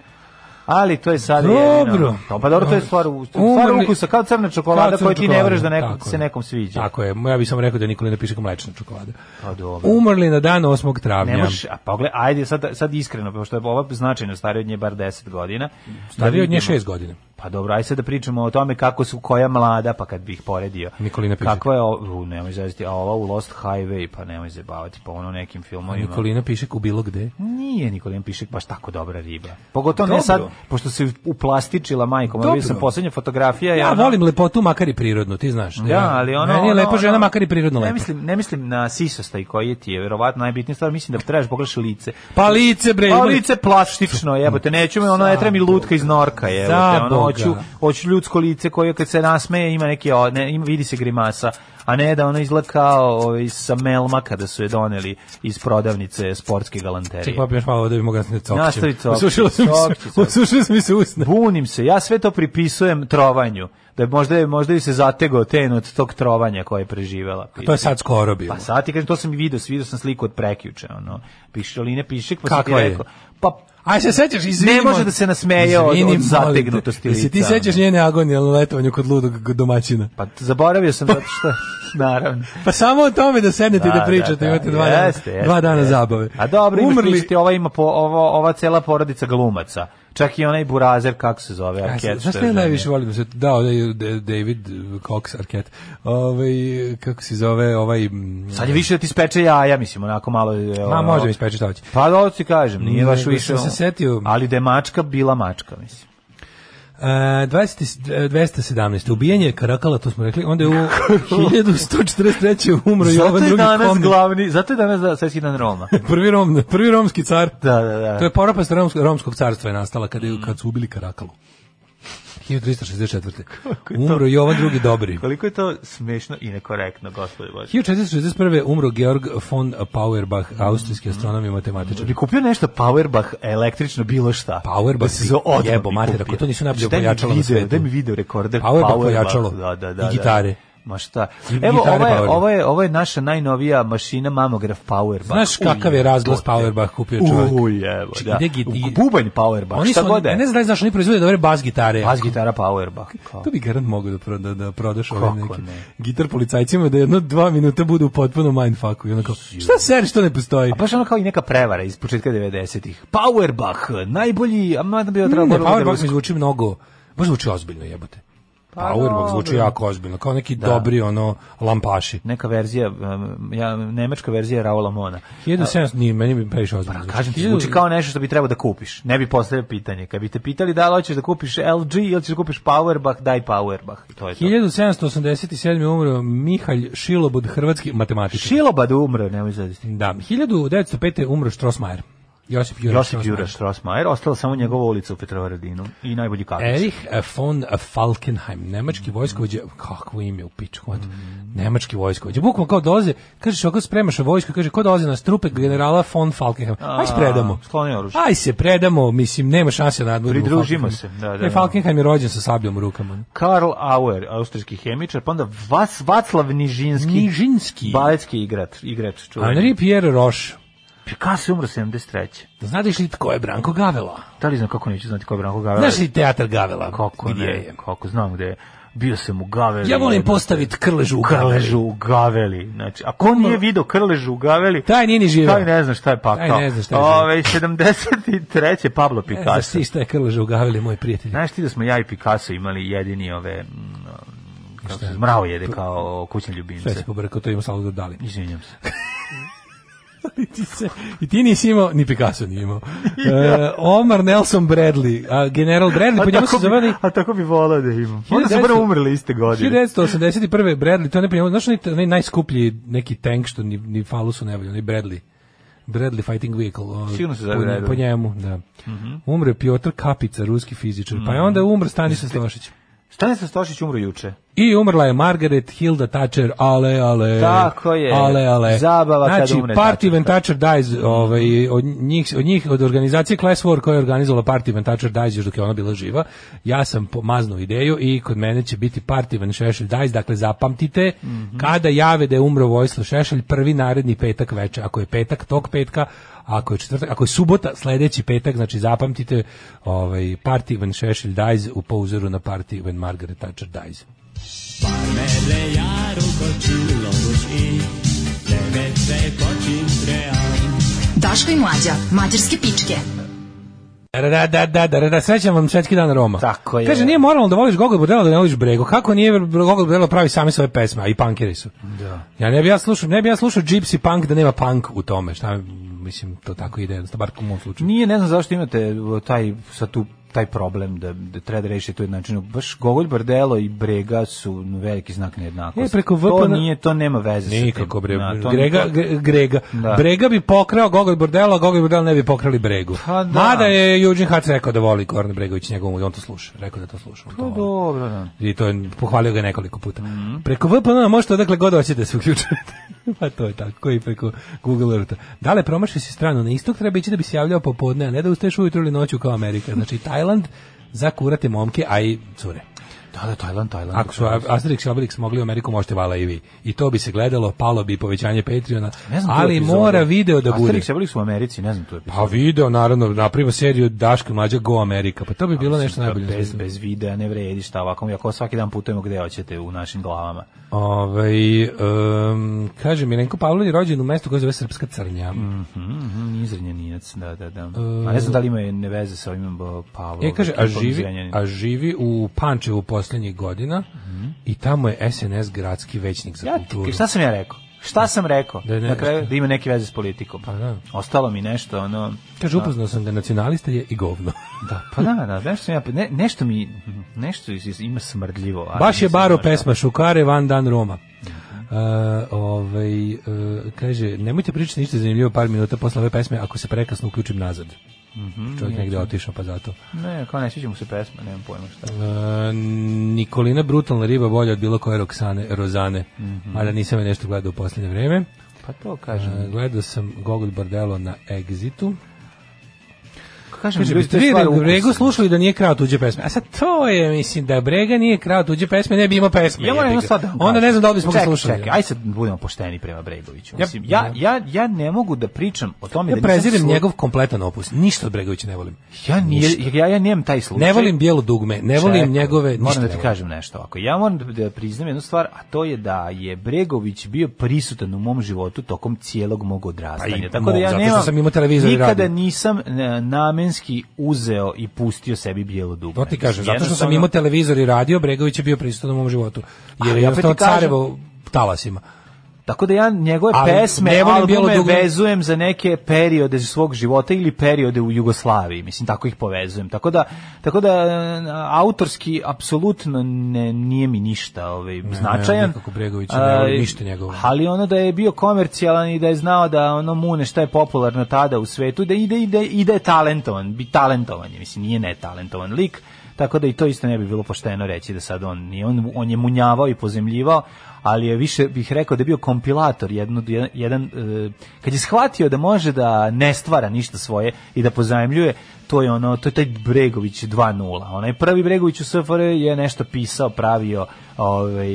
S6: Ali to je sad
S7: Dobro.
S6: jedino. To, pa dobro, to je stvar, u- stvar
S7: Umrli-
S6: ukusa, kao crna čokolada
S7: Kao crna
S6: koju ti ne
S7: čokolada,
S6: vreš da neko,
S7: tako
S6: se
S7: je.
S6: nekom sviđa.
S7: Tako je, ja bih samo rekao da je Nikolina Pišek mlečna čokolada.
S6: Pa dobro.
S7: Umrli na dan 8. travnja.
S6: Ne možeš, a pogled, ajde sad, sad iskreno, pošto je ova značajno starija od nje bar 10 godina.
S7: Stariji od nje
S6: vidimo-
S7: 6 godina.
S6: Pa dobro, aj sad da pričamo o tome kako su koja mlada, pa kad bi ih poredio.
S7: Nikolina Pišek.
S6: Kakva je, o- u, nemoj zezati, a ova u Lost Highway, pa nemoj zabavati, pa ono nekim filmovima.
S7: Nikolina Pišek u bilo gde.
S6: Nije Nikolin Pišek baš tako dobra riba. Pogotovo ne
S7: Dobro.
S6: sad, pošto se uplastičila majkom, ali
S7: Dobro.
S6: vidio sam poslednja fotografija. i
S7: Ja
S6: ona-
S7: volim lepotu, makar i prirodnu, ti znaš.
S6: Ja, ali ono...
S7: Meni je
S6: ono-
S7: lepa žena,
S6: ono-
S7: makar i prirodno
S6: Ne
S7: lepa.
S6: mislim, ne mislim na sisostaj koji ti je verovatno najbitnija stvar, mislim da trebaš pogledaš lice.
S7: Pa lice, bre,
S6: Pa
S7: ima li-
S6: lice plastično, jebote, neću me, ono ne treba mi lutka iz norka, jebote,
S7: Za
S6: ono,
S7: Boga.
S6: hoću, hoću ljudsko lice koje kad se nasmeje ima neki, o- ne, ima, vidi se grimasa, a ne da ono izgleda kao ovaj, sa melma kada su je doneli iz prodavnice sportske galanterije.
S7: Ček, popim pa još malo vode, mogu da se ne cokćem.
S6: Nastavi cokćem,
S7: Osušilo sam mi
S6: cokćem,
S7: se,
S6: cokćem.
S7: osušilo sam mi se usna.
S6: Bunim se, ja sve to pripisujem trovanju. Da je možda je možda i se zategao ten od tog trovanja koje je preživela.
S7: To je sad skoro bilo.
S6: Pa sad ti kažem, to sam i video, vidio sam sliku od prekjuče, ono. Pišoline pišek, pa sam
S7: Kakva
S6: ti
S7: je?
S6: rekao. Pa
S7: Aj se sećaš, izvini.
S6: Ne može da se nasmeje od-
S7: izvini,
S6: od
S7: molim te,
S6: zategnutosti
S7: jel se ti
S6: lica,
S7: sećaš
S6: ono?
S7: njene agonije na letovanju kod ludog domaćina?
S6: pa t- zaboravio sam zato što naravno.
S7: Pa samo o tome da sednete i da pričate, imate dva, dana-
S6: jeste, jeste,
S7: dva dana
S6: jeste.
S7: zabave.
S6: A dobro, imaš
S7: Umrli,
S6: misliti, ova ima po, ovo, ova cela porodica glumaca. Čak i onaj burazer, kako se zove,
S7: Ja,
S6: Arket.
S7: Znaš šta ja najviše volim da se da da je Da- David Cox Arquette. Ovaj kako se zove ovaj mm,
S6: Sad je više da ti speče jaja, mislim, onako malo... je,
S7: Ma
S6: ono-
S7: može mi ispeče šta hoće.
S6: Pa da ti kažem, nije baš
S7: Nego
S6: više...
S7: sam se
S6: ono.
S7: setio-
S6: Ali da je mačka, bila mačka, mislim.
S7: E, 20, 217. Ubijenje Karakala, to smo rekli. Onda je u 1143. umro
S6: Zato
S7: Jovan
S6: je
S7: drugi
S6: danas
S7: Komnen.
S6: glavni, zato je danas da, svetski dan Roma.
S7: Prvi, rom, prvi romski car.
S6: Da, Mm. da, da.
S7: To je propast romskog, romskog carstva je nastala kad, je, kad su ubili Karakalu. 1364. Umro Jovan drugi Dobri.
S6: Koliko je to smešno i nekorektno, gospode Bože.
S7: 1461. umro Georg von Powerbach,
S6: Mm.
S7: austrijski astronom i matematičar.
S6: bi kupio nešto Powerbach električno bilo šta.
S7: Powerbach
S6: da si
S7: bi-
S6: za odmah
S7: jebo
S6: bi
S7: mater,
S6: kupio.
S7: ako to nisu najbolje
S6: Daj mi
S7: pojačalo na
S6: video,
S7: svetu.
S6: Daj mi video rekorder
S7: Powerbach pojačalo.
S6: Da, da, da.
S7: I
S6: da.
S7: gitare.
S6: Ma šta?
S7: I
S6: Evo,
S7: gitare
S6: ovo je,
S7: Powerbach.
S6: ovo, je, ovo je naša najnovija mašina mamograf Powerbach.
S7: Znaš kakav je razglas Powerbach kupio čovjek?
S6: Ujevo,
S7: Čekaj,
S6: da.
S7: gde gi-
S6: Bubanj Powerbach,
S7: Oni
S6: šta
S7: su,
S6: god je.
S7: ne znam da li znaš, oni proizvode dobre bas gitare.
S6: Bas gitara Powerbach. Kao.
S7: To bi garant mogao da, proda, da prodaš
S6: Kako
S7: ove neke
S6: ne?
S7: gitar policajcima da jedno dva minuta budu potpuno mindfucku i onako, šta ser, što ne postoji?
S6: A baš ono kao i neka prevara iz početka 90-ih. Powerbach, najbolji, a mada bi otrao
S7: Ne, Powerbach mi zvuči mnogo, baš zvuči ozbiljno jebote. Powerbach zvuči
S6: Pa dobro.
S7: jako ozbiljno, kao neki dobri ono lampaši.
S6: neka verzija, um, ja, nemačka verzija Raola Mona.
S7: 1700, nije, meni bi previše ozbiljno.
S6: Pa kažem ti, zvuči kao nešto što bi trebao da kupiš. Ne bi postavio pitanje. Kad bi te pitali da li hoćeš da kupiš LG ili ćeš da kupiš Powerbach, daj Powerbach. I to je to.
S7: 1787. umro Mihalj Šilobod, hrvatski matematičar.
S6: Šilobad umre, nemoj zadesti.
S7: Da, 1905. umro Strossmayer. Josip Juraj
S6: Josip
S7: Strossmayer.
S6: Đura Strossmajer, ostala samo njegova ulica u Petrovaradinu i najbolji kaktus.
S7: Erich von Falkenheim, nemački vojskovođa, kakvo ime u pičku, mm. nemački vojskovođa, bukvalno kao dolaze, kažeš ako spremaš vojsku, kaže ko dolaze na strupe generala von Falkenheim, aj se predamo,
S6: A, skloni oružje.
S7: aj se predamo, mislim, nema šanse na nadmoru.
S6: Pridružimo se, da, da, da.
S7: Falkenheim je rođen sa sabljom u rukama.
S6: Karl Auer, austrijski hemičar, pa onda Vas, Vaclav Nižinski,
S7: Nižinski,
S6: baletski igrač, igrač čuveni.
S7: Henri Pierre Roche,
S6: Picasso je umro 73.
S7: znaš li tko je Branko Gavela?
S6: Da li znam kako neću znati ko je Branko Gavela?
S7: Znaš li teatar Gavela?
S6: Kako
S7: Gdje
S6: ne,
S7: je?
S6: kako znam gde je. Bio sam u Gaveli.
S7: Ja volim
S6: jednom.
S7: postaviti krležu u Gavelu.
S6: Krležu u Gaveli. Znači, a ko nije video Krležu u Gaveli,
S7: Taj nije ni živeo.
S6: taj ne zna šta je pakao.
S7: Taj ne zna šta je E,
S6: Ove, 73. Pablo
S7: Ne znaš
S6: Picasso.
S7: ti šta je krleža u Gaveli, moj prijatelj.
S6: Znaš ti da smo ja i Picasso imali jedini ove mm, kako se mravo jede kao kućne ljubimce.
S7: Sve si pobrkao, to ima samo da dali.
S6: Izvinjam se.
S7: I ti, se, I ti nisi imao, ni Picasso nije imao. E, Omar Nelson Bradley, a general Bradley, po Pa njemu se zove...
S6: a Pa tako bi volao da imam. Onda su
S7: 1900
S6: prvo umrli iste godine.
S7: 1981. Bradley, to ne prijem, znaš onaj, onaj najskuplji neki tank što ni, ni falusu ne valja, onaj Bradley. Bradley Fighting Vehicle. o,
S6: Sigurno se zove
S7: po,
S6: Bradley. Mhm.
S7: po njemu, da. Umre Piotr Kapica, ruski fizičar, pa je onda umr Stanislav Stošić.
S6: Stanislav Stošić umro juče.
S7: I umrla je Margaret Hilda Thatcher, ale, ale.
S6: Tako je.
S7: Ale, ale.
S6: Zabava kad
S7: znači,
S6: umre
S7: Party
S6: Thatcher.
S7: when Thatcher dies, ovaj, od njih, od njih, od organizacije Class War koja je organizovala Party when Thatcher dies još dok je ona bila živa, ja sam pomaznuo ideju i kod mene će biti Party when Šešelj dies, dakle zapamtite,
S6: Mhm.
S7: kada jave da je umro Vojislav Šešelj, prvi naredni petak večer, ako je petak, tog petka, ako je četvrtak, ako je subota, sledeći petak, znači zapamtite ovaj Party when Šešelj dies u po uzoru na Party when Margaret Thatcher dies.
S8: Daško i Mlađa, mađarske pičke.
S7: Da, da, da, da, da, da, srećan vam svetski dan Roma.
S6: Tako je.
S7: Kaže, nije moralno da voliš Gogol Bordelo, da ne voliš Brego. Kako nije Gogol Bordelo pravi sami svoje pesme, a i punkeri su. Da. Ja ne bi ja slušao, ne bi ja slušao Gypsy Punk da nema punk u tome. Šta, mislim, to tako ide, jednostavno, bar u mom slučaju.
S6: Nije, ne znam zašto imate o, taj, sa tu taj problem da, da treba da reši to jednačinu. Baš Gogolj Bardelo i Brega su veliki znak nejednakosti.
S7: E, preko
S6: To
S7: VPN
S6: nije, to nema veze sa tim.
S7: Nikako, bre,
S6: Na, to-
S7: Grega,
S6: to-
S7: Gre- Grega.
S6: Da.
S7: Brega bi pokrao Gogol Bordelo, a Gogol Bordelo ne bi pokrali Bregu.
S6: Pa da.
S7: Mada je Juđin Hac rekao da voli Korne Bregović njegovom, i on to sluša. Rekao da to sluša. on to
S6: Pa
S7: voli.
S6: dobro, da.
S7: I to je pohvalio ga nekoliko puta.
S6: Mhm.
S7: Preko VPN-a možete odakle god hoćete da se uključujete. pa to je tako, i preko Google Earth-a. Da li promaši si stranu na istok, treba ići da bi se javljao popodne, a ne da ustaješ ujutru ili noću kao Amerika. Znači, Tajland za kurate momke, a i cure.
S6: Da, da, Tajland, Tajland.
S7: Ako su Asterix i Obelix mogli u Ameriku, možete vala i vi. I to bi se gledalo, palo bi povećanje Patreona,
S6: Ne znam tu
S7: ali
S6: epizodu.
S7: mora video da bude.
S6: Asterix, ja bili su u Americi, ne znam tu epizodu.
S7: Pa video, naravno, napravimo seriju Daško i Mlađa Go Amerika, pa to bi bilo nešto najbolje. na
S6: bez,
S7: svijetu.
S6: bez videa ne vredi šta ovako, ako svaki dan putujemo gde hoćete u našim glavama.
S7: Ovaj um, kaže Milenko Pavlović je rođen u mestu koje se zove Srpska Crnja. E,
S6: Mhm, mhm, iz Zrenjaninac, da, da, da. A ne znam da li ima ne veze sa ovim bo, Pavlom.
S7: E, kaže, a živi, a živi u Pančevu posljednjih godina i tamo je SNS gradski većnik za
S6: Mhm. ja, ti-
S7: kulturu.
S6: šta sam ja rekao? Šta sam rekao?
S7: Da je ne- Pa
S6: na kraju da ima neke veze s politikom.
S7: da.
S6: Ostalo mi nešto, ono...
S7: Kaže, upoznao sam ga, nacionalista je i govno.
S6: Da, pa da, da, nešto, sam ja, ne, nešto mi, nešto iz- ima smrdljivo. ali
S7: Baš je
S6: nisam Mhm.
S7: baro
S6: baš-
S7: pesma Šukare van dan Roma. Uh, ovaj, uh, kaže, nemojte pričati ništa zanimljivo par minuta posle ove pesme ako se prekasno uključim nazad.
S6: Mhm.
S7: Čovjek negdje otišao pa zato.
S6: Ne, kao ne sviđa mu se pesma, nemam pojma šta.
S7: E, Nikolina brutalna riba bolja od bilo koje Roksane, Rozane.
S6: Mhm.
S7: Mada nisam je nešto gledao u posljednje vreme.
S6: Pa to kažem.
S7: E, gledao sam Gogol Bordelo na Exitu.
S6: kažem,
S7: Kaže,
S6: ljudi,
S7: biste
S6: to je
S7: vi
S6: stvar
S7: da
S6: ukusa.
S7: Bregu slušali da nije krao tuđe pesme. A sad to je, mislim, da Brega nije krao tuđe pesme, ne bi imao pesme.
S6: Ja moram
S7: jebi
S6: jednu
S7: ga.
S6: stvar da vam
S7: Onda
S6: kažem.
S7: ne znam da li bismo ga
S6: Čekaj,
S7: slušali.
S6: Čekaj, aj sad budemo pošteni prema Bregoviću.
S7: Ja-
S6: Mislim, ja, ja, ja ne mogu da pričam o tome
S7: Ja
S6: da
S7: prezirem
S6: nisam slu-
S7: njegov kompletan opus. Ništa od Bregovića ne volim.
S6: Ja, nije,
S7: Ništa.
S6: ja, ja nijem taj slučaj.
S7: Ne volim bijelo dugme, ne volim
S6: Čekaj,
S7: njegove... ništa
S6: Moram da
S7: ne
S6: ti
S7: volim.
S6: kažem nešto ovako. Ja moram da da priznam jednu stvar, a to je da je Bregović bio prisutan u mom životu tokom cijelog mog
S7: Pa
S6: odrastanja.
S7: i
S6: Tako da
S7: mog,
S6: ja
S7: zato
S6: nemam,
S7: što sam imao televizor i
S6: nikada
S7: radio.
S6: nisam e, namenski uzeo i pustio sebi bijelo dugme.
S7: To ti kažem, zato što sam
S6: Jednostavno-
S7: imao televizor i radio, Bregović je bio prisutan u mom životu. Jer
S6: Ali
S7: je
S6: ja opet ti
S7: jednostavno
S6: kažem-
S7: carevo talasima.
S6: Tako da ja njegove
S7: Ali
S6: pesme,
S7: ne volim Bijelo
S6: albume
S7: dugme.
S6: vezujem za neke periode iz svog života ili periode u Jugoslaviji, mislim tako ih povezujem. Tako da tako da e, autorski apsolutno ne nije mi ništa, ovaj značajan.
S7: nikako Bregovića, ne
S6: A,
S7: volim ništa njegovo.
S6: Ali ono da je bio komercijalan i da je znao da ono mune šta je popularno tada u svetu, da ide ide ide talentovan, bi talentovan, je, mislim nije netalentovan lik. Tako da i to isto ne bi bilo pošteno reći da sad on nije, on, on je munjavao i pozemljivao, ali je više bih rekao da je bio kompilator, jedno, jedan, jedan, e, kad je shvatio da može da ne stvara ništa svoje i da pozajmljuje, to je ono, to je taj Bregović 2.0. Onaj prvi Bregović u SFR je nešto pisao, pravio, ovaj,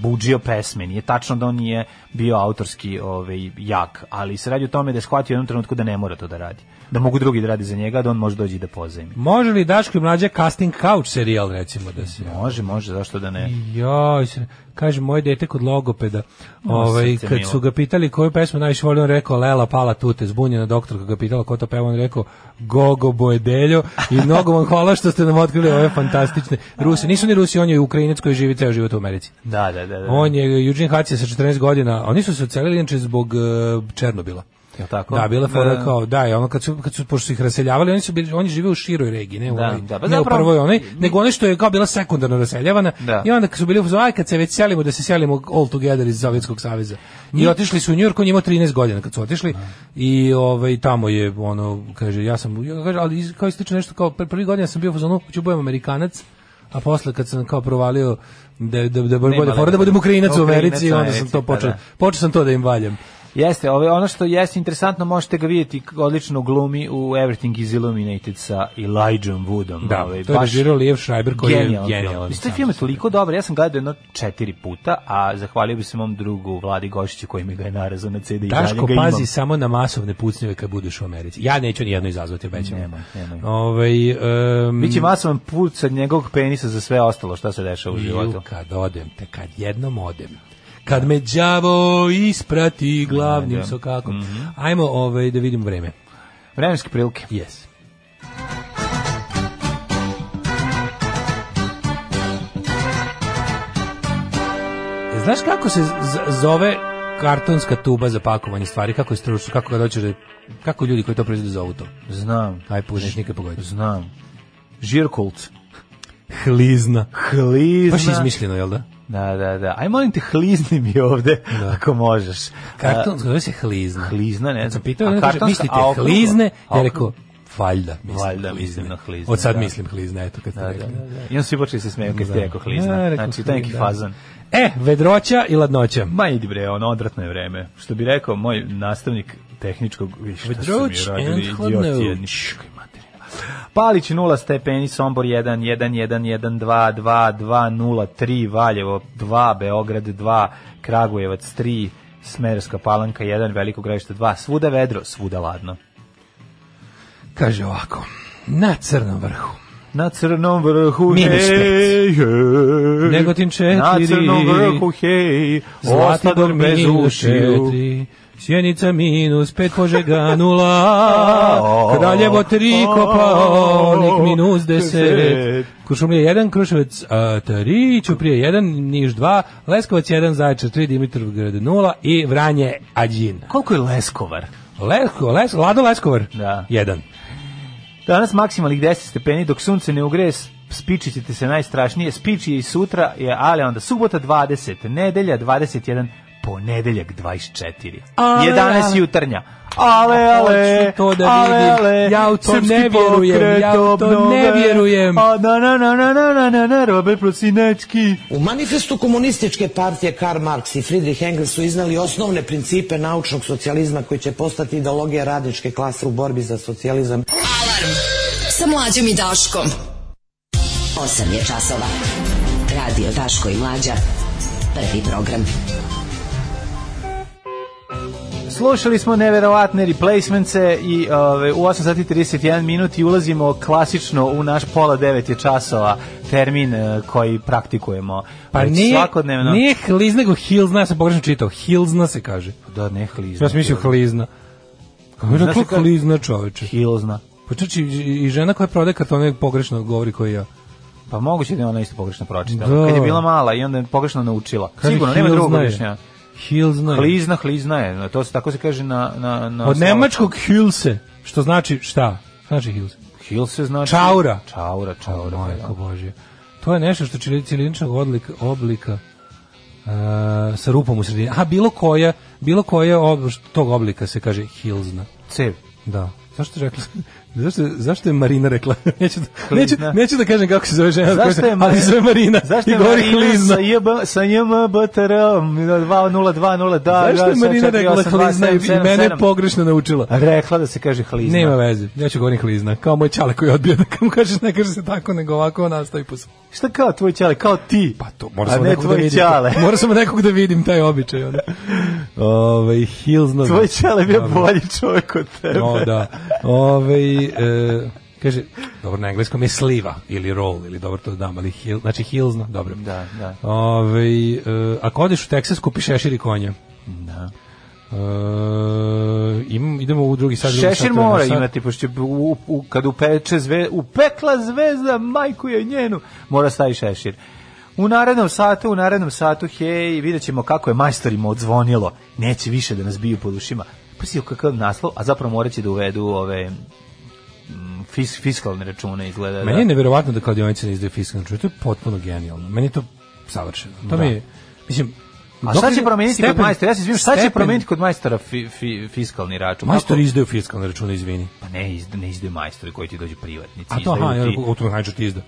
S6: buđio pesme. Nije tačno da on nije bio autorski ovaj, jak, ali se radi o tome da je shvatio u jednom trenutku da ne mora to da radi. Da mogu drugi da radi za njega, da on može doći i da pozajmi.
S7: Može li Daško i mlađa casting couch serijal recimo da se...
S6: Može, može, zašto da ne?
S7: Joj, se- kaže moje dete kod logopeda. Ovaj
S6: srce
S7: kad
S6: milo.
S7: su ga pitali koju pesmu najviše voli, on rekao Lela pala tute, zbunjena doktorka ga pitala ko to peva, on rekao Gogo Bojedeljo i mnogo vam hvala što ste nam otkrili ove fantastične Ruse. Nisu ni Rusi, on je Ukrajinac koji živi ceo život u Americi.
S6: Da, da, da. da.
S7: On je Eugene Hatcija sa 14 godina, oni su se ocelili inače zbog eh, Černobila.
S6: Jel tako?
S7: Da, bila je fora
S6: Da.
S7: kao, da, i ono kad su, kad su, pošto su ih raseljavali, oni su bili, oni žive u široj regiji, ne u,
S6: Da,
S7: onoj-
S6: da, pa
S7: ne u
S6: zapravo-
S7: prvoj onoj, nego onaj što je kao bila sekundarno raseljavana,
S6: Da.
S7: i onda kad su bili u fazonu, aj kad se već selimo, da se selimo all together iz Sovjetskog saveza. I otišli su u Njujork, on je imao 13 godina kad su otišli, i ovaj, tamo je, ono, kaže, ja sam, ja, kaže, ali iz- kao ističe nešto, kao pr- prvi godina sam bio u fazonu, hoću budem Amerikanac, a posle kad sam kao provalio da, da, da, bude
S6: lepe-
S7: fora da budem Ukrajinac u Americi,
S6: Ukrajinac u
S7: onda sam
S6: Americi,
S7: to
S6: pa
S7: počeo,
S6: da.
S7: počeo sam to da im valjam.
S6: Jeste, ove, ono što jeste interesantno, možete ga vidjeti k- odlično u glumi u Everything is Illuminated sa Elijahom Woodom.
S7: Da,
S6: ovaj,
S7: to je režirao Lijev Schreiber koji
S6: genijalan
S7: je
S6: film.
S7: genijalan.
S6: Mislim, taj film je toliko dobar, ja sam gledao jedno četiri puta, a zahvalio bi se mom drugu Vladi Gošiću koji mi ga je narazao na CD i dalje
S7: Daško,
S6: ga imam.
S7: pazi samo na masovne pucnjeve kad budeš u Americi. Ja neću nijedno izazvati, obećam.
S6: Nemoj, nemoj.
S7: Ovaj, em,
S6: Biće masovan put sa njegovog penisa za sve ostalo šta se dešava u
S7: ju,
S6: životu.
S7: Kad odem, te kad jednom odem. Kad me đavo isprati glavnim
S6: Da.
S7: sokakom.
S6: Mhm.
S7: Ajmo ovaj, da vidim vreme.
S6: Vremenske prilike.
S7: Yes. E, Znaš kako se z- zove kartonska tuba za pakovanje stvari, kako je stručno, kako ga dođeš da, kako ljudi koji to proizvode zovu to?
S6: Znam,
S7: Aj, pogodiš, nikad pogodiš.
S6: znam. Žirkult.
S7: Hlizna.
S6: Hlizna.
S7: Baš izmišljeno, jel da?
S6: Da, da, da. Aj molim te hlizni mi ovde ako možeš.
S7: Karton, zove se hlizna.
S6: Hlizna, ne znam.
S7: Sam pitao,
S6: A
S7: ne kaže,
S6: kartonska-
S7: mislite
S6: a okrugla?
S7: hlizne? Ja
S6: A
S7: rekao, valjda mislim,
S6: Valjda
S7: hlizne.
S6: mislim na hlizne,
S7: Od sad
S6: da.
S7: mislim hlizne, eto kad ste
S6: Da, da,
S7: rekli.
S6: da. I onda svi počeli se smeju kad ste
S7: Da.
S6: rekao
S7: Ja,
S6: hlizna.
S7: rekao
S6: Znači, to je neki
S7: hlizna.
S6: fazan.
S7: E, vedroća i ladnoća.
S6: Ma idi bre, ono odvratno je vreme. Što bi rekao moj nastavnik tehničkog, vi šta su mi
S7: Vedroć and
S6: radili, idioti
S7: hladnoć.
S6: jedni. Škoj, materina. Palić 0 stepeni, Sombor 1, 1, 1, 1, 2, 2, 2, 0, 3, Valjevo 2, Beograd 2, Kragujevac 3, Smerska palanka 1, Veliko gradište 2, svuda vedro, svuda ladno.
S7: Kaže ovako, na crnom vrhu.
S6: Na crnom vrhu,
S7: Minus pet.
S6: hej, hej.
S7: Negotin četiri.
S6: Na crnom vrhu, hej,
S7: Zlatibor
S6: ostadom bez
S7: minus
S6: ušiju.
S7: četiri, Sjenica minus pet, Požega nula, Kraljevo tri, Kopaonik minus deset, Kuršumlija jedan, Kruševac a, tri, Ćuprije jedan, Niš dva, Leskovac jedan, Zaječar tri, Dimitrovgrad nula i Vranje Ađin.
S6: Koliko je Leskovar?
S7: Lesko, les, Lado Leskovar
S6: Da.
S7: jedan.
S6: Danas maksimalnih 10 stepeni, dok sunce ne ugreje, s- spičit ćete se najstrašnije. Spič je i sutra, je, ali onda subota 20, nedelja 21, ponedeljak 24.
S7: Ale,
S6: 11
S7: ale.
S6: jutarnja. Ale, ale,
S7: Hoću to da
S6: ale,
S7: vidim.
S6: ale,
S7: Ja u to
S6: srpski
S7: ne vjerujem,
S6: pokret
S7: ja u to ne
S6: obnove.
S7: vjerujem.
S6: A na na na na na na na na Robert Prosinečki.
S9: U manifestu komunističke partije Karl Marx i Friedrich Engels su iznali osnovne principe naučnog socijalizma koji će postati ideologija radničke klase u borbi za socijalizam.
S8: Alarm sa mlađom i Daškom. 8 je časova. Radio Daško i Mlađa. Prvi program.
S6: Slušali smo neverovatne replacementce i ove, u 8 sati 31 minut i ulazimo klasično u naš pola 9 je časova termin e, koji praktikujemo
S7: Pa
S6: već
S7: nije,
S6: svakodnevno.
S7: nije hliz, nego hilzna, ja sam pogrešno čitao, hilzna se kaže.
S6: Da, ne hlizna.
S7: Ja sam mislio hlizna. Kako je
S6: Znaš
S7: rekla
S6: ti kad-
S7: klizna čoveče?
S6: Hilzna.
S7: Pa čak i, i žena koja prodaje kartone pogrešno govori koji ja.
S6: Pa moguće da je ona isto pogrešno pročitala.
S7: Da.
S6: Kad je bila mala i onda je pogrešno naučila. Sigurno, nema drugog objašnjenja.
S7: Hilzna je.
S6: Hlizna, hlizna je. To se tako se kaže na... na, na
S7: Od
S6: slovačkom.
S7: nemačkog hilse, što znači šta? Šta znači hilse?
S6: Hilse znači...
S7: Čaura.
S6: Čaura, čaura. pa da.
S7: Majko Božje. To je nešto što čini cilindričnog odlika, oblika e, sa rupom u sredini. A bilo koja, bilo koja ob, tog oblika se kaže hilzna.
S6: Cev.
S7: Da. Zašto je rekla? Zašto, zašto je Marina rekla? neću, da, neću,
S6: Klizna.
S7: neću da kažem kako se zove žena,
S6: Zašto je
S7: ali
S6: Marina?
S7: se zove Marina.
S6: Zašto
S7: i
S6: je
S7: govori
S6: Marina
S7: klizna.
S6: sa JB sa JMBTR 2020 da
S7: Zašto je Marina rekla klizna i i mene je pogrešno naučila?
S6: rekla da se kaže klizna.
S7: Nema veze, ja ću govorim klizna, kao moj čale koji odbija da mu kažeš ne kaže se tako, nego ovako on nastavi po svom.
S6: Šta kao tvoj ćale, kao ti.
S7: Pa to,
S6: A
S7: mora sam
S6: ne
S7: nekog da
S6: tvoj
S7: vidim.
S6: ćale.
S7: Mora sam nekog da vidim taj običaj. ono. Onda.
S6: Ovaj,
S7: Ove, hilzno.
S6: Tvoj ćale je bio
S7: Dobro.
S6: bolji čovjek od tebe.
S7: O, da. Ove, e, kaže, Dobro, na engleskom je sliva ili roll, ili dobro to znam, ali hill, znači hills, no, dobro.
S6: Da, da.
S7: Ove, e, ako odeš u Texas, kupi šešir i konja.
S6: Da.
S7: E, im, idemo u drugi sad. drugi sat,
S6: Šešir
S7: vremena
S6: mora
S7: sat.
S6: imati, pošto će u, u, kad upeče zve, upekla zvezda, majku je njenu, mora stavi šešir. U narednom satu, u narednom satu, hej, vidjet ćemo kako je majstorima odzvonilo. Neće više da nas biju po dušima. Pa si kakav naslov, a zapravo morat će da uvedu ove mm, fis, fiskalne račune, izgleda.
S7: Meni
S6: da.
S7: je neverovatno da kladionice ne izdaju fiskalni račun. To je potpuno genijalno. Meni je to savršeno. To mi je, mislim,
S6: A
S7: dok
S6: šta će
S7: je-
S6: promijeniti kod
S7: stepen-
S6: majstora? Ja se izvijem, šta će
S7: stepen-
S6: promijeniti kod majstora fi, fi, fiskalni račun?
S7: Majstori
S6: Kako-
S7: izdaju fiskalne račune, izvini.
S6: Pa ne, izda, ne izdaju majstori koji ti dođu privatnici.
S7: A to, aha,
S6: izdaju
S7: ja,
S6: ti-
S7: automehaničar ti izda.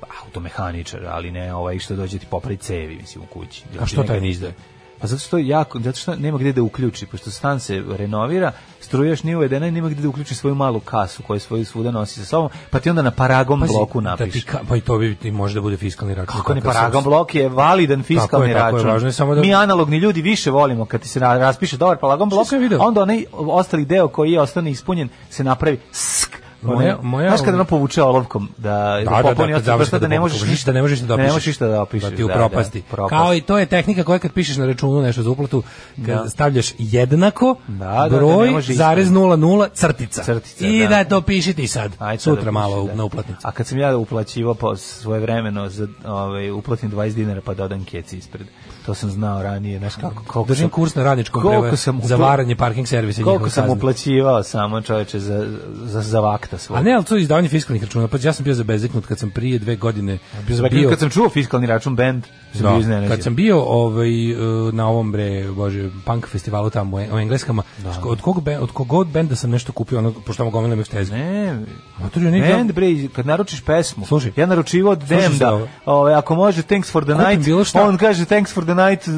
S6: pa, automehaničar, ali ne ovaj što dođe ti popravi cevi, mislim, u kući.
S7: A što taj ne izdaje?
S6: Pa zato što je jako, zato što nema gde da uključi, pošto stan se renovira, struja još nije uvedena i nema gde da uključi svoju malu kasu koju svoju svuda nosi sa sobom, pa ti onda na paragon
S7: Pazi,
S6: bloku
S7: Da ti,
S6: napiš.
S7: ka- pa i to bi ti može da bude fiskalni račun.
S6: Kako ne
S7: Kakav
S6: paragon
S7: sam-
S6: blok je validan fiskalni
S7: tako je,
S6: račun.
S7: važno je samo da-
S6: Mi analogni ljudi više volimo kad ti se ra- raspiše dobar paragon blok,
S7: sam video?
S6: a onda onaj ostali deo koji je ostane ispunjen se napravi sk.
S7: Moja-
S6: Ono-
S7: moja-
S6: znaš kad ono povuče olovkom da,
S7: Da, da, da,
S6: popuni
S7: kad
S6: ostav
S7: završi
S6: prsta, da,
S7: da
S6: ne možeš
S7: ništa, ne možeš da
S6: da
S7: dopišeš.
S6: ne možeš ništa da opišeš.
S7: Da ti upropasti. Kao i to je tehnika koja kad pišeš na računu nešto za uplatu, kad
S6: Da.
S7: stavljaš jednako,
S6: Da, da, da,
S7: broj,
S6: ne može isto.
S7: zarez 00, crtica.
S6: Crtica,
S7: I
S6: da.
S7: da, to piši ti sad.
S6: Ajde sad
S7: Sutra
S6: da
S7: malo
S6: piši, da.
S7: na uplatnici.
S6: A kad sam ja uplaćivao pa svoje vremeno za ovaj uplatim 20 dinara pa dodam keci ispred. To sam znao ranije, znaš kako koliko
S7: Držim
S6: sam-
S7: kurs na radničkom
S6: koliko
S7: prevaru
S6: sam upla-
S7: za varanje parking servisa i
S6: Koliko
S7: njihove
S6: sam
S7: kazne.
S6: uplaćivao samo čoveče za za za vakta svoj.
S7: A ne, ali to je izdavanje fiskalnih računa. Pa ja sam bio zabezeknut kad sam prije dve godine
S6: Bio sam bio, kad sam čuo fiskalni račun band, sam bio
S7: Da,
S6: iznenađen.
S7: kad sam bio ovaj e, na ovom bre bože punk festivalu tamo u en- u engleskama ško- od kog be- od kog god benda sam nešto kupio ono pošto tamo gomilam jeftezno.
S6: Ne,
S7: Motor je neki
S6: band bre, kad naručiš pesmu,
S7: Slušaj.
S6: ja naručivao od
S7: Slušaj sad
S6: Demda,
S7: ovo.
S6: ovaj, ako može Thanks for the
S7: Kupim bilo
S6: Night,
S7: šta.
S6: on kaže Thanks for the Night,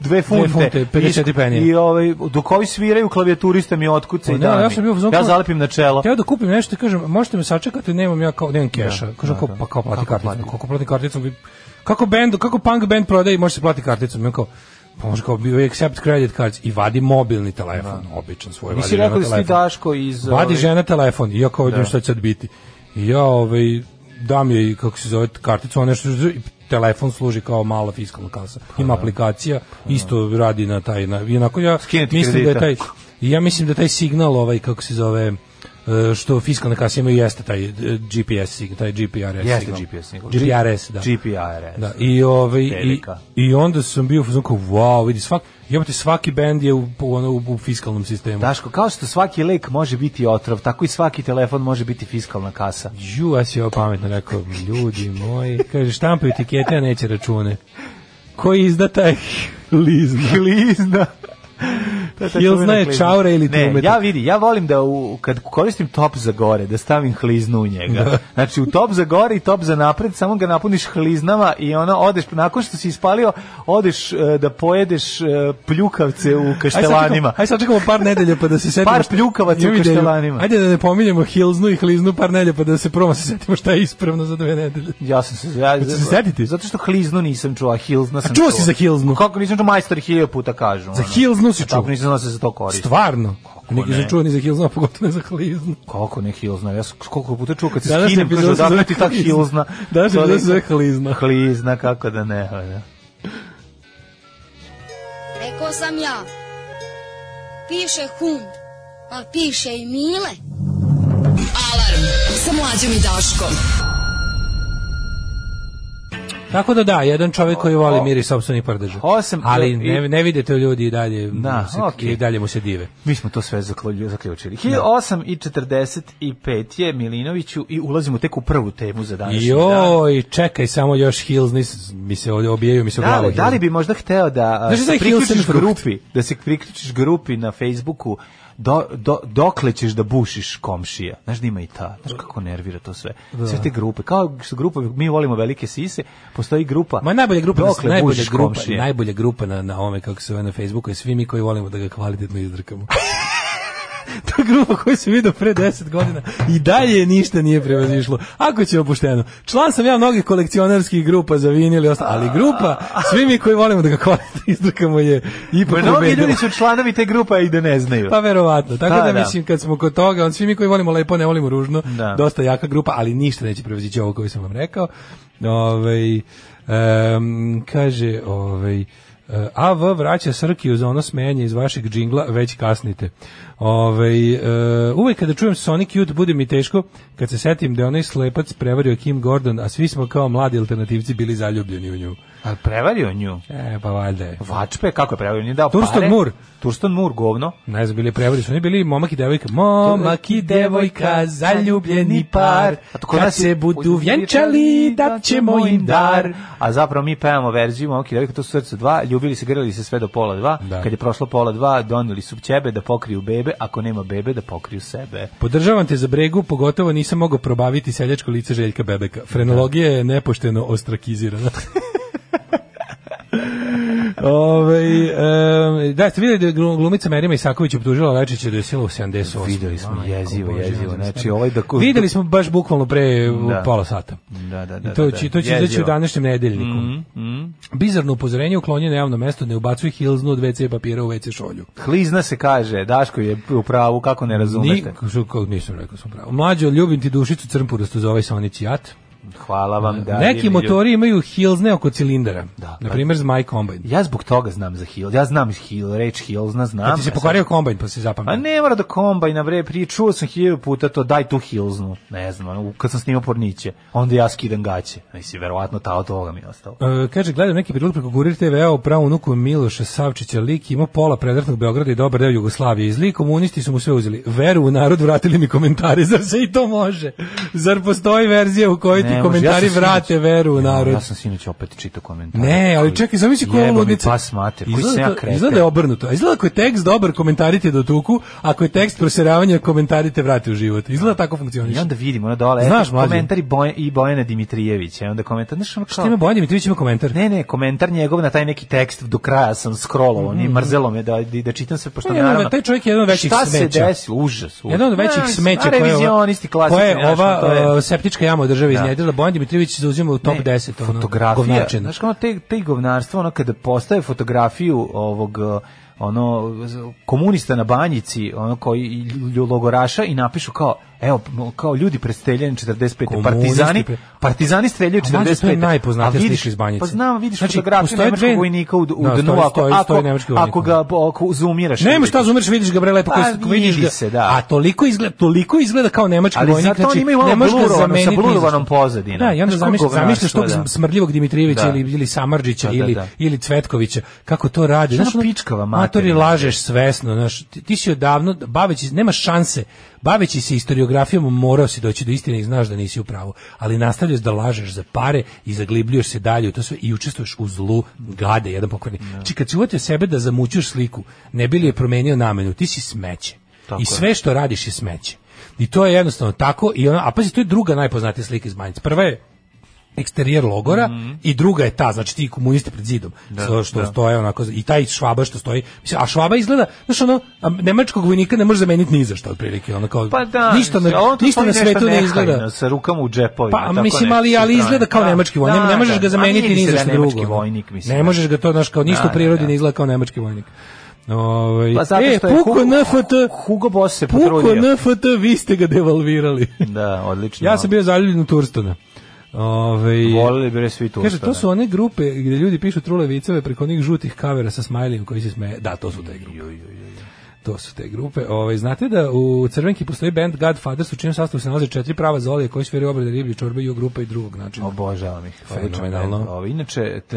S6: dve funte,
S7: funte, 54
S6: I-
S7: penija.
S6: I ovaj, dok ovi sviraju klavijaturista mi otkuca i
S7: Ne,
S6: da,
S7: ja sam bio u fazonu
S6: ja
S7: kao-
S6: zalepim na čelo.
S7: Teo da kupim nešto i kažem, možete me sačekati, nemam ja kao, nemam keša. kažem, kao, pa kao plati karticom. Kako plati karticom? Vi- Kako band, kako punk band prodaje i može se plati karticom? I on kao, pa može kao, we accept credit cards i vadi mobilni telefon, običan svoj.
S6: Nisi
S7: vadi žena
S6: rekao da si ti
S7: telefon.
S6: Daško iz,
S7: Vadi
S6: ovaj-
S7: žena telefon i ja kao vidim šta će sad biti. I ja ovaj, dam joj, kako se zove, karticu, ona nešto, i telefon služi kao mala fiskalna kasa.
S6: Pa
S7: Ima aplikacija, isto radi na taj, na, i onako ja
S6: Skinuti
S7: mislim da je
S6: Pa kredita.
S7: taj, i ja mislim da taj signal ovaj kako se zove e, što fiskalne kase imaju jeste taj e, GPS sig- taj GPRS
S6: Jeste
S7: signal.
S6: GPS signal.
S7: GPRS da
S6: GPRS.
S7: da i ovaj i,
S6: Velika.
S7: i onda sam bio u fazonu kao wow vidi svak jebote svaki bend je u, u, ono, u, u fiskalnom sistemu
S6: Daško, kao što svaki lek može biti otrov, tako i svaki telefon može biti fiskalna kasa.
S7: Ju, ja si ovo pametno rekao, ljudi moji, kaže, štampaju tikete, a neće račune. Koji izda taj lizna?
S6: Klizna. To je ta
S7: Jel
S6: čuvena
S7: znaje
S6: klizna.
S7: čaure ili
S6: ne,
S7: trumeta?
S6: Ja vidi, ja volim da u, kad koristim top za gore, da stavim hliznu u njega. Znači u top za gore i top za napred, samo ga napuniš hliznama i ono odeš, nakon što si ispalio, odeš e, da pojedeš e, pljukavce u
S7: Aj sad čekamo,
S6: kaštelanima.
S7: aj sad čekamo par nedelja pa da se setimo.
S6: Par
S7: šta-
S6: pljukavaca u
S7: Imam ideju.
S6: kaštelanima.
S7: Ajde da ne pominjemo hilznu i hliznu par nedelja pa da se promo se setimo šta je ispravno za dve nedelje.
S6: Ja sam se... Ja,
S7: Hoćete se setiti?
S6: Zato što hliznu nisam čuo, a hilzna sam
S7: A čuo si za hilznu?
S6: Kako nisam čuo, majstor hiljada puta kažu.
S7: Za
S6: ono.
S7: hilznu si
S6: A Tako
S7: čuo.
S6: nisam znao da se za to koristi.
S7: Stvarno. Niki
S6: ne?
S7: za čuo ni za hilznu, a pogotovo ne za hliznu.
S6: Kako ne hilzna? Ja sam koliko puta čuo kad se
S7: Danas
S6: skinem,
S7: je
S6: kaže
S7: epizoda se
S6: odakle
S7: zove
S6: ti ta
S7: klizna.
S6: hilzna.
S7: Danas je
S6: To
S7: epizoda
S6: nisam-
S7: se zove klizna.
S6: Klizna, kako da ne. a da.
S5: Rekao sam ja. Piše hum, a piše i mile.
S8: Alarm sa mlađom i Daškom.
S7: Tako da da, jedan čovjek koji voli miris sopstvenih pardeža.
S6: Osam-
S7: Ali
S6: i-
S7: ne, ne vidite ljudi i dalje,
S6: Da,
S7: se,
S6: okej.
S7: i dalje mu se dive.
S6: Mi smo to sve zaklo- zaključili. 1845 je Milinoviću i ulazimo tek u prvu temu za danas.
S7: Joj, čekaj samo još Hills, nis, mi se ovdje obijaju, mi se
S6: Da
S7: glavu.
S6: li, da li bi možda hteo da a,
S7: Znaš šta
S6: se
S7: je
S6: priključiš
S7: Hilsenfrucht?
S6: grupi, da se priključiš grupi na Facebooku do, do, dokle ćeš da bušiš komšija. Znaš da ima i ta, znaš kako nervira to sve. Sve te grupe, kao što grupa, mi volimo velike sise, postoji grupa.
S7: Ma najbolja grupa, na-
S6: dokle
S7: najbolja
S6: bušiš
S7: grupa,
S6: komšije.
S7: najbolja grupa na na ome kako se zove na Facebooku je svi mi koji volimo da ga kvalitetno izdrkamo. ta grupa koju sam vidio pre 10 godina i dalje je ništa nije prevazišlo. Ako će opušteno. Član sam ja mnogih kolekcionarskih grupa za vinil i ostalo, ali grupa, svi mi koji volimo da ga kvalitetno izdrkamo je ipak
S6: Pa Mnogi
S7: pobedila.
S6: ljudi su članovi te grupa i da ne znaju.
S7: Pa verovatno. Tako
S6: Pa,
S7: da,
S6: da.
S7: mislim kad smo kod toga, on svi mi koji volimo lepo, ne volimo ružno,
S6: Da.
S7: dosta jaka grupa, ali ništa neće prevazići ovo koji sam vam rekao. Ovaj em, kaže, ovaj e, AV vraća Srkiju za ono smejanje iz vašeg džingla, već kasnite. Ovaj e, uvek kada čujem Sonic Youth bude mi teško kad se setim da je onaj slepac prevario Kim Gordon, a svi smo kao mladi alternativci bili zaljubljeni u nju.
S6: Ali prevario nju.
S7: E, pa valjda je.
S6: Vačpe, kako je prevario? Nije dao
S7: Turston
S6: pare.
S7: Moor.
S6: Turston Mur, govno.
S7: Ne znam, bili prevodi su oni bili momak i devojka. Momak i devojka, zaljubljeni par,
S6: A to kod
S7: kad
S6: nas je-
S7: se budu vjenčali, dat ćemo im dar.
S6: A zapravo mi pevamo verziju Moki Devojka, to su srce dva, ljubili se, grlili se sve do pola dva.
S7: Da.
S6: Kad je prošlo pola dva, doneli su ćebe da pokriju bebe, ako nema bebe, da pokriju sebe.
S7: Podržavam te za bregu, pogotovo nisam mogao probaviti seljačko lice Željka Bebeka. Frenologija je nepošteno ostrakizirana. Ove, em, da, ste vidjeli da je glu- glumica Merima Isaković obtužila Lečića da je sila u 78.
S6: Videli smo,
S7: Majko
S6: jezivo,
S7: Božja,
S6: jezivo.
S7: ne znam
S6: Znači,
S7: šta.
S6: ovaj da ko-
S7: Videli smo baš bukvalno pre u
S6: Da.
S7: pola sata.
S6: Da, da, da,
S7: I to
S6: da,
S7: će,
S6: da.
S7: to će izaći
S6: Jezivo. Mm,
S7: u današnjem nedeljniku. Bizarno upozorenje uklonjeno javno mesto, ne ubacuj hilznu od WC papira u WC šolju.
S6: Klizna se kaže, Daško je u pravu, kako ne razumete.
S7: Ni- što- kao- nisam rekao sam pravo. Mlađo, ljubim ti dušicu crmpurastu za ovaj Sonic Jat.
S6: Hvala vam. Da,
S7: Neki
S6: divni ljudi.
S7: motori imaju hilzne oko cilindara.
S6: Da.
S7: na primjer, Zmaj Combine.
S6: Ja zbog toga znam za Hill. Ja znam Hill, reč Hillsna znam.
S7: Kad ti se pokvario Combine, pa si
S6: A
S7: zapamtio.
S6: ne mora da kombajna bre, prije čuo sam hiljadu puta to, daj tu hilznu, ne znam, ono, kad sam snimao porniće, onda ja skidam gaće, mislim, verovatno ta od toga mi je ostalo.
S7: E, kaže, gledam neki prilog preko Kurir TV-a o pravu unuku Miloša Savčića. Lik ima pola predratnog Beograda i dobar deo Jugoslavije. Iz li komunisti su mu sve uzeli. Veru u narod vratili mi komentare. Zar se i to može? Zar postoji verzija u kojoj ti
S6: Ne može,
S7: komentari
S6: ja sam
S7: vrate
S6: sinoć-
S7: veru u
S6: Ja,
S7: narod?
S6: Ja sam sinoć opet čitao komentare.
S7: Ne, ali
S6: Koji-
S7: čekaj, zamisli koja je
S6: Jebo mi
S7: ludnica.
S6: pas mater, koji
S7: Izgleda
S6: sam ja
S7: to-
S6: kreten.
S7: Izgleda je obrnuto. A Izgleda ako je tekst dobar, komentari te dotuku, ako je tekst proseravanja, komentari te vrate u život. Izgleda tako
S6: I
S7: funkcioniše.
S6: onda vidim, ono dole,
S7: Znaš,
S6: Znaš,
S7: mlađe.
S6: komentar i, Boja, i Bojana Dimitrijevića, i onda komentar, znaš, ono kao...
S7: Šta ima Bojan Dimitrijević ima komentar?
S6: Ne, ne, komentar njegov na taj neki tekst do kraja sam scrollovao, mm mrzelo me da, da čitam sve, pošto
S7: Ne, ne,
S6: naravno...
S7: Pa taj čovjek je jedan od većih
S6: šta
S7: smeća.
S6: se desilo? Užas, užas.
S7: Jedan od većih
S6: Ma,
S7: smeća
S6: a
S7: koja je ova,
S6: revizionisti klasični,
S7: koja je
S6: znaš,
S7: ova
S6: ono, to je-
S7: uh, septička jama u državi
S6: Da.
S7: iznjedrila. Bojan Dimitrijević zauzima u top
S6: Ne,
S7: 10 ono,
S6: fotografija.
S7: govnačina.
S6: Znaš kao te, te govnarstvo, ono kada postave fotografiju ovog eh, ono z- komunista na banjici, ono koji i lju- logoraša i napišu kao evo m- kao ljudi prestreljeni 45.
S7: Komunisti
S6: partizani
S7: pre-
S6: partizani streljaju
S7: A mlađe,
S6: 45.
S7: to je najpoznatija
S6: A vidiš-
S7: slika iz Banjice.
S6: Pa znam, vidiš
S7: Znači,
S6: fotografiju
S7: postoje
S6: nemačkog
S7: dve-
S6: vojnika u, d- u
S7: Da,
S6: dnu,
S7: stoji-
S6: ako,
S7: stoji-
S6: ako,
S7: stoji nemački vojnik.
S6: ako ga bo- ako zoomiraš.
S7: Nema
S6: vidiš.
S7: šta, zumiraš, vidiš ga bre lepo koji
S6: Pa,
S7: se- koji vidiš
S6: vidi
S7: ga.
S6: se, da.
S7: A toliko izgleda, toliko izgleda kao nemački
S6: Ali
S7: vojnik,
S6: zato
S7: znači
S6: oni imaju ono
S7: ne možeš ga
S6: blurovano, sa
S7: zameniti ni za
S6: blurovanom
S7: šta.
S6: pozadinom.
S7: Da, i onda
S6: Znaš,
S7: zamišljaš
S6: kako
S7: zamišljaš tog
S6: govnarstvo, da.
S7: smrdljivog Dimitrijevića
S6: Da.
S7: ili ili Samardžića
S6: Da, da,
S7: ili
S6: da.
S7: ili Cvetkovića. Kako to radi?
S6: Šta
S7: ono,
S6: ono pičkava
S7: matori
S6: materina?
S7: lažeš svesno, znaš, ti, ti si odavno baveći nema šanse. Baveći se istoriografijom morao si doći do istine i znaš da nisi u pravu, ali nastavljaš da lažeš za pare i zaglibljuješ se dalje u to sve i učestvuješ u zlu gade jedan pokvarni. Znači kad si uvatio sebe da zamućuješ sliku, ne bi li je promenio namenu, ti si smeće.
S6: Tako
S7: I
S6: je.
S7: sve što radiš je smeće. I to je jednostavno tako i ona, a pazi, to je druga najpoznatija slika iz Banjice. Prva je eksterijer logora
S6: Mhm.
S7: i druga je ta, znači ti komunisti pred zidom, što, što stoje onako, i taj švaba što stoji, mislim, a švaba izgleda, znaš ono, a nemačkog vojnika ne može zameniti ni za šta, otprilike, ono kao,
S6: Pa da,
S7: ništa na,
S6: mislim, a on tu
S7: ništa na
S6: stoji nešto
S7: svetu ne
S6: nehajno,
S7: izgleda.
S6: Sa rukama u džepovima.
S7: Pa
S6: tako
S7: mislim,
S6: nešto
S7: ali,
S6: sa
S7: ali
S6: strane.
S7: izgleda kao
S6: Da,
S7: nemački vojnik,
S6: da,
S7: ne možeš
S6: da, Pa
S7: ga
S6: da,
S7: zameniti
S6: a vidi
S7: ni
S6: se
S7: za
S6: da
S7: šta
S6: je nemački
S7: drugo. ono.
S6: vojnik, mislim.
S7: Ne možeš ga to, znaš, kao ništa u
S6: Da,
S7: prirodi
S6: da.
S7: ne izgleda kao nemački vojnik. Ovaj,
S6: Pa zato
S7: e,
S6: što je
S7: puko
S6: Hugo-
S7: NFT,
S6: Hugo Boss se
S7: puko
S6: potrudio.
S7: NFT, vi ste ga devalvirali.
S6: Da, odlično.
S7: Ja sam bio zaljubljen u Ovaj, Turstona. Ove,
S6: Volili bi re svi tu.
S7: Kaže, to su one grupe gdje ljudi pišu trule viceve preko onih žutih kavera sa smajlijem koji se smeje. Da, to su te grupe. To su te grupe. Ove, znate da u Crvenki postoji band Godfathers u čijem sastavu se nalaze četiri prava zolije koji sviraju obrade riblje čorbe i grupa i drugog načina.
S6: Obožavam ih.
S7: Fenomenalno.
S6: Odličan bend. Ovo, inače, te,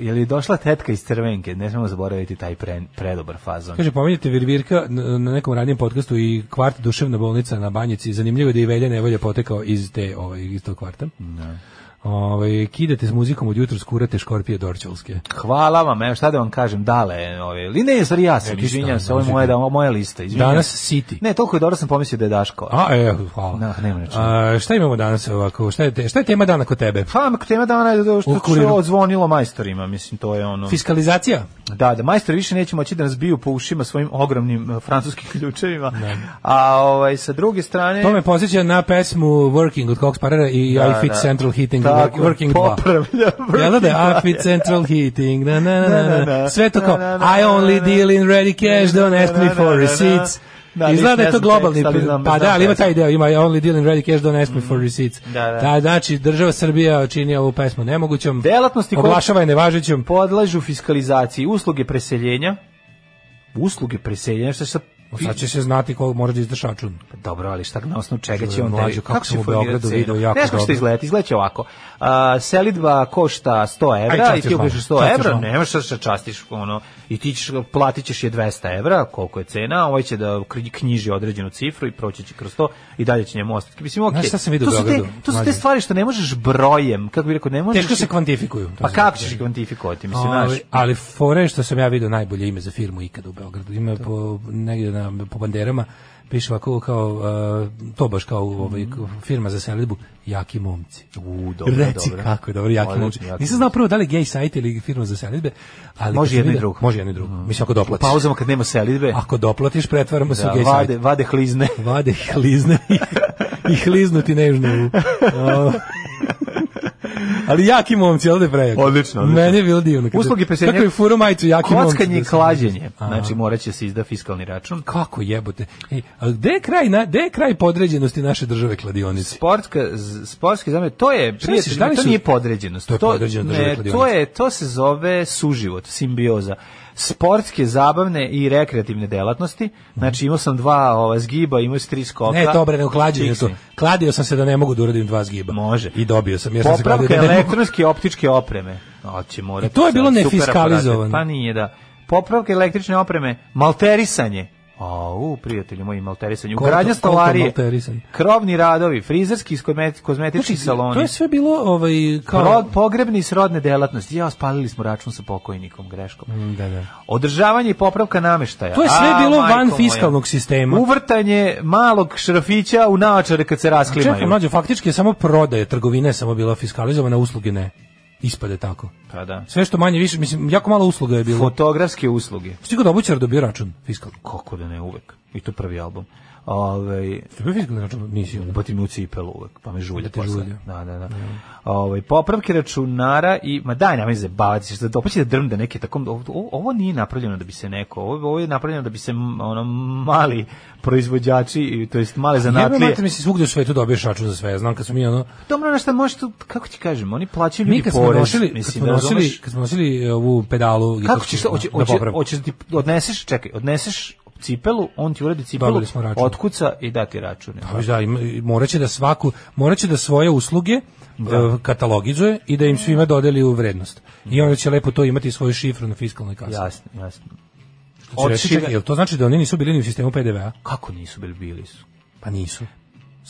S6: je li došla tetka iz Crvenke? Ne smemo zaboraviti taj pre, predobar fazon.
S7: Kaže, pominjate Virvirka na na nekom ranijem podcastu i kvart duševna bolnica na Banjici. Zanimljivo je da je i Velja Nevolja potekao iz, te, ovaj, iz tog kvarta. Ovaj kidate s muzikom od jutra skurate škorpije dorčulske.
S6: Hvala vam, evo šta da vam kažem, dale, ove, li ne, sorry, ja sam,
S7: E, ništa,
S6: izvinjam se, ovo je
S7: muzika.
S6: moja, da, moja lista, izvinjam
S7: Danas
S6: se.
S7: City.
S6: Ne, toliko je dobro sam pomislio da je Daško.
S7: A, e, hvala.
S6: Da, nema ničega.
S7: A, šta imamo danas ovako? Šta je, te, šta je tema dana kod tebe?
S6: Pa, tema dana je to
S7: U
S6: što se
S7: kuriru.
S6: odzvonilo majstorima, mislim, to je ono...
S7: Fiskalizacija?
S6: Da, da majstori više neće moći da nas biju po ušima svojim ogromnim e, francuskim ključevima. A ovaj sa druge strane
S7: To me posjeća na pesmu Working od Cox Parera i
S6: Da,
S7: I Fit
S6: da.
S7: Central Heating
S6: Tako,
S7: work- Working 2.
S6: popravlja
S7: Jel da je I
S6: Working
S7: Fit
S6: Dva.
S7: Central Heating? Na, na, na, na, na. Sve to kao
S6: Na, na, na,
S7: I only
S6: na, na,
S7: deal in ready cash,
S6: na,
S7: don't
S6: na,
S7: ask me
S6: na, na,
S7: for
S6: na,
S7: receipts.
S6: na. Da,
S7: Izgleda da je to
S6: nisam
S7: globalni,
S6: tekst, ali znam-
S7: pa
S6: znam
S7: da, ali ima
S6: pesmu.
S7: taj deo, ima I only deal in ready cash, don't ask me for receipts.
S6: Da, da.
S7: znači, država Srbija čini ovu pesmu nemogućom,
S6: Delatnosti koje-
S7: oglašava je nevažećom,
S6: podlažu fiskalizaciji usluge preseljenja. Usluge preseljenja što se
S7: Pa sad će se znati ko mora da izda račun.
S6: Pa Dobro, ali šta na osnovu čega će
S7: Čujem,
S6: on
S7: mlađe,
S6: tebi-
S7: kako sam
S6: će
S7: u Beogradu
S6: formirati cenu?
S7: video, jako
S6: Ne znam što
S7: dobro.
S6: izgleda, izgleda će ovako. A, selidba košta 100 evra
S7: častiš
S6: i ti ubiš
S7: malo,
S6: 100
S7: častiš
S6: evra,
S7: malo.
S6: nemaš šta se častiš, ono, i ti ćeš, platit ćeš je 200 evra, koliko je cena, a ovaj će da kri- knjiži određenu cifru i proći će kroz to i dalje će njemu ostati. Mislim, okej.
S7: Znaš šta sam vidio
S6: to
S7: u
S6: su te,
S7: Beogradu,
S6: to su te
S7: mlađe?
S6: stvari što ne možeš brojem, kako bi rekao, ne možeš...
S7: Teško se kvantifikuju.
S6: Pa kako ćeš ih kvantifikovati, mislim, znaš?
S7: Ali, ali fore je što sam ja video najbolje ime za firmu ikada u Beogradu. Ima po, negdje na, po banderama, piše ovako kao, uh, to baš kao ovaj,
S6: Mhm.
S7: k- firma za selidbu, jaki momci.
S6: U, dobro,
S7: Reci
S6: dobro.
S7: kako je dobro, jaki
S6: Odlično,
S7: momci.
S6: Jaki
S7: Nisam znao prvo da li gay sajt ili firma za selidbe. Ali
S6: Može
S7: kad sam
S6: jedno i
S7: video-
S6: drugo. Mhm.
S7: Može jedno i drugo. Mislim, ako
S6: U
S7: doplatiš.
S6: pauzama kad nema selidbe,
S7: Ako doplatiš, pretvaramo se u
S6: da,
S7: gay sajt.
S6: vade, vade hlizne.
S7: Vade ih hlizne i, i hliznu ti nežno. u- o. Ali jaki momci, ovde prejako.
S6: Odlično, odlično.
S7: Meni je bilo divno. Kad-
S6: Usluge preseljenja-
S7: Kako je furo majicu, jaki momci.
S6: Kockanje i
S7: da sam-
S6: klađenje.
S7: A,
S6: Znači, morat će se izda fiskalni račun.
S7: Kako jebote. Ej, E, ali gde je kraj, na, gde je kraj podređenosti naše države kladionici?
S6: sportska z- sportske zame to je prijatelj,
S7: misliš, da li
S6: to
S7: su-
S6: nije podređenost
S7: To je podređeno državi
S6: ne, to
S7: kladionice.
S6: je to se zove suživot simbioza sportske zabavne i rekreativne delatnosti znači imao sam dva ova zgiba imao sam tri skoka
S7: Ne, to bre, ne uklađenje to.
S6: Fiksni.
S7: Kladio sam se da ne mogu da uradim dva zgiba.
S6: Može.
S7: I dobio sam, jer sam se kladio
S6: popravka
S7: da ne mogu.
S6: elektronske i optičke opreme Oći mora
S7: E, to je bilo nefiskalizovano.
S6: pa nije da popravka električne opreme malterisanje Au, prijatelji moji, malterisanje.
S7: Koliko-
S6: Ugradnja
S7: koliko
S6: stolarije,
S7: malterisanje? Znači,
S6: krovni radovi, frizerski i kozmet- kozmetički saloni.
S7: To je sve bilo ovaj, kao...
S6: Rod, pogrebni i srodne delatnosti. Ja, spalili smo račun sa pokojnikom, greškom.
S7: Mm, Da, da.
S6: Održavanje i popravka nameštaja.
S7: To je sve
S6: A,
S7: bilo
S6: majko
S7: van
S6: moja.
S7: fiskalnog sistema.
S6: Uvrtanje malog šrafića u naočare kad se rasklimaju.
S7: Čekaj, mlađo, faktički je samo prodaje trgovine je samo bila fiskalizovana, usluge ne. Ispade tako.
S6: Pa da.
S7: Sve što manje više, mislim, jako malo usluga je bilo.
S6: Fotografske usluge.
S7: Stigo da obućar dobio račun fiskal.
S6: Kako da ne uvek. I to prvi album. Ove,
S7: Što je fiskalni račun? Nisi. ono.
S6: ubati mi u cipelu uvek, pa me žulja
S7: Da te
S6: posle.
S7: žulja.
S6: Da, da, da. Ovaj, popravke računara i, ma daj, nemoj zabavati se, što da opet će da drmde neke tako, ovo, ovo nije napravljeno da bi se neko, ovo, ovo je napravljeno da bi se m, ono, mali proizvođači, i, to jest male
S7: Jebe
S6: zanatlije.
S7: mater, mislim, svugde u svetu dobiješ račun za sve. Ja Znam kad smo mi ono...
S6: Dobro, na šta možeš tu, kako ti kažem, oni plaćaju
S7: Mi
S6: ljudi
S7: kad smo
S6: porez.
S7: nosili, kad
S6: mislim,
S7: smo
S6: da
S7: nosili,
S6: razumeš?
S7: kad smo nosili e, ovu pedalu... ono,
S6: Kako ćeš, hoće,
S7: da
S6: hoće,
S7: popravim.
S6: hoćeš da ti odneseš, čekaj, odneseš cipelu, on ti uradi cipelu,
S7: Dobili smo račun.
S6: otkuca i da ti račun.
S7: Pa već da, ima- i morat će da svaku, morat će da svoje usluge e, katalogizuje i da im svima dodeli u vrednost. I onda će lepo to imati svoju šifru na fiskalnoj kasi.
S6: Jasno, jasno.
S7: Što će reći,
S6: Odšire-
S7: čekaj, jel to znači da oni nisu bili ni u sistemu PDV-a?
S6: Kako nisu bili, bili su.
S7: Pa nisu.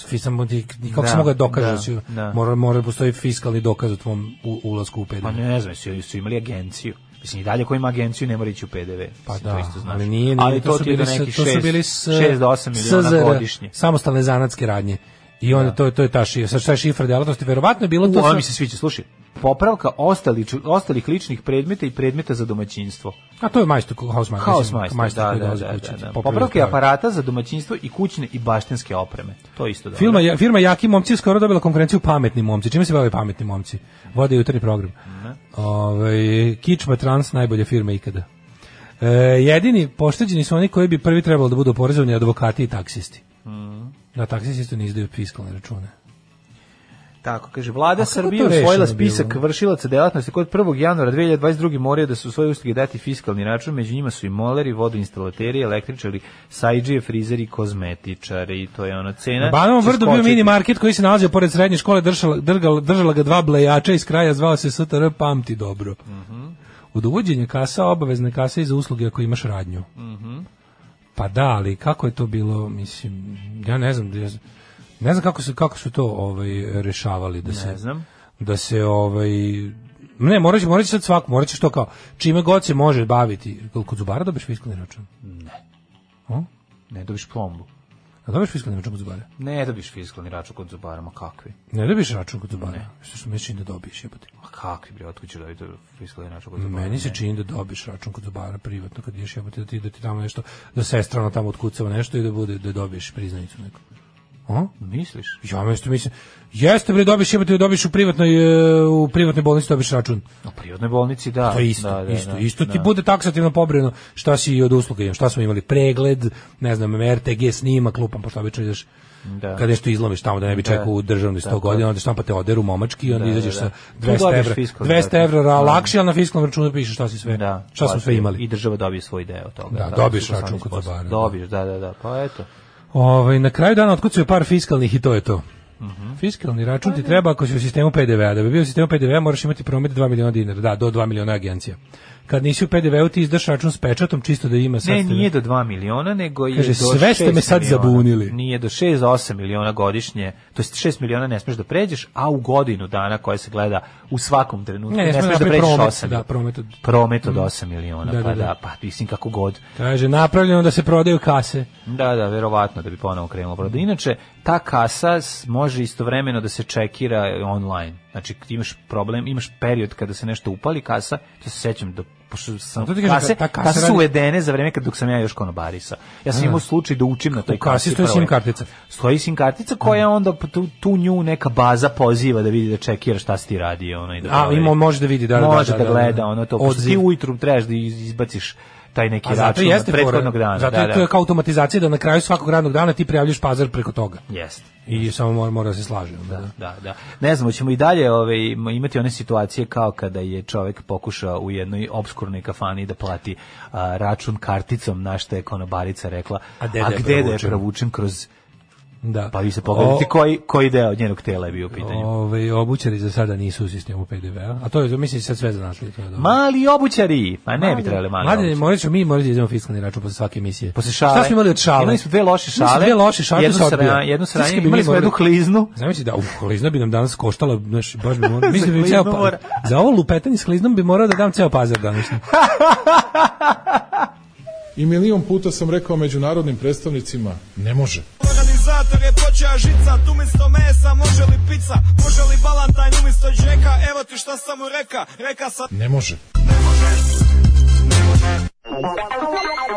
S7: Fisam, ti, nikako
S6: Da,
S7: se mogu dokažeš
S6: da,
S7: da, si-
S6: da.
S7: mora, mora postoji fiskalni dokaz o tvom u- ulasku u PDV.
S6: Pa ne znam, su, su imali agenciju. Mislim, i dalje ko ima agenciju ne mora ići u PDV.
S7: Pa
S6: Mislim,
S7: da,
S6: to isto znaš.
S7: ali nije, nije
S6: ali to,
S7: su
S6: ti je do
S7: s-
S6: nekih
S7: to su
S6: 6,
S7: bili s,
S6: 6 do 8 miliona
S7: SZR,
S6: godišnje.
S7: Samostalne zanatske radnje. I onda to je to je ta šifra, sad šta je šifra delatnosti, verovatno je bilo
S6: U,
S7: to
S6: ovo
S7: sve-
S6: mi se sviđa, slušaj. Popravka ostali, ču- ostalih ličnih predmeta i predmeta za domaćinstvo.
S7: A to je majstor house majstor.
S6: Haos
S7: mislim,
S6: majstor,
S7: majstor
S6: da,
S7: koji
S6: da, da,
S7: dolazi
S6: da, Pa
S7: kući,
S6: da.
S7: popravi
S6: Popravke
S7: stvari.
S6: aparata za domaćinstvo i kućne i baštinske opreme. To je isto dobro.
S7: Firma, ja- firma Jaki momci je skoro dobila konkurenciju Pametni momci. Čime se bave Pametni momci? Vode jutarnji program. Ovaj Kičma Trans najbolja firma ikada. E, jedini pošteđeni su oni koji bi prvi trebalo da budu oporezovani advokati i taksisti. Na taksisti isto ne izdaju fiskalne račune.
S6: Tako, kaže, vlada
S7: kako je to
S6: Srbije usvojila
S7: rešeno bilo?
S6: spisak vršilaca delatnosti kod 1. januara 2022. moraju da su svoje usluge dati fiskalni račun, među njima su i moleri, vodoinstalateri, električari, sajđije, frizeri, kozmetičari i to je ona cena.
S7: Na Banovom
S6: Će
S7: vrdu bio
S6: skočiti.
S7: mini market koji se nalazio pored srednje škole, držala, drgal- držala ga dva blejača iz kraja, zvao se STR Pamti dobro. Od uvođenja kasa, obavezne kase i za usluge ako imaš radnju. Pa da, ali kako je to bilo, mislim, ja ne znam, ja z- ne znam kako su, kako su to ovaj, rešavali da se...
S6: Ne znam.
S7: da se ovaj ne, morat će, morat će sad svako, morat ćeš to kao, čime god se može baviti. Kod zubara dobiješ fiskalni račun?
S6: Ne dobiš plombu.
S7: A dobiješ fiskalni račun kod zubara?
S6: Ne dobiš fiskalni račun kod zubara, ma kakvi.
S7: Ne dobiješ račun kod zubara? Što što mi se čini da dobiješ, jebote.
S6: Ma kakvi, bre, otkud ću dobiti fiskalni račun kod zubara?
S7: Meni se
S6: Ne.
S7: čini da dobiješ račun kod zubara privatno kad ideš jebote da ti, da ti tamo nešto, da sestra ona tamo otkucava nešto i da bude da dobiješ priznanicu neku. A?
S6: Misliš?
S7: Ja mesto mislim, jeste bre dobiješ jebote, dobiješ u privatnoj e, u privatnoj bolnici dobiješ račun.
S6: U prirodnoj bolnici, da.
S7: To je isto,
S6: da, da,
S7: isto,
S6: da,
S7: isto ti
S6: da.
S7: bude taksativno pobrojeno šta si i od usluga imao, šta smo imali, pregled, ne znam, RTG snimak, lupam, pošto obično ideš
S6: Da.
S7: kad nešto izlomiš tamo da ne bi
S6: Da.
S7: čekao u državnoj 100 godina, onda štampa te oderu momački i onda
S6: Da, da,
S7: izađeš
S6: da.
S7: sa
S6: Tu
S7: 200
S6: dobiješ
S7: evra,
S6: fiskalni
S7: 200
S6: račun.
S7: evra ra-
S6: Da.
S7: lakše, ali na fiskalnom računu piše šta si sve,
S6: Da,
S7: šta smo sve
S6: plati.
S7: imali.
S6: I država dobije svoj deo toga.
S7: Da, dobiješ
S6: 18%.
S7: račun kod zubara, da.
S6: Dobiješ, da, da, da. Pa eto.
S7: Ovaj na kraju dana otkucaju par fiskalnih i to je to.
S6: Mhm.
S7: Fiskalni račun ti treba ako si u sistemu PDV-a. Da bi bio u sistemu PDV-a moraš imati promet 2 miliona dinara. Da, do 2 miliona agencija. Kad nisi u PDV-u ti izdaš račun s pečatom čisto da ima
S6: Ne,
S7: sastavljeno.
S6: nije do 2 miliona, nego je
S7: Kaže,
S6: do
S7: sve ste
S6: šest
S7: me sad
S6: miliona.
S7: zabunili.
S6: Nije do 6 do 8 miliona godišnje, to jest 6 miliona ne smeš da pređeš, a u godinu dana koja se gleda u svakom trenutku
S7: Ne,
S6: ne,
S7: ne smeš
S6: smeš da
S7: napraviti
S6: pređeš
S7: promet,
S6: 8
S7: da, promet od-
S6: promet od 8 miliona,
S7: Da,
S6: pa
S7: da,
S6: da,
S7: da.
S6: pa mislim kako god.
S7: Kaže, napravljeno da se prodaju kase.
S6: Da, da, verovatno da bi ponovo krenulo proda. Inače, ta kasa s- može istovremeno da se čekira online. Znači, ti imaš problem, imaš period kada se nešto upali kasa, to se sećam da pošto sam,
S7: To ti kažem,
S6: kase,
S7: ta
S6: ta
S7: kasa
S6: kasa,
S7: radi-
S6: su uvedene za vreme kad dok sam ja još konobarisa. Ja sam imao slučaj da učim na toj
S7: U kasi stoji
S6: prvoj.
S7: sim kartica.
S6: Stoji sim kartica koja onda p- tu, tu nju neka baza poziva da vidi da čekira šta si ti radio. Ono, i da
S7: A,
S6: proveri.
S7: ima, može da vidi. Da, da,
S6: može
S7: da,
S6: da,
S7: da, da.
S6: gleda ono to. Pošto ti
S7: Odziv.
S6: ujutru trebaš da iz- izbaciš taj neki
S7: A zato
S6: račun od
S7: jeste
S6: prethodnog
S7: fora.
S6: dana.
S7: Zato
S6: da,
S7: je
S6: da.
S7: to kao automatizacija da na kraju svakog radnog dana ti prijavljaš pazar preko toga.
S6: Jeste.
S7: I samo mora, mora da se slaže. onda, da.
S6: Da, da. Ne znam, ćemo i dalje ovaj, imati one situacije kao kada je čovek pokušao u jednoj obskurnoj kafani da plati a, račun karticom, na što je konobarica rekla,
S7: A
S6: a,
S7: gde da je
S6: gde da je
S7: provučen?"
S6: provučen kroz...
S7: Da.
S6: Pa vi se
S7: O-
S6: pogledajte koji, koji deo njenog tela je bio u pitanju.
S7: Ove, Ovaj, obućari za sada nisu u sistemu PDV-a, a to je, mislim, sad sve zanatli. To je dobro.
S6: Mali obućari! Pa ne bi trebali mali
S7: Mladen,
S6: obućari.
S7: morat ćemo mi morati da idemo fiskalni račun posle svake emisije.
S6: Posle šale.
S7: Šta smo imali od šale?
S6: Imali smo dve loše šale.
S7: Imali smo dve loše šale,
S6: Jednu
S7: to se odbija.
S6: sra- jednu sranje,
S7: Znaš kad bi
S6: imali
S7: mi
S6: smo
S7: morali-
S6: jednu kliznu.
S7: Znači da, uh, klizna bi nam danas koštala, znaš, baš bi morao, mislim da bi
S6: Za
S7: ceo,
S6: kliznu
S7: pa,
S6: mora.
S7: za ovo lupetanje s kliznom bi morao da dam ceo pazar današnji.
S10: I milion puta sam rekao međunarodnim predstavnicima, ne može.
S1: Organizator je počeo žica, tu umjesto mesa može li pizza, može li balantajn umjesto džeka, evo ti šta sam mu reka, reka sam...
S10: Ne može.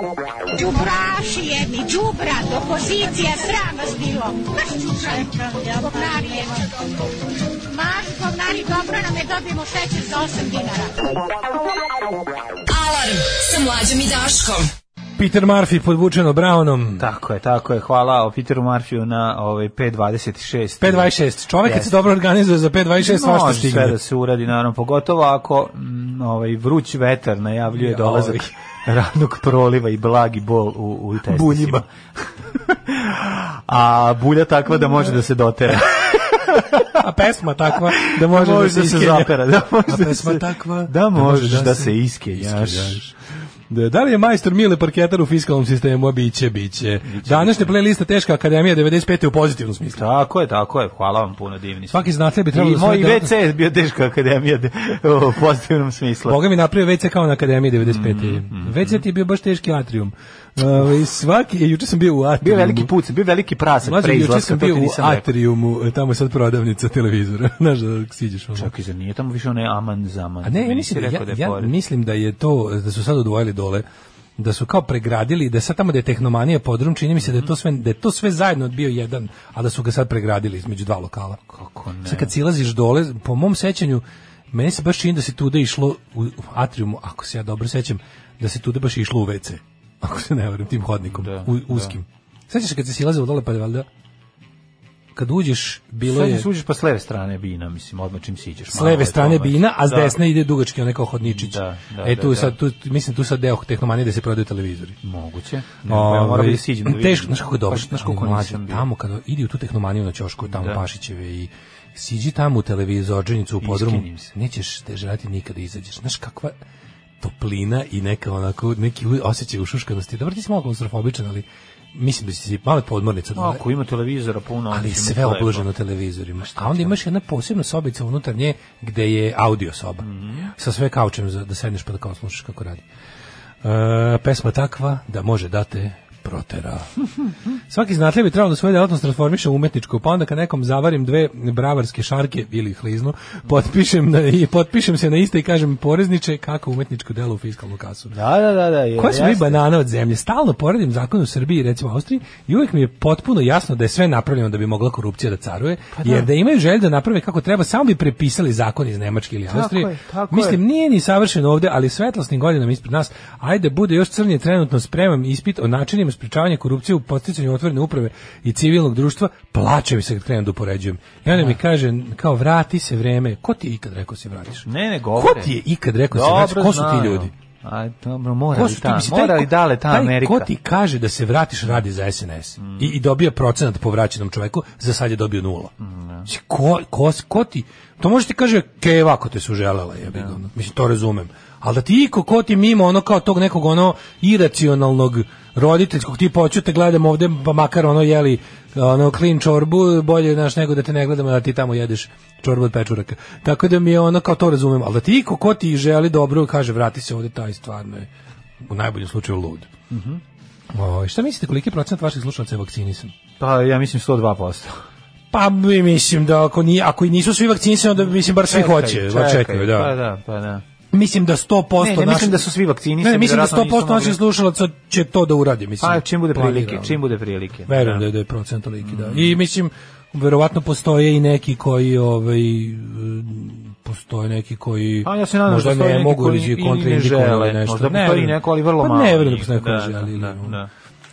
S5: Đubraši jedni, đubrad, opozicija, sram vas bilo. Maš čučaj, govnari jedni. Maš govnari, dobro nam je dobijemo šećer za 8 dinara.
S8: Alarm sa mlađom i Daškom.
S7: Peter Murphy podvučeno Brownom.
S6: Tako je, tako je. Hvala o Peteru Marfiju na ovaj, P26.
S7: 5.26. Čovjek kad se
S6: Jeste.
S7: dobro organizuje za 5.26 svašta
S6: Može sve
S7: stigne.
S6: da se uradi, naravno, pogotovo ako mm, ovaj, vruć vetar najavljuje
S7: Ja,
S6: dolazak radnog proliva i blagi bol u, u testicima.
S7: Buljima.
S6: A bulja takva da može da se dotera.
S7: A pesma takva da može,
S6: Može
S7: da se iskenja.
S6: zapera. Da,
S7: A
S6: može da,
S7: pesma
S6: se,
S7: takva
S6: da možeš da, se iskenjaš.
S7: Da, da li je majstor Mile parketar u fiskalnom sistemu? A biće, biće. Današnja playlista Teška akademija 95. u pozitivnom smislu.
S6: Tako je, tako je. Hvala vam puno divni. ste.
S7: Svaki zanatlija bi
S6: I
S7: trebalo da
S6: moj
S7: svoje delatno-
S6: WC je bio teška akademija de- u pozitivnom smislu.
S7: Boga mi napravio WC kao na Akademiji
S6: Mhm,
S7: 95. WC ti je bio baš teški atrium. Ovaj, svaki, e, juče sam bio u atriumu.
S6: Bio je veliki puc, bio je veliki prasak
S7: Mlađe,
S6: pre
S7: juče
S6: izlaska,
S7: sam
S6: to
S7: bio
S6: ti
S7: u
S6: nisam rekao.
S7: atriumu, e, tamo je sad prodavnica televizora. Znaš da siđeš ono.
S6: Čak i za nije tamo više onaj aman zaman.
S7: A ne, ja
S6: Meni
S7: mislim,
S6: si
S7: da,
S6: rekao
S7: ja,
S6: je
S7: ja
S6: pored.
S7: mislim da je to, da su sad odvojili dole, da su kao pregradili, da sad tamo da je tehnomanija podrum, čini mi se da je to sve, da je to sve zajedno bio jedan, a da su ga sad pregradili između dva lokala.
S6: Kako ne?
S7: Sad kad silaziš dole, po mom sećanju, meni se baš čini da se tuda išlo u u atriumu, ako se ja dobro sećam, da se tuda baš išlo u WC, ako se ne varam, tim hodnikom,
S6: Da,
S7: u, uskim. Sećaš se kad se silazilo dole, pa je valjda, kad uđeš, bilo
S6: Sad
S7: je...
S6: suđeš pa s leve strane bina, mislim, odmah čim siđeš.
S7: S leve strane bina, a s
S6: Da.
S7: desne ide dugački onaj kao hodničić.
S6: Da, da,
S7: e tu
S6: da,
S7: je sad, tu, mislim tu sad deo tehnomanije da se prodaju televizori.
S6: Moguće. Ne, pa ja moram
S7: Ovaj,
S6: da siđem. da vidim.
S7: Teško, znaš kako je dobro.
S6: Pa,
S7: Znaš
S6: znaš
S7: kako
S6: koliko nisam bio.
S7: Tamo kada idi u tu tehnomaniju na ćošku, tamo
S6: Da.
S7: Pašićeve i siđi tamo u televizorđenicu u podrumu.
S6: Iskinim se.
S7: Nećeš te želati nikada izađeš. Znaš kakva toplina i neka onako, neki u- osjećaj ušuškanosti. Dobro, ti si malo klaustrofobičan, ali mislim da si si malo podmornica. dole.
S6: Ako ima televizora puno... onda
S7: ali
S6: će
S7: sve
S6: biti lepo.
S7: obloženo televizorima. A onda imaš jedna posebna sobica unutar nje gde je audio soba. Sa sve kaučem za, da sedneš pa da kao slušaš kako radi. E, pesma takva da može da te protera. Svaki znatlija bi trebalo da svoju delatnost transformiše u umetničku, pa onda kad nekom zavarim dve bravarske šarke ili hliznu, potpišem, na, i potpišem se na iste i kažem porezniče kako umetničko delo u fiskalnu kasu.
S6: Da, da, da. da je,
S7: Koja smo mi
S6: jeste.
S7: banana od zemlje? Stalno poredim zakon u Srbiji i recimo Austriji i uvijek mi je potpuno jasno da je sve napravljeno da bi mogla korupcija da caruje,
S6: Pa
S7: jer da imaju želju da naprave kako treba, samo bi prepisali zakon iz Nemačke ili Austrije.
S6: je, tako
S7: Mislim, nije ni savršeno ovde, ali svetlosnim godinama ispred nas, ajde bude još crnje trenutno spremam ispit o načinima sprečavanja korupcije u posticanju otvorene uprave i civilnog društva, plače mi se kad krenem da upoređujem. I onda mi kaže, kao vrati se vreme, ko ti je ikad rekao se vratiš?
S6: Ne, ne, govore.
S7: Ko ti je ikad rekao se vratiš? znači, Ko su ti ljudi?
S6: A, dobro, mora
S7: Ko
S6: li
S7: su ti,
S6: ta,
S7: mislim, taj
S6: mora li
S7: ko-
S6: dale ta
S7: taj
S6: Amerika?
S7: Ko ti kaže da se vratiš radi za SNS i, i dobija procenat po vraćenom čoveku, za sad je dobio nula. Mislim, ko, ko, ko ti, to može ti kaže keva ako te su želela, jebi ga, ono. mislim, to razumem. Ali da ti iko ko ti mimo ono kao tog nekog ono iracionalnog roditeljskog tipa hoću te gledam ovde pa makar ono jeli ono klin čorbu bolje naš nego da te ne gledamo da ti tamo jedeš čorbu od pečuraka. Tako da mi je ono kao to razumem, ali da ti iko ko ti želi dobro kaže vrati se ovde taj stvarno je u najboljem slučaju lud.
S6: Ovaj,
S7: O, šta mislite koliki je procenat vaših slušalaca je vakcinisan?
S6: Pa ja mislim 102%.
S7: Pa mi mislim da ako, ni, ako i nisu svi vakcinisani, onda mislim bar svi
S6: Čekaj,
S7: hoće, čekaj, čekaju, da.
S6: Pa da, pa da.
S7: Mislim da 100%
S6: Ne, ne, mislim da su svi vakcinisani,
S7: Ne, ne, mislim da
S6: vjerojatno
S7: 100%
S6: nisu mogli.
S7: naših slušalaca će to da uradi, mislim.
S6: Pa čim bude prilike,
S7: planirano.
S6: čim Mm. bude prilike.
S7: Verujem da je, da je procent toliki, da. I mislim, verovatno postoje i neki koji, ovaj, e, postoje neki koji
S6: A ja se nadam da
S7: možda
S6: postoje
S7: ne
S6: neki
S7: mogu
S6: koji
S7: reći
S6: i- i ne
S7: kontraindikovan
S6: žele.
S7: ili nešto.
S6: Možda
S7: Ne
S6: postoji
S7: verujem.
S6: neko, ali vrlo
S7: Pa
S6: malo
S7: ne verujem da
S6: njih.
S7: postoje neko
S6: Da,
S7: koji želi. ili-
S6: da, da.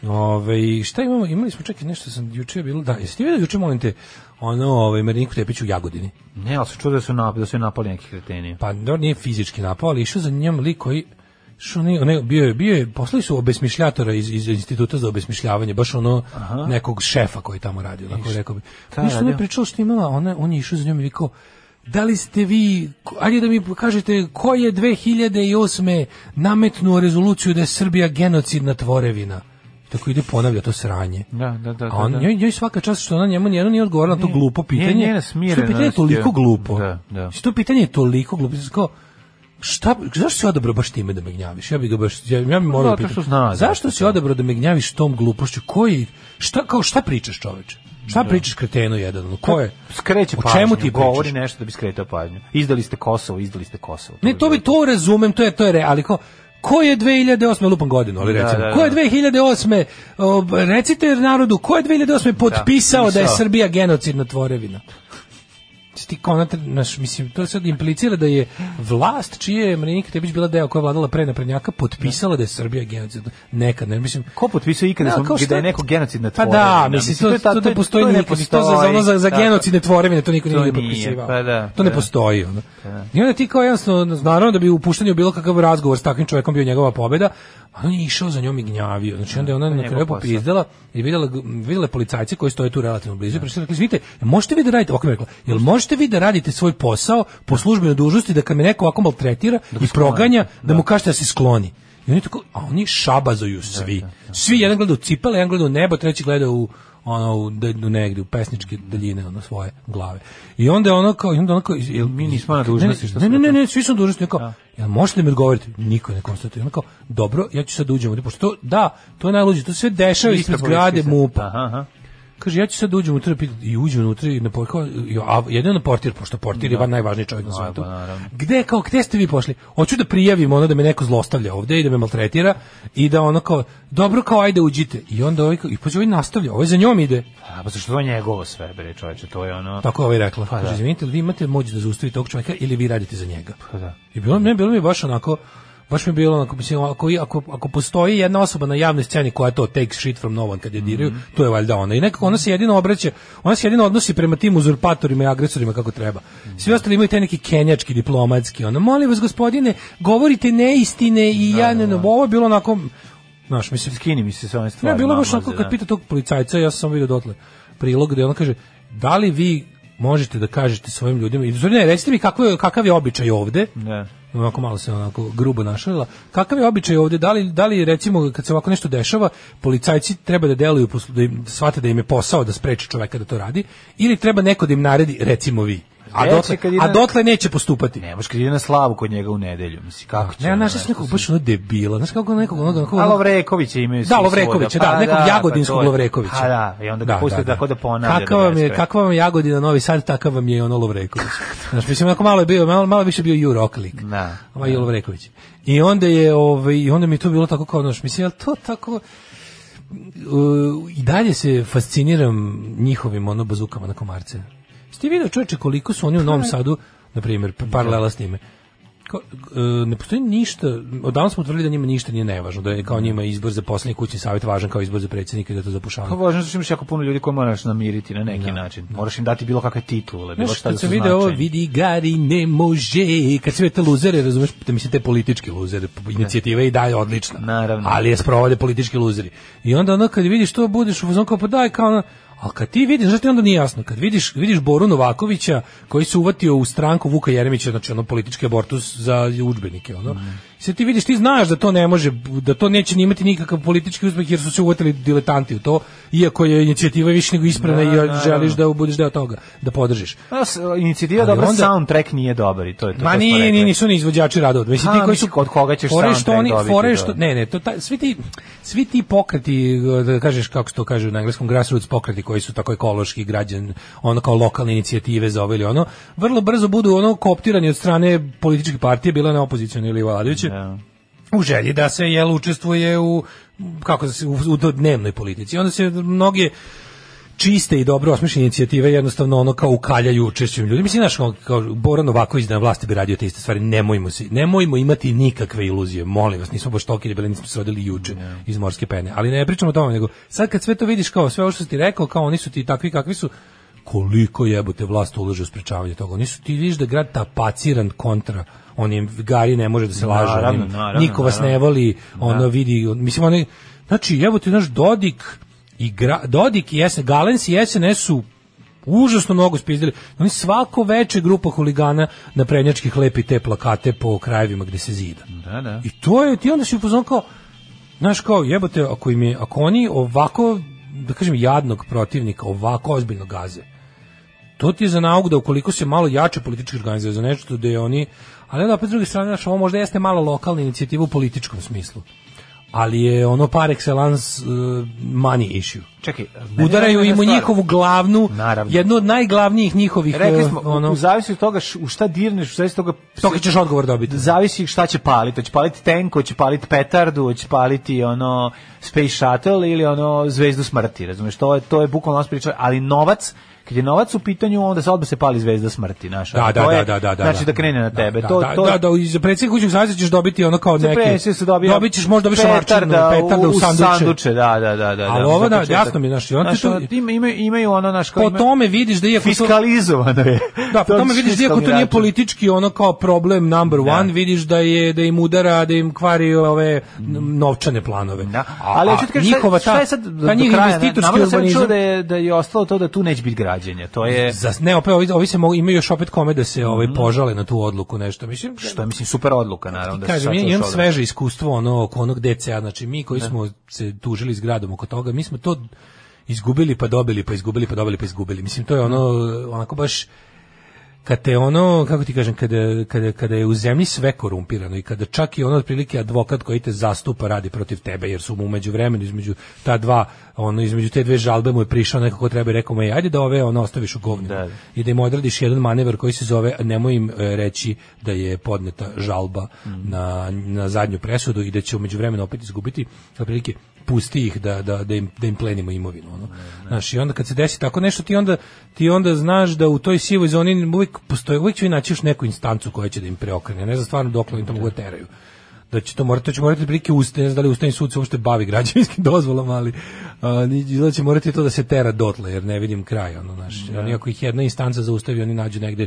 S7: Ove, šta imamo? Imali smo čekaj nešto sam juče bilo. Da, jeste vidio juče molim te ono ovaj Mariniku Tepić u Jagodini.
S6: Ne, ali se čuo da su nap, da su je napali neki kreteni.
S7: Pa dobro nije fizički napao, ali išao za njom lik koji što ne, ne, bio je, bio je, poslali su obesmišljatora iz, iz instituta za obesmišljavanje, baš ono nekog šefa koji tamo radi, onako rekao bi.
S6: šta je
S7: Ništa ne
S6: radio?
S7: pričao što je imala, ona, on je išao za njom i rekao, da li ste vi, ko- ajde da mi kažete, ko je 2008. nametnuo rezoluciju da je Srbija genocidna tvorevina? Tako ide ponavlja to sranje.
S6: Da, da, da,
S7: A on,
S6: da, da.
S7: Njoj, njoj svaka čast što ona njemu nijedno nije odgovorila na to glupo pitanje.
S6: njena
S7: Što je pitanje je
S6: smirenost
S7: toliko
S6: je-
S7: glupo.
S6: Da, da.
S7: Što pitanje je toliko glupo. Znači, kao, šta, zašto si odabrao baš time da me gnjaviš? Ja bi ga baš, ja, ja bi morao
S6: Pa Zato
S7: pitati.
S6: što zna,
S7: zašto
S6: zato
S7: si odabrao da me gnjaviš tom glupošću? Koji, šta, kao, šta pričaš čoveče? Šta pričaš kretenu jedan? Ono, Ko je?
S6: Pa, E, Skreće
S7: O
S6: pažnju,
S7: čemu ti
S6: govori
S7: pričaš?
S6: nešto da bi skretao pažnju. Izdali ste Kosovo, izdali ste Kosovo.
S7: Ne, to bi to razumem, to je to je re, ali kao Ko je 2008. lupam godinu, ali
S6: Da,
S7: recimo.
S6: da, da.
S7: Ko je 2008. o, b- recite narodu, ko je 2008. potpisao da, je
S6: pisao.
S7: Srbija genocidna tvorevina? Mislim, Ti kao, onate, naš, mislim, to sad implicira da je vlast čije je Marinika Tepić bila deo koja je vladala pre naprednjaka potpisala da je Srbija genocidna. Nekad, ne, mislim,
S6: Ko potpisao ikada
S7: Da,
S6: da,
S7: kao
S6: da je
S7: šta-
S6: neko genocidna
S7: Pa
S6: tvorevina?
S7: da, mislim, to,
S6: ta-
S7: to, ne postoji
S6: to ne
S7: nikad. To za, za, ono, za, za
S6: Da,
S7: genocidne tvorevine, to niko
S6: To
S7: nije, nije
S6: nije,
S7: potpisivao.
S6: pa da,
S7: to ne
S6: da.
S7: postoji. Ono. I onda ti kao jednostavno, naravno da bi upuštanje u bilo kakav razgovor s takvim čovjekom bio njegova pobjeda, a on je išao za njom i gnjavio. Znači, onda je ona
S6: Pa
S7: na
S6: njegov
S7: kraju
S6: posao.
S7: popizdala i vidjela, vidjela je policajce koji stoje tu relativno blizu. i Prišli i rekli, vidite, možete vi da radite, ovako mi je rekla, jel možete vi da radite svoj posao po službenoj dužnosti da kad me neko ovako maltretira i proganja, da mu kažete da se skloni. I oni tako, a oni šabazuju svi. Svi, jedan gleda u cipele, jedan gleda u nebo, treći gleda u ono u da negde u pesničke daljine ono svoje glave. I onda je ono kao i onda ono kao jel mi
S6: nismo na dužnosti, što
S7: Ne,
S6: smo
S7: ne, ne, ne, svi su na dužnosti, kao. Jel možete da mi odgovoriti? Niko ne konstatuje. Ono kao, dobro, ja ću sad da uđem, ovdje, pošto to, da, to je najluđe, to se sve dešava
S6: Isto
S7: ispred zgrade
S6: policijski
S7: MUP-a.
S6: Aha, aha.
S7: Kaže, ja ću sad da uđem unutra pit- i uđem unutra i na por- kao, i- a jedino na portir, pošto portir je van najvažniji čovjek na svetu.
S6: pa naravno.
S7: Gde, kao, gde ste vi pošli? Hoću da prijavim ono da me neko zlostavlja ovde i da me maltretira i da ono kao, dobro kao, ajde uđite. I onda ovaj, kao- i pođe ovaj nastavlja, ovaj za njom ide.
S6: A, pa zašto to je njegovo sve, bre, čoveče, to je ono...
S7: Tako je ovaj rekla.
S6: Pa da.
S7: Kaže, izvinite, li vi imate moć da zaustavite tog čovjeka ili vi radite za njega?
S6: Pa da.
S7: I bilo, ne, bilo mi je baš onako, baš mi je bilo onako, mislim, ako, ako, ako postoji jedna osoba na javnoj sceni koja to takes shit from no one kad je diraju,
S6: Mhm.
S7: to je valjda ona. I nekako ona se jedino obraća, ona se jedino odnosi prema tim uzurpatorima i agresorima kako treba.
S6: Mhm.
S7: Svi ostali imaju taj neki kenjački, diplomatski, ono, molim vas gospodine, govorite neistine i ja ne, ovo je bilo onako, znaš, mislim,
S6: Skini mi se s ovim
S7: ne,
S6: stvarima.
S7: bilo baš onako
S6: mlaze,
S7: kad
S6: da.
S7: pita tog policajca, ja sam vidio dotle prilog gde on kaže, da li vi možete da kažete svojim ljudima, i ne, recite mi kako je, kakav je običaj ovde,
S6: Da.
S7: onako malo se onako grubo našalila. Kakav je običaj ovdje? Da li, da li recimo kad se ovako nešto dešava, policajci treba da deluju poslu- da im da shvate da im je posao da spreči čoveka da to radi ili treba neko da im naredi recimo vi? A
S6: Reći
S7: dotle,
S6: kad ide-
S7: a dotle neće postupati.
S6: Ne, baš kad ide na slavu kod njega u nedelju, misli, kako će...
S7: Ne,
S6: ono,
S7: znaš, ja sam nekog baš ono debila. Znaš kako nekog onog... onog-
S6: A Lovrekovića imaju svi
S7: Da, Lovrekovića,
S6: svuda.
S7: da, nekog
S6: pa
S7: Jagodinskog
S6: to je-
S7: Lovrekovića.
S6: Pa da, i onda ga puste tako da ponavlja.
S7: Kakav
S6: do
S7: vam je,
S6: beskraja.
S7: kakva vam je Jagodina Novi Sad, takav vam je i ono Lovreković. Znaš, mislim, onako malo je bio, malo, malo više bio Jurok lik.
S6: Da.
S7: Ovaj je Lovreković. I onda je, ovaj, i onda mi je to bilo tako kao, znaš, mislim, jel to tako... Uh, I dalje se fasciniram njihovim ono bazukama na komarce. Ste vidio čoveče koliko su oni u Novom Sadu, na primjer, pa- paralela s njime, Kao, e, ne postoji ništa, odavno smo utvrdili da njima ništa nije nevažno, da je kao njima izbor za poslednji kućni savjet važan kao izbor za predsjednika i da to
S6: Pa
S7: zapušavaju.
S6: važno što imaš jako puno ljudi koje moraš namiriti na neki način. Moraš im dati bilo kakve titule, bilo
S7: Znaš,
S6: šta da
S7: kad
S6: su
S7: sam video ovo,
S6: značajni.
S7: vidi Gari, ne može, kad sve te luzere, razumeš, da mislim te politički luzere, inicijativa je i dalje odlična.
S6: Naravno.
S7: Ali je sprovode politički luzeri. I onda ono kad vidiš to, budeš u fazonu kao pa daj, kao ono, ali kad ti vidiš, znaš ti onda nije jasno, kad vidiš, vidiš Boru Novakovića koji se uvatio u stranku Vuka Jeremića, znači ono politički abortus za udžbenike, ono. I Sad ti vidiš, ti znaš da to ne može, da to neće ni imati nikakav politički uspeh jer su se uvatili diletanti u to, iako je inicijativa više nego ispravna i
S6: naravno.
S7: želiš da budeš deo toga, da podržiš.
S6: A, s- inicijativa je
S7: Ali
S6: dobra,
S7: onda-
S6: soundtrack nije dobar i to je to.
S7: Ma
S6: to smo
S7: nije,
S6: rekli.
S7: nije, nisu ni izvođači radova. Mislim
S6: A,
S7: ti koji su
S6: mislim, kod koga ćeš
S7: fore
S6: soundtrack
S7: što oni
S6: dobiti,
S7: fore
S6: da.
S7: što ne, ne, to taj svi ti svi ti pokreti da kažeš kako se to kaže na engleskom grassroots pokreti koji su tako ekološki građan, ono kao lokalne inicijative za ovo ili ono, vrlo brzo budu ono koptirani od strane političke partije, bila na opozicione ili vladajuće. U želji da se jel učestvuje u kako se u, u dnevnoj politici. Onda se mnoge čiste i dobro osmišljene inicijative jednostavno ono kao ukaljaju učešćem ljudi. Mislim, znaš, ono, kao Boran Novaković da na vlasti bi radio te iste stvari, nemojmo, se, nemojmo imati nikakve iluzije, molim vas, nismo baš toki debeli, nismo se rodili juče iz morske pene. Ali ne pričamo o tome, nego sad kad sve to vidiš kao sve ovo što si ti rekao, kao oni su ti takvi kakvi su, koliko jebote vlast ulaže u sprečavanje toga. Oni su ti vidiš da je grad tapaciran kontra onim Gari ne može da se laže.
S6: Naravno,
S7: onim,
S6: naravno,
S7: niko vas ne
S6: naravno.
S7: voli, ono vidi, on- mislim oni znači jebote naš Dodik i gra, Dodik i SNS, Galens i SNS su užasno mnogo spizdili. Oni svako veče grupa huligana na prednjačkih lepi te plakate po krajevima gde se zida.
S6: Da, da.
S7: I to je, ti onda si upoznan kao, znaš kao, jebote, ako, im je, ako oni ovako, da kažem, jadnog protivnika, ovako ozbiljno gaze, to ti je za nauk da ukoliko se malo jače politički organizuju za nešto da je oni, ali onda opet s druge strane, znaš, ovo možda jeste malo lokalna inicijativa u političkom smislu, ali je ono par excellence uh, money issue.
S6: Čekaj,
S7: Udaraju im u njihovu glavnu,
S6: Naravno.
S7: jednu od najglavnijih njihovih,
S6: Rekli
S7: uh,
S6: smo, ono,
S7: ono,
S6: u zavisi od toga š- u šta dirneš, u zavisi od toga
S7: toga ćeš odgovor dobiti.
S6: zavisi šta će paliti, hoće paliti tenko, hoće paliti petardu, hoće paliti ono space shuttle ili ono zvezdu smrti, razumeš, to je, to je bukvalno ono priča, ali novac, kad je novac u pitanju, onda se odmah se pali zvezda smrti, znaš,
S7: Da,
S6: ali
S7: da,
S6: Pa to
S7: da,
S6: je-
S7: da, da, da.
S6: znači da krene na tebe,
S7: Da,
S6: to,
S7: da,
S6: to,
S7: da, da, i za predsjednik kućnog savjeza ćeš dobiti ono kao
S6: za
S7: neke.
S6: predsjednik se dobija
S7: Dobit ćeš možda više marčinu,
S6: petarda
S7: petarda u, sanduče.
S6: da, da, da, da.
S7: Ali
S6: da,
S7: ovo
S6: za
S7: da,
S6: početak.
S7: jasno mi je, znaš, i onda ti to-
S6: ono, ima- ima- imaju ono, naš,
S7: Po tome vidiš da iako to,
S6: fiskalizovano je.
S7: da, po
S6: je
S7: tome vidiš da iako to
S6: fiskalni
S7: nije
S6: račun.
S7: politički ono kao problem number one, vidiš da je da im udara, da im kvari ove n- novčane planove.
S6: Da. Ali
S7: a,
S6: hoću ti kažem,
S7: njihova
S6: šta,
S7: ta-
S6: šta je sad do, do
S7: ta njih
S6: kraja,
S7: investitorski
S6: navodno sam
S7: urbanizam-
S6: čuo da je, da je ostalo to da tu neće biti građenje. To je,
S7: Za, ne, opet ovi, ovi se mogu, imaju još opet kome da se ovaj požale na tu odluku nešto. Mislim,
S6: Mhm. što je, mislim, super odluka, naravno. Da se
S7: Kažem,
S6: sad
S7: ja
S6: to
S7: imam
S6: šalje.
S7: sveže iskustvo ono oko onog DCA, znači mi koji smo se tužili s gradom oko toga, mi smo to izgubili pa dobili, pa izgubili pa dobili, pa izgubili. Mislim, to je ono, onako baš kad te ono, kako ti kažem, kada, kada, kada je u zemlji sve korumpirano i kada čak i ono otprilike advokat koji te zastupa radi protiv tebe, jer su mu umeđu vremenu između ta dva, ono, između te dve žalbe mu je prišao nekako treba i rekao mu je, ajde da ove ono ostaviš u govnu
S6: Da.
S7: i da im odradiš jedan manevar koji se zove nemoj im e, reći da je podneta žalba
S6: Mhm.
S7: na, na zadnju presudu i da će umeđu vremenu opet izgubiti otprilike pusti ih da, da, da, im, da im plenimo imovinu. Ono. Znaš, i onda kad se desi tako nešto, ti onda, ti onda znaš da u toj sivoj zoni uvijek postoji, uvijek će naći još neku instancu koja će da im preokrene. Ne znam stvarno dok oni to mogu da teraju da će to morati, to će morati prilike ustaviti, ne znam da li ustavni sud se uopšte bavi građevinskim dozvolama, ali a, ni- izgleda će morati to da se tera dotle, jer ne vidim kraj, ono, znaš, oni ako ih jedna instanca zaustavi, oni nađu negde,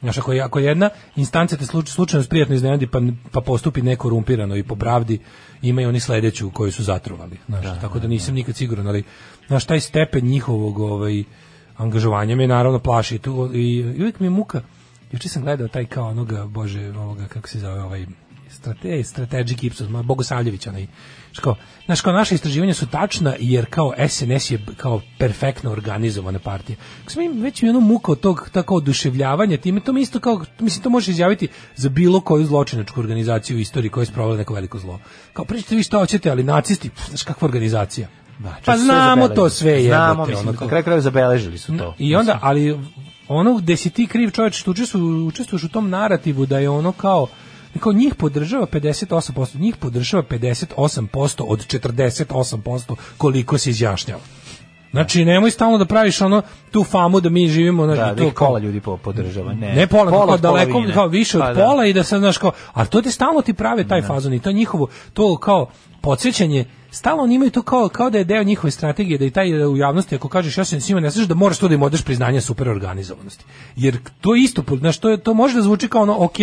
S7: znaš, ako, je- ako jedna instanca te sluč, slučajno sprijatno iznenadi, pa, pa postupi nekorumpirano i po pravdi, imaju oni sledeću koju su zatrovali, znaš, tako da nisam nikad siguran, ali, znaš, taj stepen njihovog, ovaj, angažovanja me naravno plaši tu i, i uvijek mi je muka Juče sam gledao taj kao onoga, bože, ovoga, kako se zove, ovaj, strate, strategic Ipsos, ma, Bogosavljević, onaj, znaš kao, znaš kao, naše istraživanja su tačna, jer kao SNS je kao perfektno organizovana partija. Kako sam im već mi ono muka od tog, tako oduševljavanja, time to mi isto kao, mislim, to možeš izjaviti za bilo koju zločinačku organizaciju u istoriji koja je spravila neko veliko zlo. Kao, pričate vi šta hoćete, ali nacisti, pff, znaš kakva organizacija.
S6: Znači,
S7: pa
S6: sve
S7: znamo
S6: zabeleženo.
S7: to sve,
S6: Znamo,
S7: jebote,
S6: mislim,
S7: ono
S6: na
S7: kao-
S6: kraju kraju zabeležili su to.
S7: i onda, ali ono gde si ti kriv čovječ, što učestvu- učestvuješ u tom narativu da je ono kao kao njih podržava 58%, njih podržava 58% od 48% koliko se izjašnjava. Znači, nemoj stalno da praviš ono tu famu da mi živimo znači,
S6: da, da
S7: to
S6: ih
S7: kao-
S6: pola ljudi po, podržava. Ne,
S7: ne pola, pola kao
S6: od
S7: daleko,
S6: polovine.
S7: kao više od
S6: Pa da.
S7: pola i da sad znaš kao, a to ti stalno ti prave taj fazon i to njihovo, to kao podsjećanje, stalno oni imaju to kao, kao da je deo njihove strategije, da i taj e, u javnosti, ako kažeš ja se s njima ne slažem, da moraš to da im odeš priznanje superorganizovanosti. Jer to je isto, znaš, to, je, to može da zvuči kao ono, ok,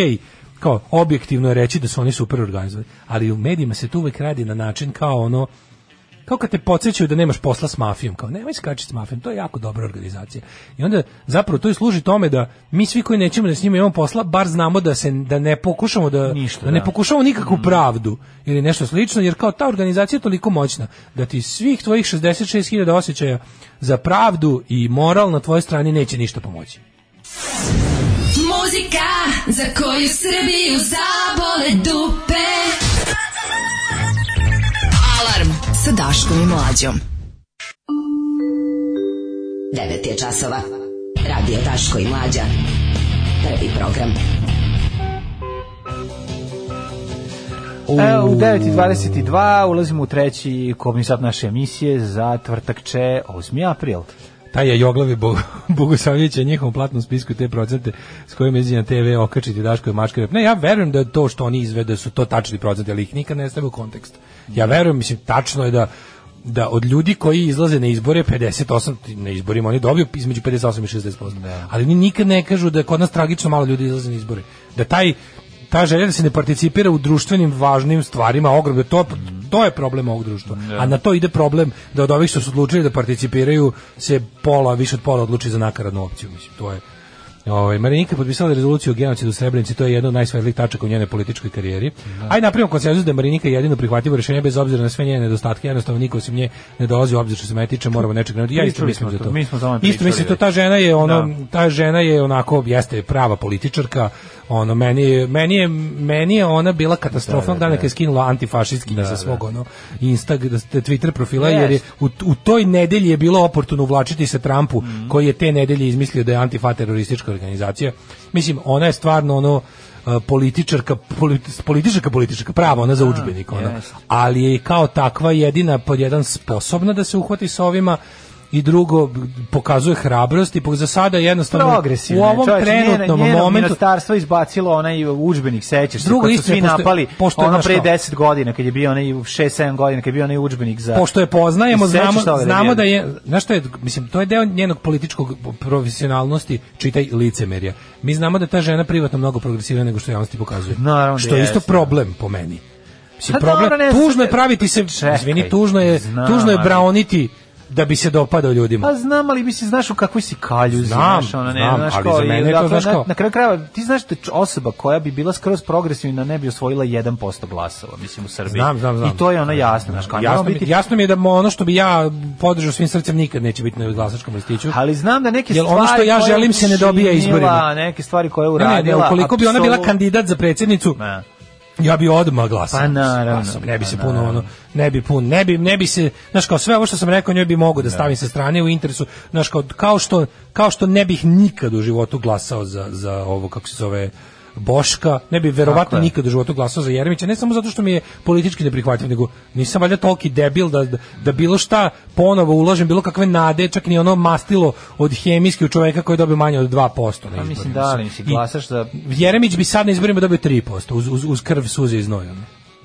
S7: kao objektivno je reći da su oni superorganizovani, ali u medijima se to uvek radi na način kao ono, kao kad te podsjećaju da nemaš posla s mafijom, kao nemoj skačiti s mafijom, to je jako dobra organizacija. I onda zapravo to i služi tome da mi svi koji nećemo da s njima imamo posla, bar znamo da se da ne pokušamo da,
S6: Ništa,
S7: da ne
S6: da. Mhm.
S7: pokušamo nikakvu pravdu ili nešto slično, jer kao ta organizacija je toliko moćna da ti svih tvojih 66.000 osjećaja za pravdu i moral na tvojoj strani neće ništa pomoći.
S11: Muzika za koju Srbiju zabole dupe.
S12: Alarm sa Daškom i Mlađom. 9 je časova. Radio Daško i Mlađa. Prvi program.
S6: E, u 9.22 ulazimo u treći komisat naše emisije za tvrtak će 8. april.
S7: taj je joglavi Bog, Bogosavljević je njihovom platnom spisku te procente s kojim je na TV okačiti Daško i Mačka. Ne, ja verujem da je to što oni izvede su to tačni procenti, ali ih nikad ne stavlja u kontekst. Ja verujem, mislim, tačno je da da od ljudi koji izlaze na izbore 58 na izborima oni dobiju između 58 i 60%. Ali oni nikad ne kažu da kod nas tragično malo ljudi izlaze na izbore. Da taj ta želja da se ne participira u društvenim važnim stvarima ogromno to to je problem ovog društva a na to ide problem da od ovih što su odlučili da participiraju se pola više od pola odluči za nakaradnu opciju mislim to je Ovaj Marinika je potpisala rezoluciju o genocidu u Srebrenici, to je jedna od najsvetlih tačaka u njenoj političkoj karijeri. Aj napravimo konsenzus da je Marinika jedino prihvatljivo rješenje bez obzira na sve njene nedostatke, jednostavno niko osim nje ne dolazi u obzir što se mene tiče, moramo nečeg krenuti. Ja isto
S6: Pričali smo
S7: mislim za
S6: to,
S7: to.
S6: mi smo o tome
S7: Isto mislim
S6: pričali
S7: to ta
S6: već.
S7: žena je ono
S6: Da.
S7: ta žena je onako jeste prava političarka ono meni je, meni je, meni je ona bila katastrofa da, dana kad je skinula antifašistkinja sa svog ono Instag, da, Twitter profila jer je
S6: Jest.
S7: u, u toj nedelji je bilo oportuno uvlačiti se Trumpu koji je te nedelje izmislio da je antifa teroristička organizacija mislim ona je stvarno ono e, političarka politi- političarka političarka prava ona za udžbenik ona
S6: jest.
S7: ono. ali je kao takva jedina pod jedan sposobna da se uhvati sa ovima i drugo pokazuje hrabrost i po- za sada jednostavno
S6: Progresivno.
S7: u
S6: je,
S7: ovom
S6: čoveče,
S7: trenutnom
S6: njeno, njeno
S7: momentu
S6: ministarstvo izbacilo onaj udžbenik, sećaš se,
S7: Drugo,
S6: kad su
S7: istina,
S6: svi
S7: pošto-
S6: napali
S7: pošto je
S6: ono
S7: naš
S6: pre
S7: kao-
S6: 10 godina, kad je bio onaj 6-7 godina, kad je bio onaj udžbenik za...
S7: pošto je poznajemo
S6: I sećaš
S7: znamo
S6: toga da je
S7: znamo
S6: bio?
S7: da je znaš šta je mislim to je deo njenog političkog profesionalnosti čitaj licemerja mi znamo da je ta žena privatno mnogo progresivnija nego što javnosti pokazuje
S6: Naravno da
S7: što je isto
S6: jeste.
S7: problem po meni mislim
S6: Pa
S7: problem
S6: dobro, ne,
S7: tužno
S6: sad-
S7: je praviti se
S6: Čekaj,
S7: izvini tužno je
S6: znam,
S7: tužno je
S6: ali-
S7: braoniti da bi se dopadao ljudima
S6: Pa znam, ali mislim, znaš u kakvoj si kaljuzi,
S7: Znam,
S6: znaš, ono, ne,
S7: znam,
S6: znaš,
S7: ali
S6: kao,
S7: za
S6: i
S7: mene je to,
S6: dakle,
S7: znaš,
S6: na-
S7: kao-
S6: Na, kraju krajeva, ti znaš da č- osoba koja bi bila skroz progresivna ne bi osvojila 1% glasova, mislim, u Srbiji.
S7: Znam, znam, znam.
S6: I to je ono jasno, znaš, kao,
S7: Jasno,
S6: moramo
S7: mi,
S6: biti-
S7: jasno mi je da mo- ono što bi ja podržao svim srcem nikad neće biti na glasačkom listiću.
S6: Ali znam da neke
S7: Jel ono
S6: stvari
S7: što ja
S6: koje je
S7: želim se ne dobija
S6: učinila,
S7: izborima?
S6: Neke stvari koje je
S7: Ne, ne,
S6: uradila.
S7: ne, ukoliko bi ona bila
S6: apsolutno-
S7: kandidat za predsjednicu,
S6: Ne.
S7: ja bi odmah glasao.
S6: Pa naravno.
S7: Glasao bi, Ne bi
S6: Pa
S7: se puno
S6: naravno.
S7: ono, ne bi pun, ne bi, ne bi se, znaš kao sve ovo što sam rekao njoj bi mogu da stavim sa strane u interesu, znaš kao, kao što, kao što ne bih nikad u životu glasao za, za ovo, kako se zove, Boška, ne bi verovatno
S6: je.
S7: nikad u životu glasao za Jeremića, ne samo zato što mi je politički neprihvatljiv, nego nisam valjda toliki debil da, da, da bilo šta ponovo uložim, bilo kakve nade, čak ni ono mastilo od hemijske u čoveka koji je dobio manje od 2% na
S6: Pa mislim,
S7: izborima.
S6: da, ali mislim,
S7: I-
S6: glasaš za
S7: Jeremić bi sad na izborima dobio 3% uz, uz, uz krv, suze i znoj. ono.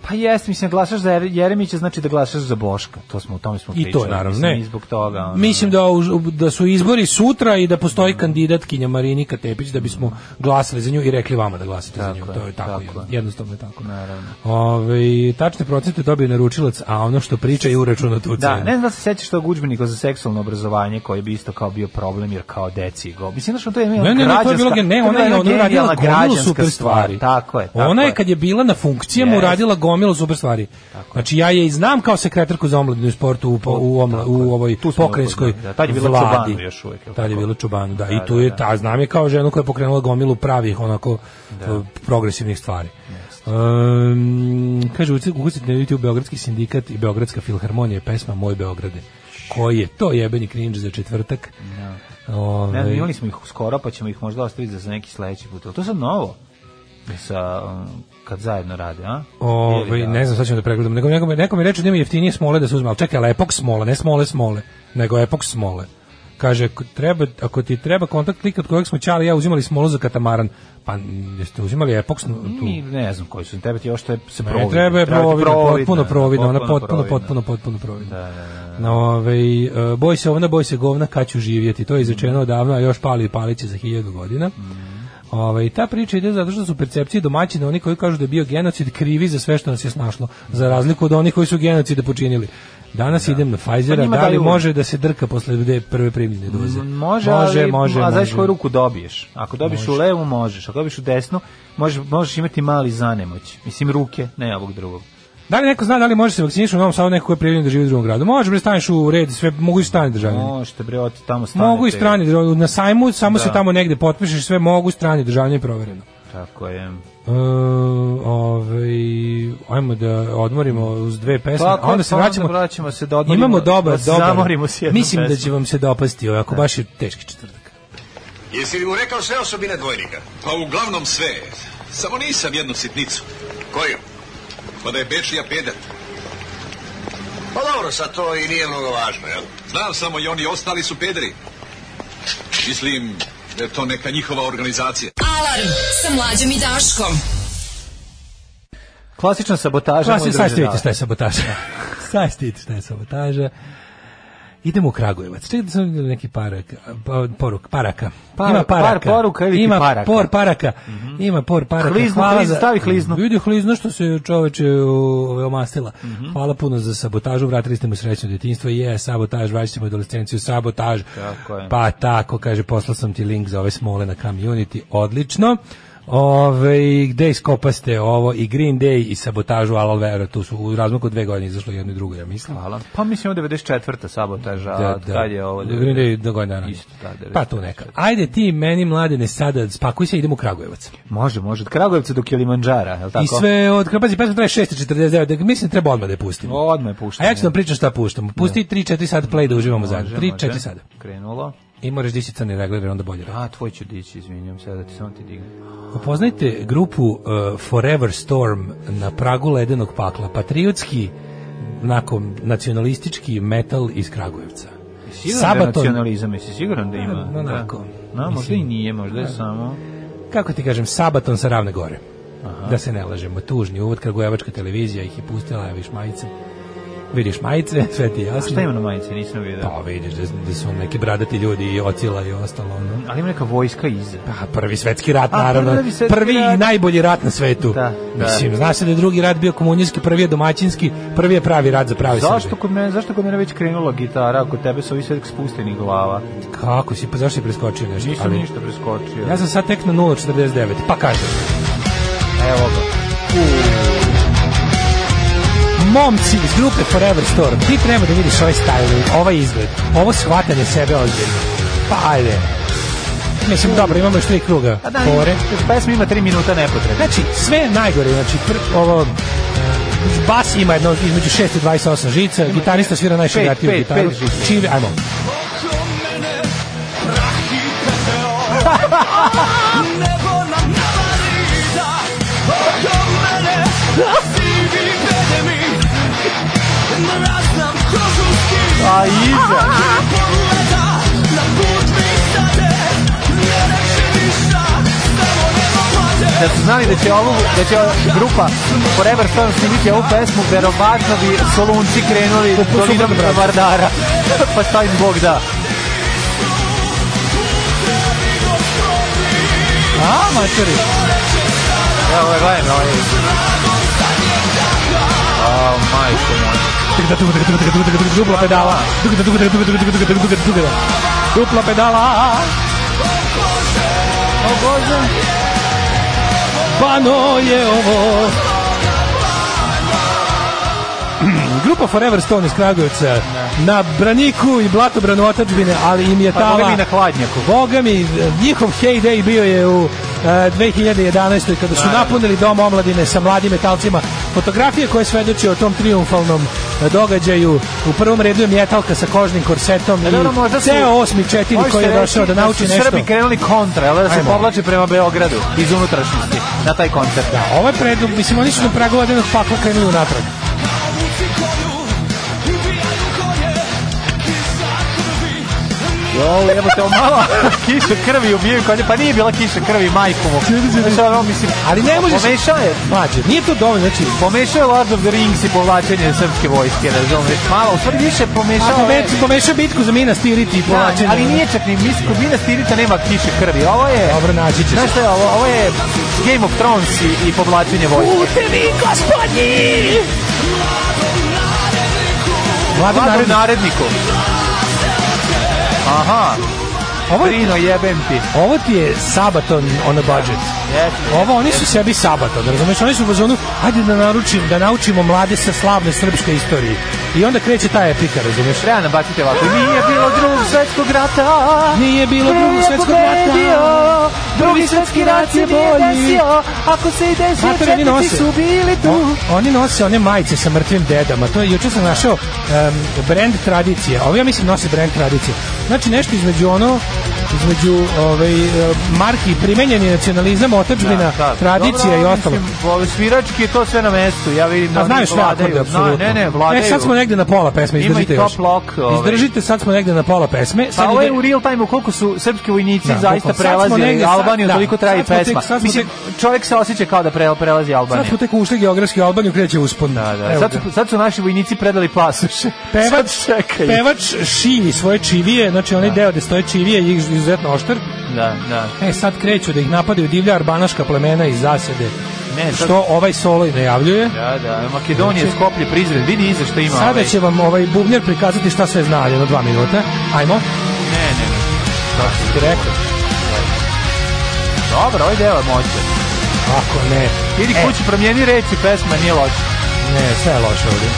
S6: Pa jes, mislim, glasaš za Jere- Jeremića, znači da glasaš za Boška. To smo, o tome smo
S7: I
S6: pričali.
S7: to naravno,
S6: mislim,
S7: ne.
S6: i zbog toga. ono. Mhm.
S7: Mislim da, už- da su izbori sutra i da postoji kandidatkinja Marinika Tepić da bismo glasali za nju i rekli vama da glasate za nju.
S6: Tako je,
S7: To je tako,
S6: tako je.
S7: jednostavno je tako.
S6: Naravno.
S7: Ove, tačne procente dobio naručilac, a ono što priča je uračunato u
S6: Da,
S7: cenu.
S6: ne znam da se sećaš tog udžbenika za seksualno obrazovanje koji bi isto kao bio problem jer kao deci go. Mislim da što to je
S7: Ne, ne, ne, to je bilo,
S6: građanska-
S7: gen- ne,
S6: to
S7: ona je
S6: bila
S7: ona je
S6: genijalna
S7: radila gomilu
S6: građanska
S7: super stvari.
S6: stvar. Tako je. Tako
S7: ona je
S6: je.
S7: kad je bila na funkcijama
S6: Jest.
S7: uradila gomilu super stvari. znači ja je i znam kao sekretarku za omladinu i sportu u, po- u, omla- u ovoj pokrajinskoj
S6: upoznali, da. Tad je bila
S7: vladi.
S6: Čobanu još uvijek, jel
S7: Tad je
S6: tako?
S7: bila Čobanu, da. I
S6: Da,
S7: tu
S6: da,
S7: je,
S6: da.
S7: ta, znam je kao ženu koja je pokrenula gomilu pravih onako eh, progresivnih stvari. Um, kaže, ukucati na YouTube Beogradski sindikat i Beogradska filharmonija je pesma Moj Beograde. Koji je to jebeni cringe za četvrtak?
S6: Ne znam,
S7: Ovaj,
S6: imali smo ih skoro, pa ćemo ih možda ostaviti za- za neki sledeći put. Jel To sad novo. Sa, um, kad zajedno rade, a?
S7: Ove, ne znam, sad ćemo da pregledam. Nego, neko, mi- neko mi reče da ima jeftinije smole da se uzme, ali čekaj, ali epok smole, ne smole smole, nego epok smole. Kaže, ako, treba, ako ti treba kontakt klika od kojeg smo Ćali i ja uzimali smolu za katamaran, pa m, jeste uzimali epok snu- tu?
S6: Mi ne znam koji su. im, Treba ti još što je se
S7: Ne,
S6: providno.
S7: treba je
S6: ti
S7: providno, potpuno
S6: da,
S7: providno, ona potpuno, potpuno, potpuno providno. No, ovaj, e, boj se ovna, boj se govna, kad ću živjeti. To je
S6: Mm.
S7: izrečeno odavno, a još pali i paliće za hiljadu godina. Ovaj, ta priča ide zato što su percepcije domaćina, oni koji kažu da je bio genocid, krivi za sve što nas je snašlo, za razliku od onih koji su genocide počinili. Danas idem na Pfizera,
S6: Pa njima
S7: da li
S6: daju-
S7: može da se drka posle de- prve primljene doze?
S6: Može,
S7: može,
S6: ali,
S7: može.
S6: a znaš
S7: može.
S6: koju ruku dobiješ? Ako dobiješ u levu, možeš. Ako dobiješ u desnu, možeš, možeš imati mali zanemoć. Mislim, ruke, ne ovog drugog.
S7: Da li neko zna da li može se vakcinisati u Novom Sadu neko ko je prijavljen da živi u drugom gradu? Može, bre, staneš u red, sve mogu i stani državljani.
S6: Možete, bre, oti tamo stanete.
S7: Mogu i strani državljani. Na sajmu samo
S6: Da.
S7: se tamo negde potpišeš, sve mogu strani državljani provereno.
S6: Tako je.
S7: E, ovaj, ajmo da odmorimo uz dve pesme,
S6: Pa,
S7: a onda se vraćamo.
S6: onda vraćamo se da odmorimo,
S7: Imamo dobar,
S6: da se
S7: dobar.
S6: zamorimo s jednom
S7: Mislim da
S6: pesmom.
S7: će vam se dopasti, ovako baš je teški četvrtak.
S13: Jesi li mu rekao sve osobine dvojnika?
S14: Pa uglavnom sve. Samo nisam jednu sitnicu.
S13: Koju?
S14: Pa da je Bečija pedat.
S13: Pa dobro, sad to i nije mnogo važno, jel?
S14: Znam samo i oni ostali su pederi. Mislim da je to neka njihova organizacija.
S1: Alarm sa mlađom i Daškom.
S6: Klasična sabotaža.
S7: Klasi,
S6: moj
S7: sad
S6: druže,
S7: ste vidite
S6: da.
S7: šta je sabotaža. sad ste vidite šta je sabotaža. Idemo u Kragujevac. Čekaj da sam vidio neki parak, pa- poruk, paraka.
S6: Par-
S7: ima
S6: par
S7: paraka.
S6: poruka ili ti
S7: ima
S6: paraka?
S7: por paraka. Ima por paraka.
S6: Hliznu,
S7: Hvala
S6: hliznu,
S7: za-
S6: stavi hliznu.
S7: Vidi hliznu što se čoveče ovaj, omastila.
S6: Mhm.
S7: Hvala puno za sabotažu. Vratili ste mu srećno detinjstvo. Je, sabotaž, vraćate mu adolescenciju, sabotaž.
S6: Tako je.
S7: Pa tako, kaže, poslao sam ti link za ove smole na community, odlično. Ove, gde iskopaste ovo i Green Day i sabotažu Alal Vera, tu su u razmaku od dve godine izašlo jedno i drugo, ja mislim.
S6: Hvala. Pa mislim ovo je 94. sabotaža,
S7: Da,
S6: da,
S7: da.
S6: kad je ovo...
S7: Green Day do godine dana.
S6: Isto, da, 94.
S7: Pa tu neka. Ajde ti meni, mladene, sada spakuj se, idemo u Kragujevac.
S6: Može, može. Od Kragujevca do Kilimanđara, je li tako?
S7: I sve od Krapazi pesma traje 649, da mislim da treba odmah da je pustimo.
S6: Odmah je puštanje.
S7: A ja ću vam pričati šta puštamo. Pusti 3-4 sata play da uživamo zajedno. 3-4
S6: može.
S7: sata.
S6: Krenulo.
S7: I moraš dići crni regler, jer onda bolje radi.
S6: A, tvoj ću dići, izvinjam se, da ti samo ti dignem.
S7: Upoznajte grupu uh, Forever Storm na pragu ledenog pakla, patriotski nakon nacionalistički metal iz Kragujevca.
S6: Siguran da je nacionalizam, jesi siguran da ima?
S7: Da, onako.
S6: Da. No, možda i
S7: Mislim-
S6: nije, možda je samo...
S7: kako ti kažem, sabaton sa Ravne Gore. Da se ne lažemo, tužni uvod, Kragujevačka televizija ih je pustila, vidiš majice. Vidiš majice, sve ti je jasno.
S6: Šta ima na majici, nisam vidio.
S7: Pa vidiš da, da su neki bradati ljudi i ocila i ostalo. Ono.
S6: Ali ima neka vojska iza.
S7: Pa prvi svetski rat,
S6: A,
S7: naravno.
S6: prvi
S7: Prvi,
S6: svetski
S7: i
S6: rat.
S7: najbolji rat na svetu.
S6: Da, da.
S7: Mislim, zna se da je drugi rat bio komunijski, prvi je domaćinski, prvi je pravi rat za pravi
S6: Zašto kod mene, zašto kod mene već krenula gitara, ako tebe su ovi sve spustenih glava?
S7: Kako si, pa zašto si preskočio nešto?
S6: Nisam
S7: Ali-
S6: ništa preskočio.
S7: Ja sam sad tek na 0.49, pa kažem.
S6: Evo ga.
S7: Momci iz grupe Forever Storm, ti treba da vidiš ovaj styling, ovaj izgled, ovo shvatanje sebe ozbiljno. Pa ajde. Mislim, dobro, imamo još tri kruga.
S6: A da,
S7: Fore.
S6: Pa pesma ima 3 minuta nepotrebno.
S7: Znači, sve je najgore, znači, pr, ovo, e, bas ima jedno između 6 i 28 žica, gitarista svira najšagatiju
S6: pet,
S7: gitaru.
S6: pet žica.
S7: Čivi, ajmo.
S6: A iza.
S15: Ništa, samo nema vade
S6: da su znali da će ovu, da će ova grupa Forever Storm snimiti ovu pesmu, verovatno bi solunci krenuli dolinom Vardara. pa šta im Bog da. A, mačeri. Evo ga, gledaj, ovaj. A, majko moja.
S7: Dupla pedala. Dupla pedala.
S6: O Bože.
S7: Bano je ovo. Grupa Forever Stone iz Kragujevca na braniku i blatobranu otačbine, ali im je
S6: Pa,
S7: tala...
S6: boga mi, na hladnjaku.
S7: Boga mi, njihov heyday bio je u e, 2011. kada su
S6: Naravno.
S7: napunili dom omladine sa mladim metalcima. Fotografije koje svedoče o tom triumfalnom e, događaju u prvom redu je mjetalka sa kožnim korsetom
S6: E, dobro, možda
S7: i
S6: su-
S7: ceo osmi četiri
S6: Možete
S7: koji je
S6: reći
S7: došao da nauči
S6: su
S7: nešto.
S6: Srbi krenuli kontra, jel da, da se
S7: Ajmo.
S6: povlače prema Beogradu iz unutrašnjosti na taj koncert.
S7: Da, ovo je predlog, mislim, oni su na pragu ledenog pakla krenuli u natrag.
S6: Jo, evo te malo kiša krvi ubijaju konje, pa nije bila kiša krvi, majku mu. Znači, ono, mislim,
S7: Ali ne možeš-
S6: Pomešao je,
S7: Mlađe, nije to dovoljno, znači...
S6: pomešao je Lord of the Rings i povlačenje srpske vojske, razumiješ, malo, u stvari više pomešao
S7: Ako
S6: je...
S7: već pomešao bitku za Minas Tirith i
S6: Da,
S7: povlačenje. ono,
S6: ali nije čak ni misku, Mina Stirita nema kiše krvi, ovo je...
S7: Dobro, naći ćeš.
S6: Znaš šta je ovo? Ovo je Game of Thrones i, i povlačenje vojske. Putevi, gospodji!
S7: Mladi
S6: Vladu
S7: narod-
S6: naredniku. Aha,
S7: Ovo, je-
S6: Brino, jebem ti.
S7: ovo ti je Sabaton on a budget. Ovo oni su sebi Sabaton, da razumeš? Oni su u fazonu, hajde da naručim, da naučimo mlade sa slavne srpske istorije. I onda kreće ta epika, razumeš?
S6: Treba nam baciti ovako. Nije bilo drugog svetskog rata.
S7: Nije bilo
S6: Ko je
S7: drugog svetskog
S6: pobedio?
S7: rata.
S6: Drugi svetski rat se nije
S7: bolji.
S6: desio. Ako se i desio,
S7: Mater, oni
S6: četnici
S7: nose.
S6: su bili tu.
S7: O- oni nose one majice sa mrtvim dedama. To je juče sam našao um, brand tradicije. Ovo ja mislim nose brand tradicije. Znači nešto između ono između ovaj e, marki primenjeni nacionalizam, otadžbina, tradicija i ostalo.
S6: Mislim, svirački je to sve na mestu. Ja vidim da
S7: A
S6: oni
S7: znaš Pa sve
S6: vladaju.
S7: akorde,
S6: Zna-
S7: apsolutno.
S6: Ne, ne, vladaju.
S7: E, sad smo negde na pola pesme,
S6: Ima i
S7: izdržite
S6: top
S7: još.
S6: lock, ovaj.
S7: Izdržite, sad smo negde na pola pesme. Sad
S6: Pa ovo je
S7: ide-
S6: u real time koliko su srpski vojnici
S7: Da,
S6: zaista
S7: bukvalno. Sad smo
S6: prelazi
S7: negde, sad-
S6: Albaniju,
S7: da,
S6: toliko traje
S7: sad smo tek-
S6: pesma.
S7: sad smo
S6: Mislim, čovjek se osjeća kao da pre- prelazi Albaniju.
S7: Sad smo tek ušli geografski u Albaniju, kreće uspon.
S6: Da, da.
S7: Evo
S6: Sad
S7: ga.
S6: su, sad su naši vojnici predali pasuše.
S7: Pevač,
S6: Sad čekaju.
S7: pevač šilji svoje čivije, znači onaj deo gde stoje čivije i izuzetno oštar.
S6: Da, da.
S7: E, sad kreću da ih napadaju divlja arbanaška plemena iz zasede.
S6: Ne, E, sad-
S7: Što ovaj solo i najavljuje.
S6: Da, da. Makedonija,
S7: Znači-
S6: Skoplje, Prizren. Vidi iza što ima.
S7: Sada
S6: ovaj.
S7: će vam ovaj bubnjar prikazati šta sve zna, jedno dva minuta. Ajmo,
S6: Ne, ne, ne. Šta si
S7: ti rekao.
S6: Dobro, ovaj deo je moće.
S7: Ako ne,
S6: Idi
S7: E.
S6: kući, promijeni reči, pesma nije loša.
S7: ne, sve je loše ovdje.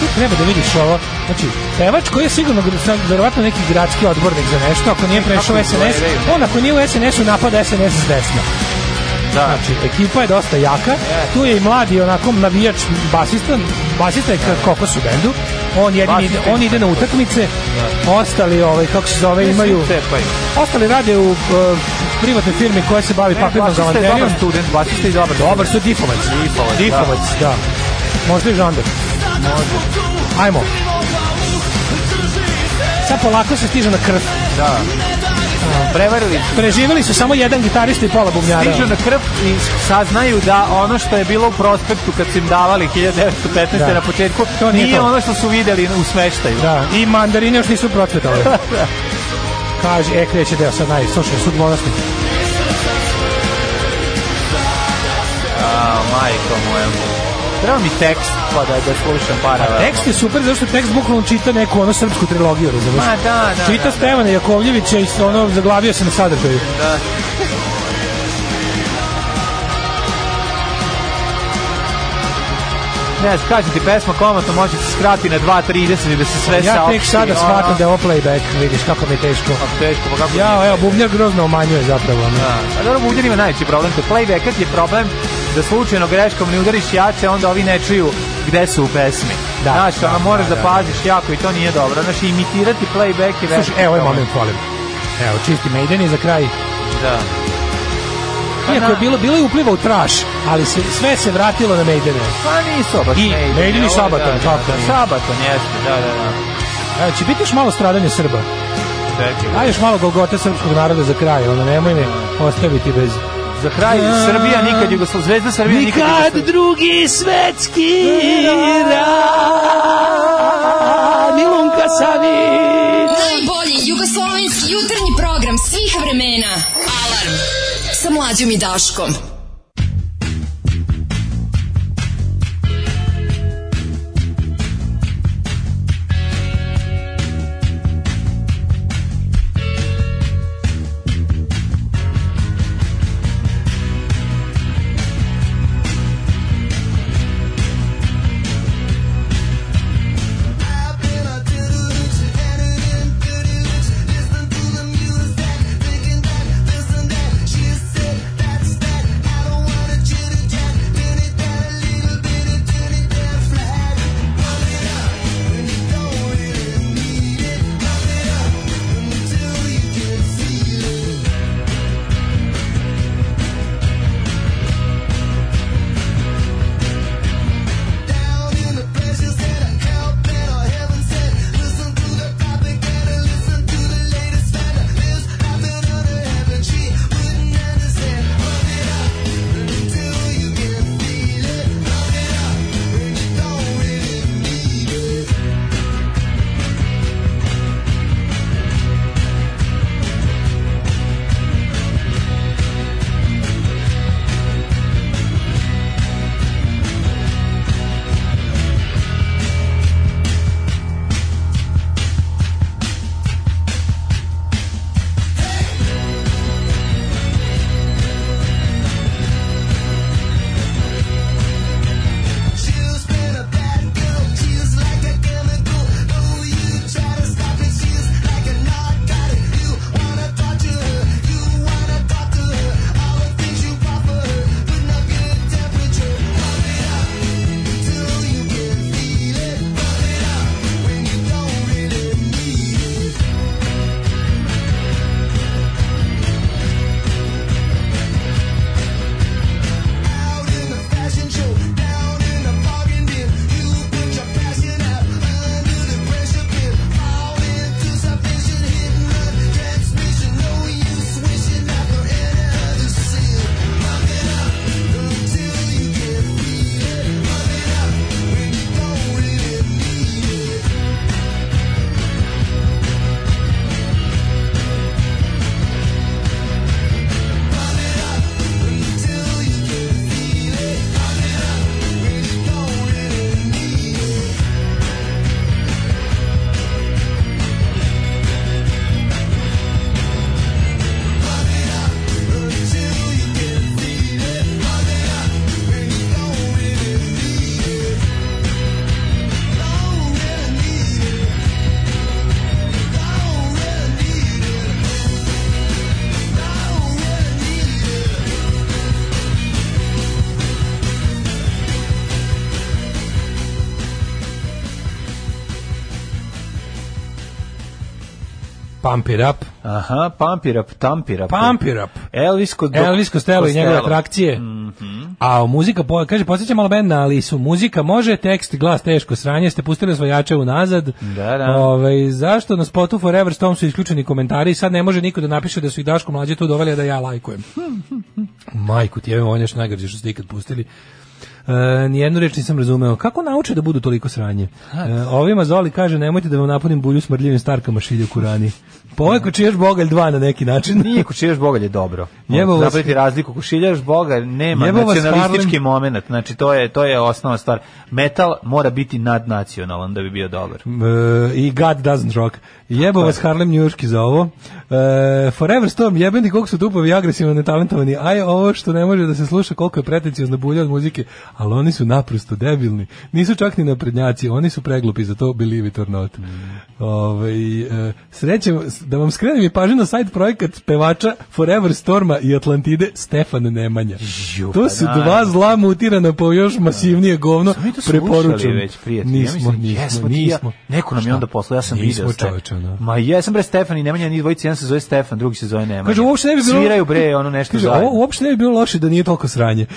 S7: Ti treba da vidiš ovo. Znači, pevač koji je sigurno gr- verovatno neki gradski odbornik za nešto, ako nije prešao
S6: kako
S7: SNS,
S6: izgledaju?
S7: on ako nije u SNS-u napada SNS s desna.
S6: Da. E.
S7: Znači, ekipa je dosta jaka. Tu je i mladi onako navijač basista, basista je ka- kokos u bendu. On jedini ide,
S6: E. Basista
S7: on ide na utakmice. Ostali, ovaj kako se zove, imaju
S6: Svi cepaju.
S7: Ostali rade u e, privatnoj firmi koja se bavi
S6: Ne,
S7: papirnom
S6: basista je dobar
S7: galanterijom.
S6: student, basista je dobar.
S7: Dobar su Difovac.
S6: Difovac,
S7: Difovac, da. Možda i žandar. Može. Ajmo. Sad polako se stiže na krv.
S6: Da. Prevarili su.
S7: Preživjeli su samo jedan gitarista i pola bubnjara.
S6: Stižu na krv i saznaju da ono što je bilo u prospektu kad su im davali 1915.
S7: Da.
S6: na početku,
S7: To nije
S6: nije,
S7: to.
S6: ono što su videli u smeštaju.
S7: Da, i mandarine još nisu procvetale. Kaže, e, kreće deo sad naj, slušaj, su dvonašni.
S6: A, majko moja. Treba mi tekst pa da, da slušam paralelno.
S7: Tekst je super, zato što tekst bukvalno čita neku ono srpsku trilogiju, razumiješ?
S6: Ma, da, da,
S7: Čita
S6: da.
S7: Stevana Jakovljevića i ono, zaglavio se na sadržaju.
S6: Da. Ne znam, kažem ti, pesma komatno može se skrati na 2.30 i da se sve
S7: Ja
S6: saopšti.
S7: tek sada
S6: ono.
S7: shvatam da je ovo playback, vidiš kako mi je teško.
S6: Pa teško, pa kako...
S7: Ja, evo, bubnjar grozno umanjuje zapravo. ono.
S6: Da. A dobro, Buđan ima najveći problem. Kod playbacka ti je problem da slučajno greškom ne udariš jače, onda ovi ne čuju gde su u pesmi.
S7: Da,
S6: Znaš,
S7: da,
S6: ono, moraš
S7: da,
S6: da,
S7: da.
S6: paziš jako i to nije dobro. Znaš, imitirati playback je veliki
S7: Slušaj, evo ovaj
S6: problem.
S7: moment, volim. Evo, čisti Maiden i za kraj.
S6: Da. Pa
S7: Iako
S6: da.
S7: je bilo, bilo je upliva u traš, ali se, sve se vratilo na Maidene.
S6: Pa nisu baš
S7: I Maiden i
S6: Ovo je,
S7: Sabaton,
S6: da,
S7: kako
S6: da,
S7: nije.
S6: Sabaton, jeste, da, da, da.
S7: Evo, će biti još malo stradanja Srba.
S6: Čekaj.
S7: Aj još malo golgote srpskog naroda za kraj, ono, nemoj me ostaviti bez
S6: za kraj, Srbija nikad Jugoslavija, Zvezda Srbija nikad,
S7: Nikad
S6: Jugoslavija.
S7: drugi svetski rat Milunka Savić
S5: Najbolji jugoslovenski jutarnji program svih vremena. Alarm sa mlađom i Daškom.
S7: Pump it up
S6: Aha, pampirap, tampirap.
S7: Pampirap
S6: Elvis kod
S7: Elvis Costello i njegove
S6: Costello. Mhm.
S7: atrakcije A muzika, po, kaže, podsjeća malo bend na Alisu Muzika može, tekst, glas, teško sranje Ste pustili osvajače unazad
S6: Da, da.
S7: Ovaj, zašto na spotu Forever Storm su isključeni komentari i sad ne može niko da napiše da su ih Daško mlađe tu doveli a da ja lajkujem. Majku ti, evo, on je još najgrđe što ste ikad pustili. E, nijednu reč nisam razumeo. Kako nauče da budu toliko sranje? E, ovima Zoli kaže, nemojte da vam napunim bulju smrdljivim starkama šilju kurani. Pa ovo je kučijaš bogalj dva na neki način.
S6: Nije kušiljaš bogalj je dobro.
S7: Jebo vas-
S6: Napraviti razliku. Kušiljaš bogalj nema
S7: Jebo vas
S6: nacionalistički
S7: Harlem.
S6: moment. Znači, to je, to je osnovna stvar. Metal mora biti nadnacionalan da bi bio dobar.
S7: E, i God doesn't rock. Jebo vas Harlem Njujorski za ovo. E, Forever Storm, jebeni koliko su dupovi agresivno netalentovani. Aj, ovo što ne može da se sluša koliko je pretencijozna bulja od muzike, ali oni su naprosto debilni. Nisu čak ni naprednjaci, oni su preglupi, za to believe it or not. Ovaj, e, srećem, da vam skrenem i pažnju na sajt projekat pevača Forever Storma i Atlantide Stefan Nemanja. to su
S6: da.
S7: dva zla mutirana po još masivnije govno.
S6: Smo mi to
S7: Preporučujem.
S6: slušali već, prijatelji.
S7: Nismo,
S6: ja mislim,
S7: nismo,
S6: jesmo, ti i
S7: nismo.
S6: Ja, neko nam je
S7: Šta?
S6: onda poslao, ja sam
S7: Nismo,
S6: video. Ste-
S7: čoveče, da.
S6: Ma jesam bre Stefan i Nemanja, njih dvojica, jedan se zove Stefan, drugi se zove Nemanja.
S7: Kaže, uopšte ne bi bilo...
S6: Sviraju bre, ono nešto
S7: Kaže,
S6: zajedno.
S7: ovo uopšte ne bi bilo loše da nije toliko sranje.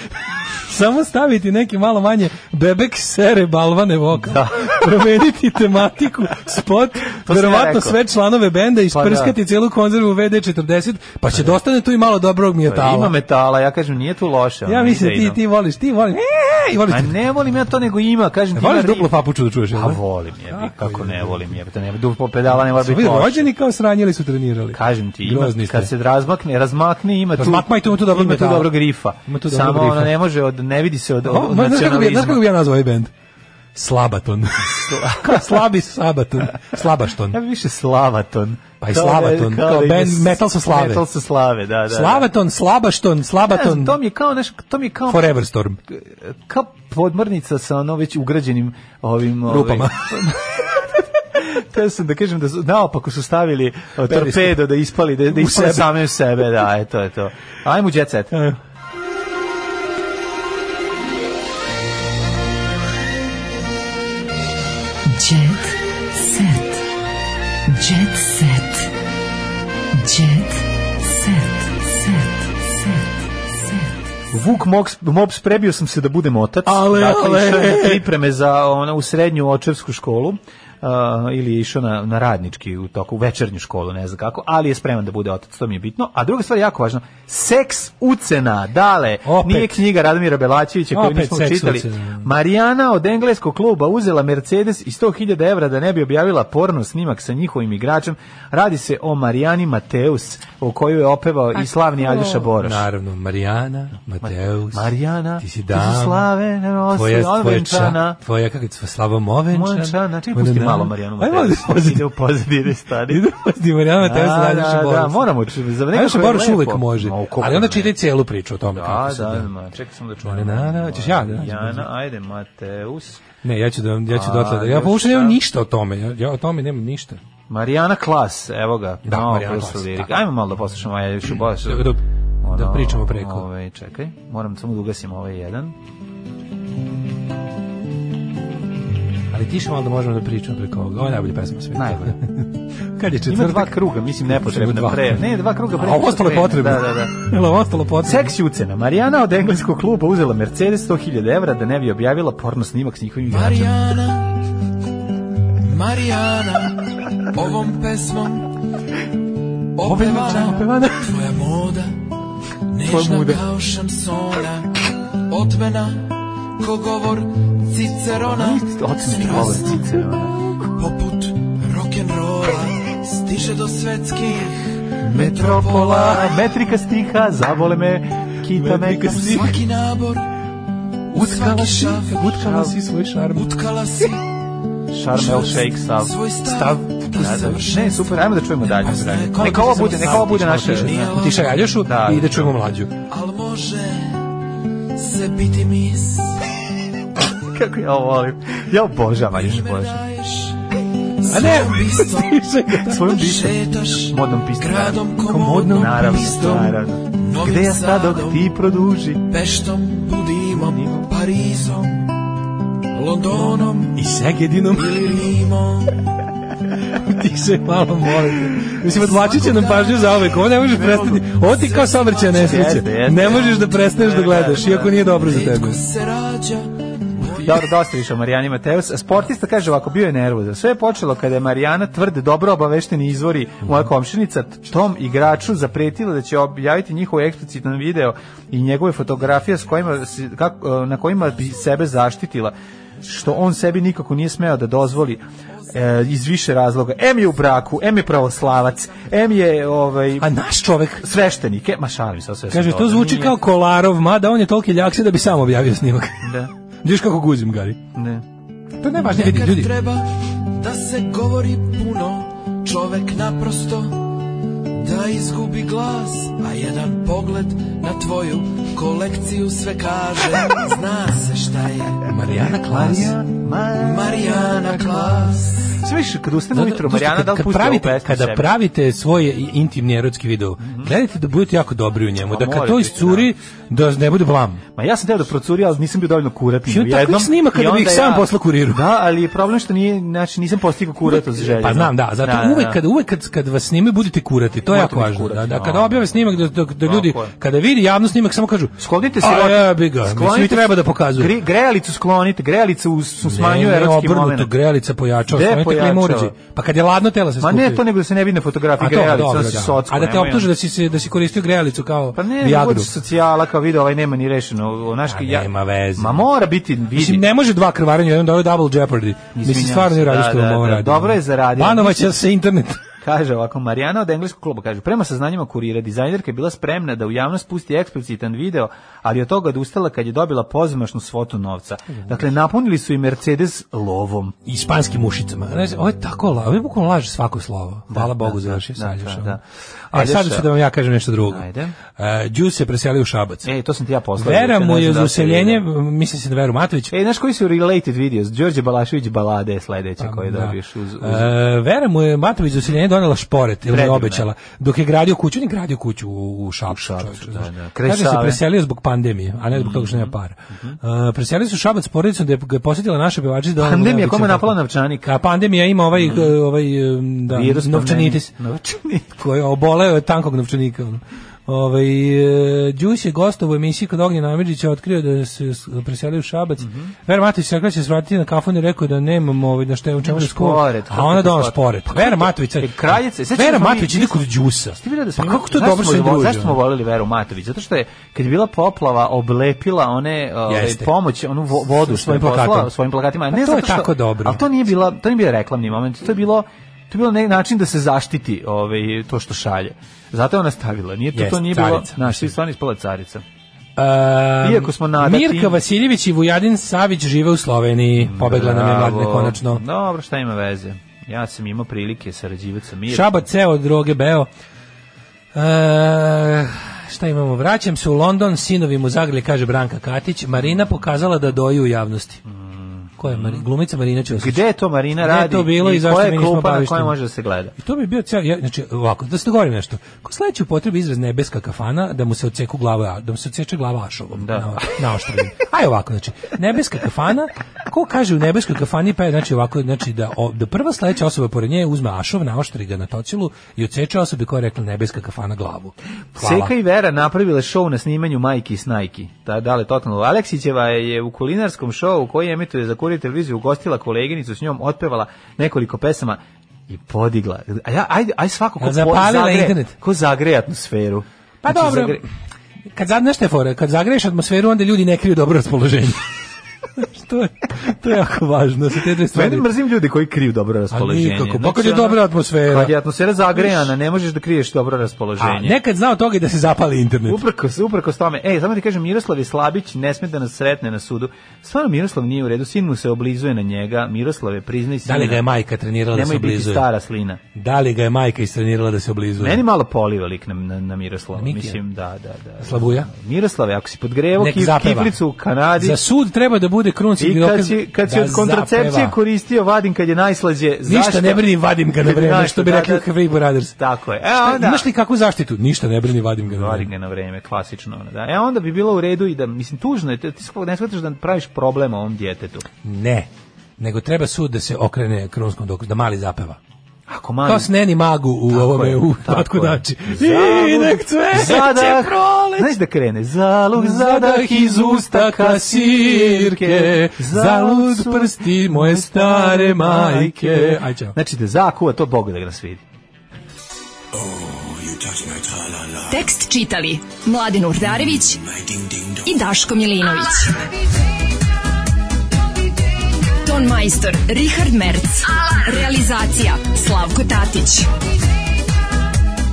S7: Samo staviti neki malo manje bebek sere balvane voka. Promeniti tematiku, spot,
S6: sam ja
S7: verovatno
S6: rekao. Pa
S7: sve članove benda isprskati
S6: da.
S7: celu konzervu VD40, pa će dostane tu i malo dobrog
S6: Pa Ima
S7: mijatala.
S6: metala, ja kažem, nije tu loše.
S7: Ja mislim ti ti voliš, ti voliš. E, i voliš.
S6: A ne volim ja to, nego ima, kažem ti.
S7: Voliš
S6: ima ri-
S7: duplu papuču da čuješ, jel
S6: Pa
S7: da?
S6: volim je, bi, kako ne volim je. bi, To nema duplo pedala, ne mora
S7: Su
S6: biti
S7: vi
S6: loše.
S7: rođeni kao sranjili su trenirali.
S6: Pa Kažem ti, ima,
S7: Grozni ste.
S6: kad se razmakne, razmakne ima tu,
S7: Razmakma i tu ima tu dobrog
S6: ima tu
S7: metala.
S6: dobro grifa.
S7: Ima tu dobrog
S6: Samo
S7: grifa.
S6: ona ne može, od, ne vidi se od, od,
S7: O,
S6: od
S7: Pa, ma, znaš, kako bi, znaš kako
S6: nacionalizma.
S7: bi ja nazvao ovaj bend? Slabaton. Kao slabi sabaton. Slabašton.
S6: Ja bi više slavaton.
S7: Pa i
S6: Kao da-
S7: slavaton, kao
S6: da ima
S7: band
S6: s-
S7: metal sa slave.
S6: Metal sa slave, da, da, da.
S7: Slavaton, slabašton,
S6: Ne znam,
S7: slabaton.
S6: to mi je kao, znaš, to mi je ono- kao...
S7: Forever Storm.
S6: kao podmornica sa ono već ugrađenim ovim... ovim-
S7: Rupama.
S6: Teo sam da kažem da su, naopako su stavili o,
S7: Periskop.
S6: torpedo da ispali, da, da
S7: U
S6: ispali
S7: sebe.
S6: same u sebe, da, eto, eto. Ajmo u jet set.
S12: Jet set. Jet set. Jet set. Set.
S6: Vuk Mops, Mops prebio sam se da budem otac.
S7: Ale,
S6: dakle,
S7: ale.
S6: išao je na pripreme za ono, u srednju očevsku školu. Uh, ili je išao na, na radnički u toku u večernju školu, ne znam kako, ali je spreman da bude otac, to mi je bitno. A druga stvar jako važna, seks ucena, dale,
S7: Opet.
S6: nije knjiga Radomira Belačevića koju
S7: Opet
S6: nismo
S7: seks
S6: čitali.
S7: ucena.
S6: Marijana od engleskog kluba uzela Mercedes i 100.000 evra da ne bi objavila porno snimak sa njihovim igračem. Radi se o Marijani Mateus, o koju je opevao i slavni Aljoša Boroš.
S7: Naravno, Marijana, Mateus.
S6: Marijana,
S7: ti si
S6: ti si
S7: dama.
S6: slave, ne,
S7: tvoja,
S6: osvoji,
S7: tvoja,
S6: venčana.
S7: ča, tvoja, kako je slavo movenčana.
S6: Movenčana, čekaj, znači, pusti malo Marijanu
S7: Ajmo da
S6: Mateus.
S7: pusti-
S6: Ide u pozadini, stani.
S7: Ide u pozadini Marijanu Mateus,
S6: Da,
S7: da, da,
S6: da, da, moramo, č- za nekako
S7: Aljoša
S6: je
S7: Boroš
S6: lepo.
S7: uvek može.
S6: Ma, u kako
S7: Ali onda
S6: ne?
S7: čitaj cijelu priču o tome.
S6: Da,
S7: kako se
S6: da, ma, čekaj sam da
S7: Ne,
S6: čujem.
S7: ne, ne, hoćeš ja da-
S6: Marijana, ajde, Mateus.
S7: Ne, ja ću da ja ću
S6: A,
S7: dotle. da- Ja
S6: još
S7: uopšte nemam
S6: šta?
S7: ništa o tome. Ja, ja o tome nemam ništa.
S6: Marijana Klas, evo ga.
S7: Da,
S6: Novo
S7: Marijana
S6: prosto
S7: Klas,
S6: lirik.
S7: da.
S6: Ajmo malo da poslušamo, ajde, još u Borošu.
S7: Da- da- da
S6: Ono,
S7: pričamo preko.
S6: Ovaj, čekaj, moram samo da ugasim ovaj jedan.
S7: Ali tiše malo da možemo da pričamo preko ovoga. Ovo je najbolja pesma sveta.
S6: Najbolja.
S7: Kad je četvrtak?
S6: Ima dva kruga, mislim, nepotrebna
S7: Dva.
S6: pre. Ne, dva kruga pre.
S7: A ovo ostalo je potrebno.
S6: Da, da, da.
S7: Jel ovo ostalo potrebno?
S6: Seks i ucena. Marijana od engleskog kluba uzela Mercedes 100.000 evra da ne bi objavila porno snimak s njihovim
S7: Znači-
S6: igračem.
S1: Marijana, Marijana, ovom pesmom opevana,
S7: opevana.
S1: tvoja moda,
S7: Tvoja
S1: nežna
S7: muda.
S1: kao šansona, otmena, ko govor Cicerona,
S6: Ocene škole
S1: strast
S6: Cicerona.
S1: poput rock'n'rolla, stiže do svetskih
S6: Metropola, metrika stiha, zavole me, kita me.
S7: Metrika stiha.
S1: svaki nabor, u svaki
S7: Utkala si,
S1: šaf,
S7: utkala si svoj šarm.
S1: utkala si
S6: Charm El Shake sav.
S1: svoj stav,
S6: Stav.
S1: do
S6: Da, da. Ne,
S1: savršenstva.
S6: super, ajmo da čujemo dalje.
S1: Poznaje
S6: Neka ovo bude, neka ovo bude naše.
S1: kontekst.
S7: Tiša Aljošu
S6: Da.
S7: i da čujemo mlađu.
S1: Al može se biti mis
S6: Kako ja ovo volim. Ja obožavam,
S1: Ti
S6: Aljuš
S1: me
S6: Bože.
S1: daješ
S7: A ne,
S1: svojom pistom
S6: Svojom bišom.
S1: Šetaš
S6: Modnom pistom.
S1: Gradom
S7: Ko modnom
S1: komodnom
S6: Naravno,
S1: pistom
S6: naravno.
S1: Novim
S6: Gde ja stadoh
S1: Sadom,
S6: ti produži?
S1: Peštom, Budimom, Parizom Londonom
S7: I Segedinom
S1: ili Rimom
S7: tiše malo molim. Mislim, odvlačit će nam pažnju za uvek. Ovo ne možeš prestati. Ovo ti kao saobraćaj nesreće.
S6: Jeste, jeste.
S7: Ne možeš da prestaneš da gledaš, iako nije dobro za tebe.
S1: Netko se rađa
S6: Dobro, dosta više o Marijani Mateus. Sportista kaže ovako, bio je nervozan. Sve je počelo kada je Marijana tvrd dobro obavešteni izvori moja
S1: Mhm.
S6: komšinica tom igraču zapretila da će objaviti njihov eksplicitan video i njegove fotografije s kojima, se- kako- na kojima bi sebe zaštitila što on sebi nikako nije smeo da dozvoli e, iz više razloga. M je u braku, M je pravoslavac, M je ovaj,
S7: A naš čovek
S6: sveštenik. E, ma šalim se, sve sam
S7: Kaže,
S6: dobro.
S7: to zvuči
S6: Nije.
S7: kao Kolarov, mada on je toliki ljakse da bi sam objavio snimak.
S6: Da,
S7: Vidiš kako guzim, Gari.
S6: ne.
S7: To ne važno, vidi,
S1: Nekad
S7: ljudi.
S1: treba da se govori puno Čovek naprosto da izgubi glas A jedan pogled na tvoju kolekciju sve kaže Zna se šta je
S7: Marijana Klas.
S1: Marijana Klas
S6: Sve više kad ustane ujutro,
S7: Zato- zato
S6: Marijana,
S7: kad-
S6: da li
S7: kad
S6: pusti ovu
S7: pravite,
S6: pesmu
S7: Kada
S6: sebi? Mhm.
S7: pravite svoje i- intimni erotski video, gledajte da budete jako dobri u njemu,
S6: A
S7: da kad
S6: mora
S7: to
S6: biti,
S7: iscuri, da ne bude blam.
S6: Ma ja sam teo da procuri, ali nisam bio dovoljno kurat.
S7: Što tako ih snima kada bi ih sam poslao kuriru.
S6: Da, ali je problem što nije, znači, nisam postigao kuratost želje.
S7: Pa znam, da, zato uvek, Kad, uvek kad, kad vas snime budite kurati, to je
S6: Morate
S7: jako
S6: biti
S7: važno.
S6: kurati,
S7: da, da,
S6: da. ono.
S7: kada objave snimak, da, da, da ljudi,
S6: Tako je.
S7: kada vidi javno snimak, samo kažu,
S6: Sklonite se
S7: a jebi ga, mislim i treba da pokazuje.
S6: Gre, grejalicu sklonite, grejalicu us- su smanjuje
S7: ne, ne,
S6: erotski
S7: obrnuto,
S6: moment.
S7: grejalica pojačava,
S6: Gde je
S7: smanjite klima
S6: pojačava?
S7: uređaj. Pa kad je ladno tela se
S6: Ma
S7: skupljaju.
S6: ne, to nego da se ne vidi na fotografiji
S7: A to,
S6: grejalicu,
S7: dobro,
S6: da si
S7: da.
S6: socko.
S7: A da te
S6: nemoj
S7: optuže
S6: ono.
S7: da si, se, da si koristio grejalicu kao
S6: Pa ne, ne
S7: Viagru.
S6: budeš socijala kao video, ovaj nema ni rešeno. Onaš, ja,
S7: Pa nema veze.
S6: Ma mora biti, vidi.
S7: Mislim, ne može dva krvarenja, jedan dobro double jeopardy. Mislim,
S6: Izvinjavam
S7: stvarno
S6: se,
S7: je radiš
S6: da,
S7: što
S6: da,
S7: vam ovo
S6: da,
S7: radi.
S6: dobro je zaradio.
S7: Banova će
S6: Mislim-
S7: se internet.
S6: Kaže ovako, Marijana od engleskog kluba kaže, prema saznanjima kurira, dizajnerka je bila spremna da u javnost pusti eksplicitan video, ali od toga odustala kad je dobila pozamašnu svotu novca. Dakle, napunili su i Mercedes lovom.
S7: Ispanskim ušicama. Znaš, Ovo je tako la, ovo je bukvalno laže svako slovo. Hvala Bogu za vaše
S6: da,
S7: saljuša.
S6: da, da.
S7: A
S6: Aljoša.
S7: E, sad ću da vam ja kažem nešto drugo.
S6: Ajde.
S7: Uh, Đus se preselio u Šabac.
S6: E, to sam ti ja poslao.
S7: Vera
S6: juče,
S7: mu
S6: ne znam
S7: je uz
S6: da li si
S7: useljenje,
S6: vidio.
S7: mislim se na Veru Matović,
S6: E, znaš koji su related videos? Đorđe Balašević balade je sledeća koje
S7: Pa, da.
S6: dobiješ uz... uz...
S7: E, Vera mu je Matović za useljenje donela šporet ili mu je
S6: Predivna.
S7: obećala. Dok je gradio kuću, on je gradio kuću u, u Šapcu. čovječe, znaš.
S6: da. Kraj Mhm,
S7: Kaže se
S6: Save.
S7: preselio zbog pandemije, a ne zbog toga što nema para. E, preselio su u Šabac s porodicom da je ga je posjetila naša pevačica Dona
S6: Pandemija,
S7: Mulavić.
S6: kome je napala novčanik? Mhm.
S7: A pandemija ima ovaj, e, ovaj e, da,
S6: Virus pa
S7: novčanitis
S6: pandemije. Novčanik.
S7: koji je oboleo od tankog novčanika. ono. Ovaj e, Đus je gostovao u emisiji kod Ognjena Amidžića otkrio da se s- preselio u Šabac.
S6: Mhm.
S7: Vera Matović se rekla da će se vratiti na kafon i rekao da nemamo ovaj, na šta u čemu da
S6: Nemaš
S7: skuva.
S6: šporet,
S7: A
S6: kako
S7: ona
S6: to
S7: donala
S6: slatko.
S7: šporet. Vera Matović. sad-
S6: E, kraljice, sećaš
S7: Vera
S6: se mi-
S7: Matović ide kod Đusa.
S6: Ti vidio da smo
S7: pa
S6: imali-
S7: kako to
S6: zašto
S7: dobro
S6: smo
S7: se
S6: vo-
S7: druži? ono?
S6: Zašto smo volili Veru Matović? Zato što je kad je bila poplava oblepila one ovaj,
S7: Jeste.
S6: pomoć, onu vo- vodu
S7: S-
S6: što je
S7: svojim
S6: poslala
S7: plakatom.
S6: svojim plakatima.
S7: Pa
S6: ne
S7: to
S6: zato
S7: je
S6: što-
S7: tako dobro.
S6: Ali to nije bila, to nije bio reklamni moment, to je bilo to je bilo neki način da se zaštiti ovaj to što šalje. Zato je ona stavila. Nije to, to
S7: Jeste,
S6: nije bilo,
S7: carica,
S6: znaš,
S7: mislim.
S6: ti stvarno ispala carica.
S7: Ehm,
S6: Iako smo nadati-
S7: Mirka Vasiljević i Vujadin Savić žive u Sloveniji. Pobegla nam je mladne
S6: Bravo.
S7: konačno.
S6: Dobro, šta ima veze? Ja sam imao prilike sarađivati sa Mirkom.
S7: Šabac ceo od droge beo. E, šta imamo? Vraćam se u London, sinovi mu zagli, kaže Branka Katić. Marina pokazala da doju u javnosti. Ko je Marina? Glumica Marina Ćosić.
S6: Gde je to Marina
S7: Gde je
S6: radi?
S7: to bilo i
S6: i
S7: zašto
S6: koja
S7: mi
S6: je
S7: nismo
S6: klupa na kojoj
S7: obavešteni?
S6: može da se gleda?
S7: I to bi bio ceo, ja, znači ovako, da se dogovorim nešto. Ko sledeći upotrebi izraz nebeska kafana da mu se odseku glava, da mu se odseče glava ašovom da. na, na oštrinu. Aj ovako, znači nebeska kafana, ko kaže u nebeskoj kafani pa je znači ovako, znači da o- da prva sledeća osoba pored nje uzme ašov, naoštri ga na tocilu i odseče osobi koja je rekla nebeska kafana glavu. Hvala.
S6: Seka i Vera napravile show na snimanju Majki i Snajki. Da, da li totalno. Aleksićeva je u kulinarskom showu koji emituje za kurije televiziju ugostila koleginicu, s njom otpevala nekoliko pesama i podigla. A ja, ajde, aj svako ko po-
S7: Zapalila
S6: zagre-
S7: internet.
S6: ko zagreje atmosferu.
S7: Pa
S6: Znači,
S7: dobro.
S6: zagre-
S7: Kad zad nešto je fora, kad zagreješ atmosferu, onda ljudi ne kriju dobro raspoloženje. Što je? To je jako važno. Sa te dve stvari.
S6: Mene mrzim ljudi koji kriju dobro raspoloženje.
S7: nikako, pa
S6: Znači,
S7: kad je
S6: ono,
S7: dobra atmosfera.
S6: Kad je atmosfera zagrejana, ne možeš da kriješ dobro
S7: A
S6: raspoloženje.
S7: Pa, nekad znao toga i da se zapali internet.
S6: Uprkos, uprkos tome. Ej, samo ti kažem, Miroslav je slabić, ne sme da nas sretne na sudu. Stvarno, Miroslav nije u redu, sin mu se oblizuje na njega. Miroslav je priznaj
S7: Da
S6: sina.
S7: li ga je majka trenirala da se
S6: Nemoj biti
S7: oblizuje?
S6: stara slina.
S7: Da li ga je majka istrenirala da se oblizuje?
S6: Meni malo poliva lik na, na, na Miroslava.
S7: Mikija?
S6: Mislim, da, da, da.
S7: Slavuja?
S6: Miroslave, ako si podgrevo
S7: Nek
S6: kif,
S7: zapeva.
S6: kiflicu u Kanadi...
S7: Za sud treba da bude krunski
S6: I kad
S7: dokaz
S6: si, kad si
S7: da
S6: od kontracepcije
S7: zapeva.
S6: koristio vadim kad je najslađe,
S7: Ništa
S6: zašto?
S7: ne brini, vadim ga na
S6: Kad je
S7: vreme,
S6: najslađe,
S7: što bi rekli
S6: da, da.
S7: Craig Brothers.
S6: Tako je. E,
S7: Šta,
S6: onda-
S7: Imaš li kakvu zaštitu? Ništa ne brini, vadim ga na
S6: Vadim
S7: vreme.
S6: ga na vreme, klasično. ono, Da. E onda bi bilo u redu i da, mislim, tužno je, ti ti ne shvataš da praviš problem ovom djetetu.
S7: Ne, nego treba sud da se okrene krunskom dokazu, da mali zapeva.
S6: Ako mali...
S7: Kao sneni magu u ovome,
S6: je,
S7: u
S6: tako
S7: otkudači.
S6: Zalud,
S7: I nek cveće
S6: zadah,
S7: proleće.
S6: Znaš da krene? Zalog, zadah iz usta kasirke,
S7: zalud
S6: su
S7: prsti moje stare majke. Aj, čao.
S6: Znači da zakuva to Bog da ga nas vidi.
S12: Tekst čitali Mladin Urdarević i Daško Milinović. Ton majstor Richard Merc. Realizacija Slavko Tatić.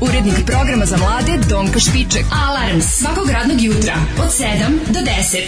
S12: Urednik programa za mlade Donka Špiček. Alarms svakog radnog jutra od 7 do 10.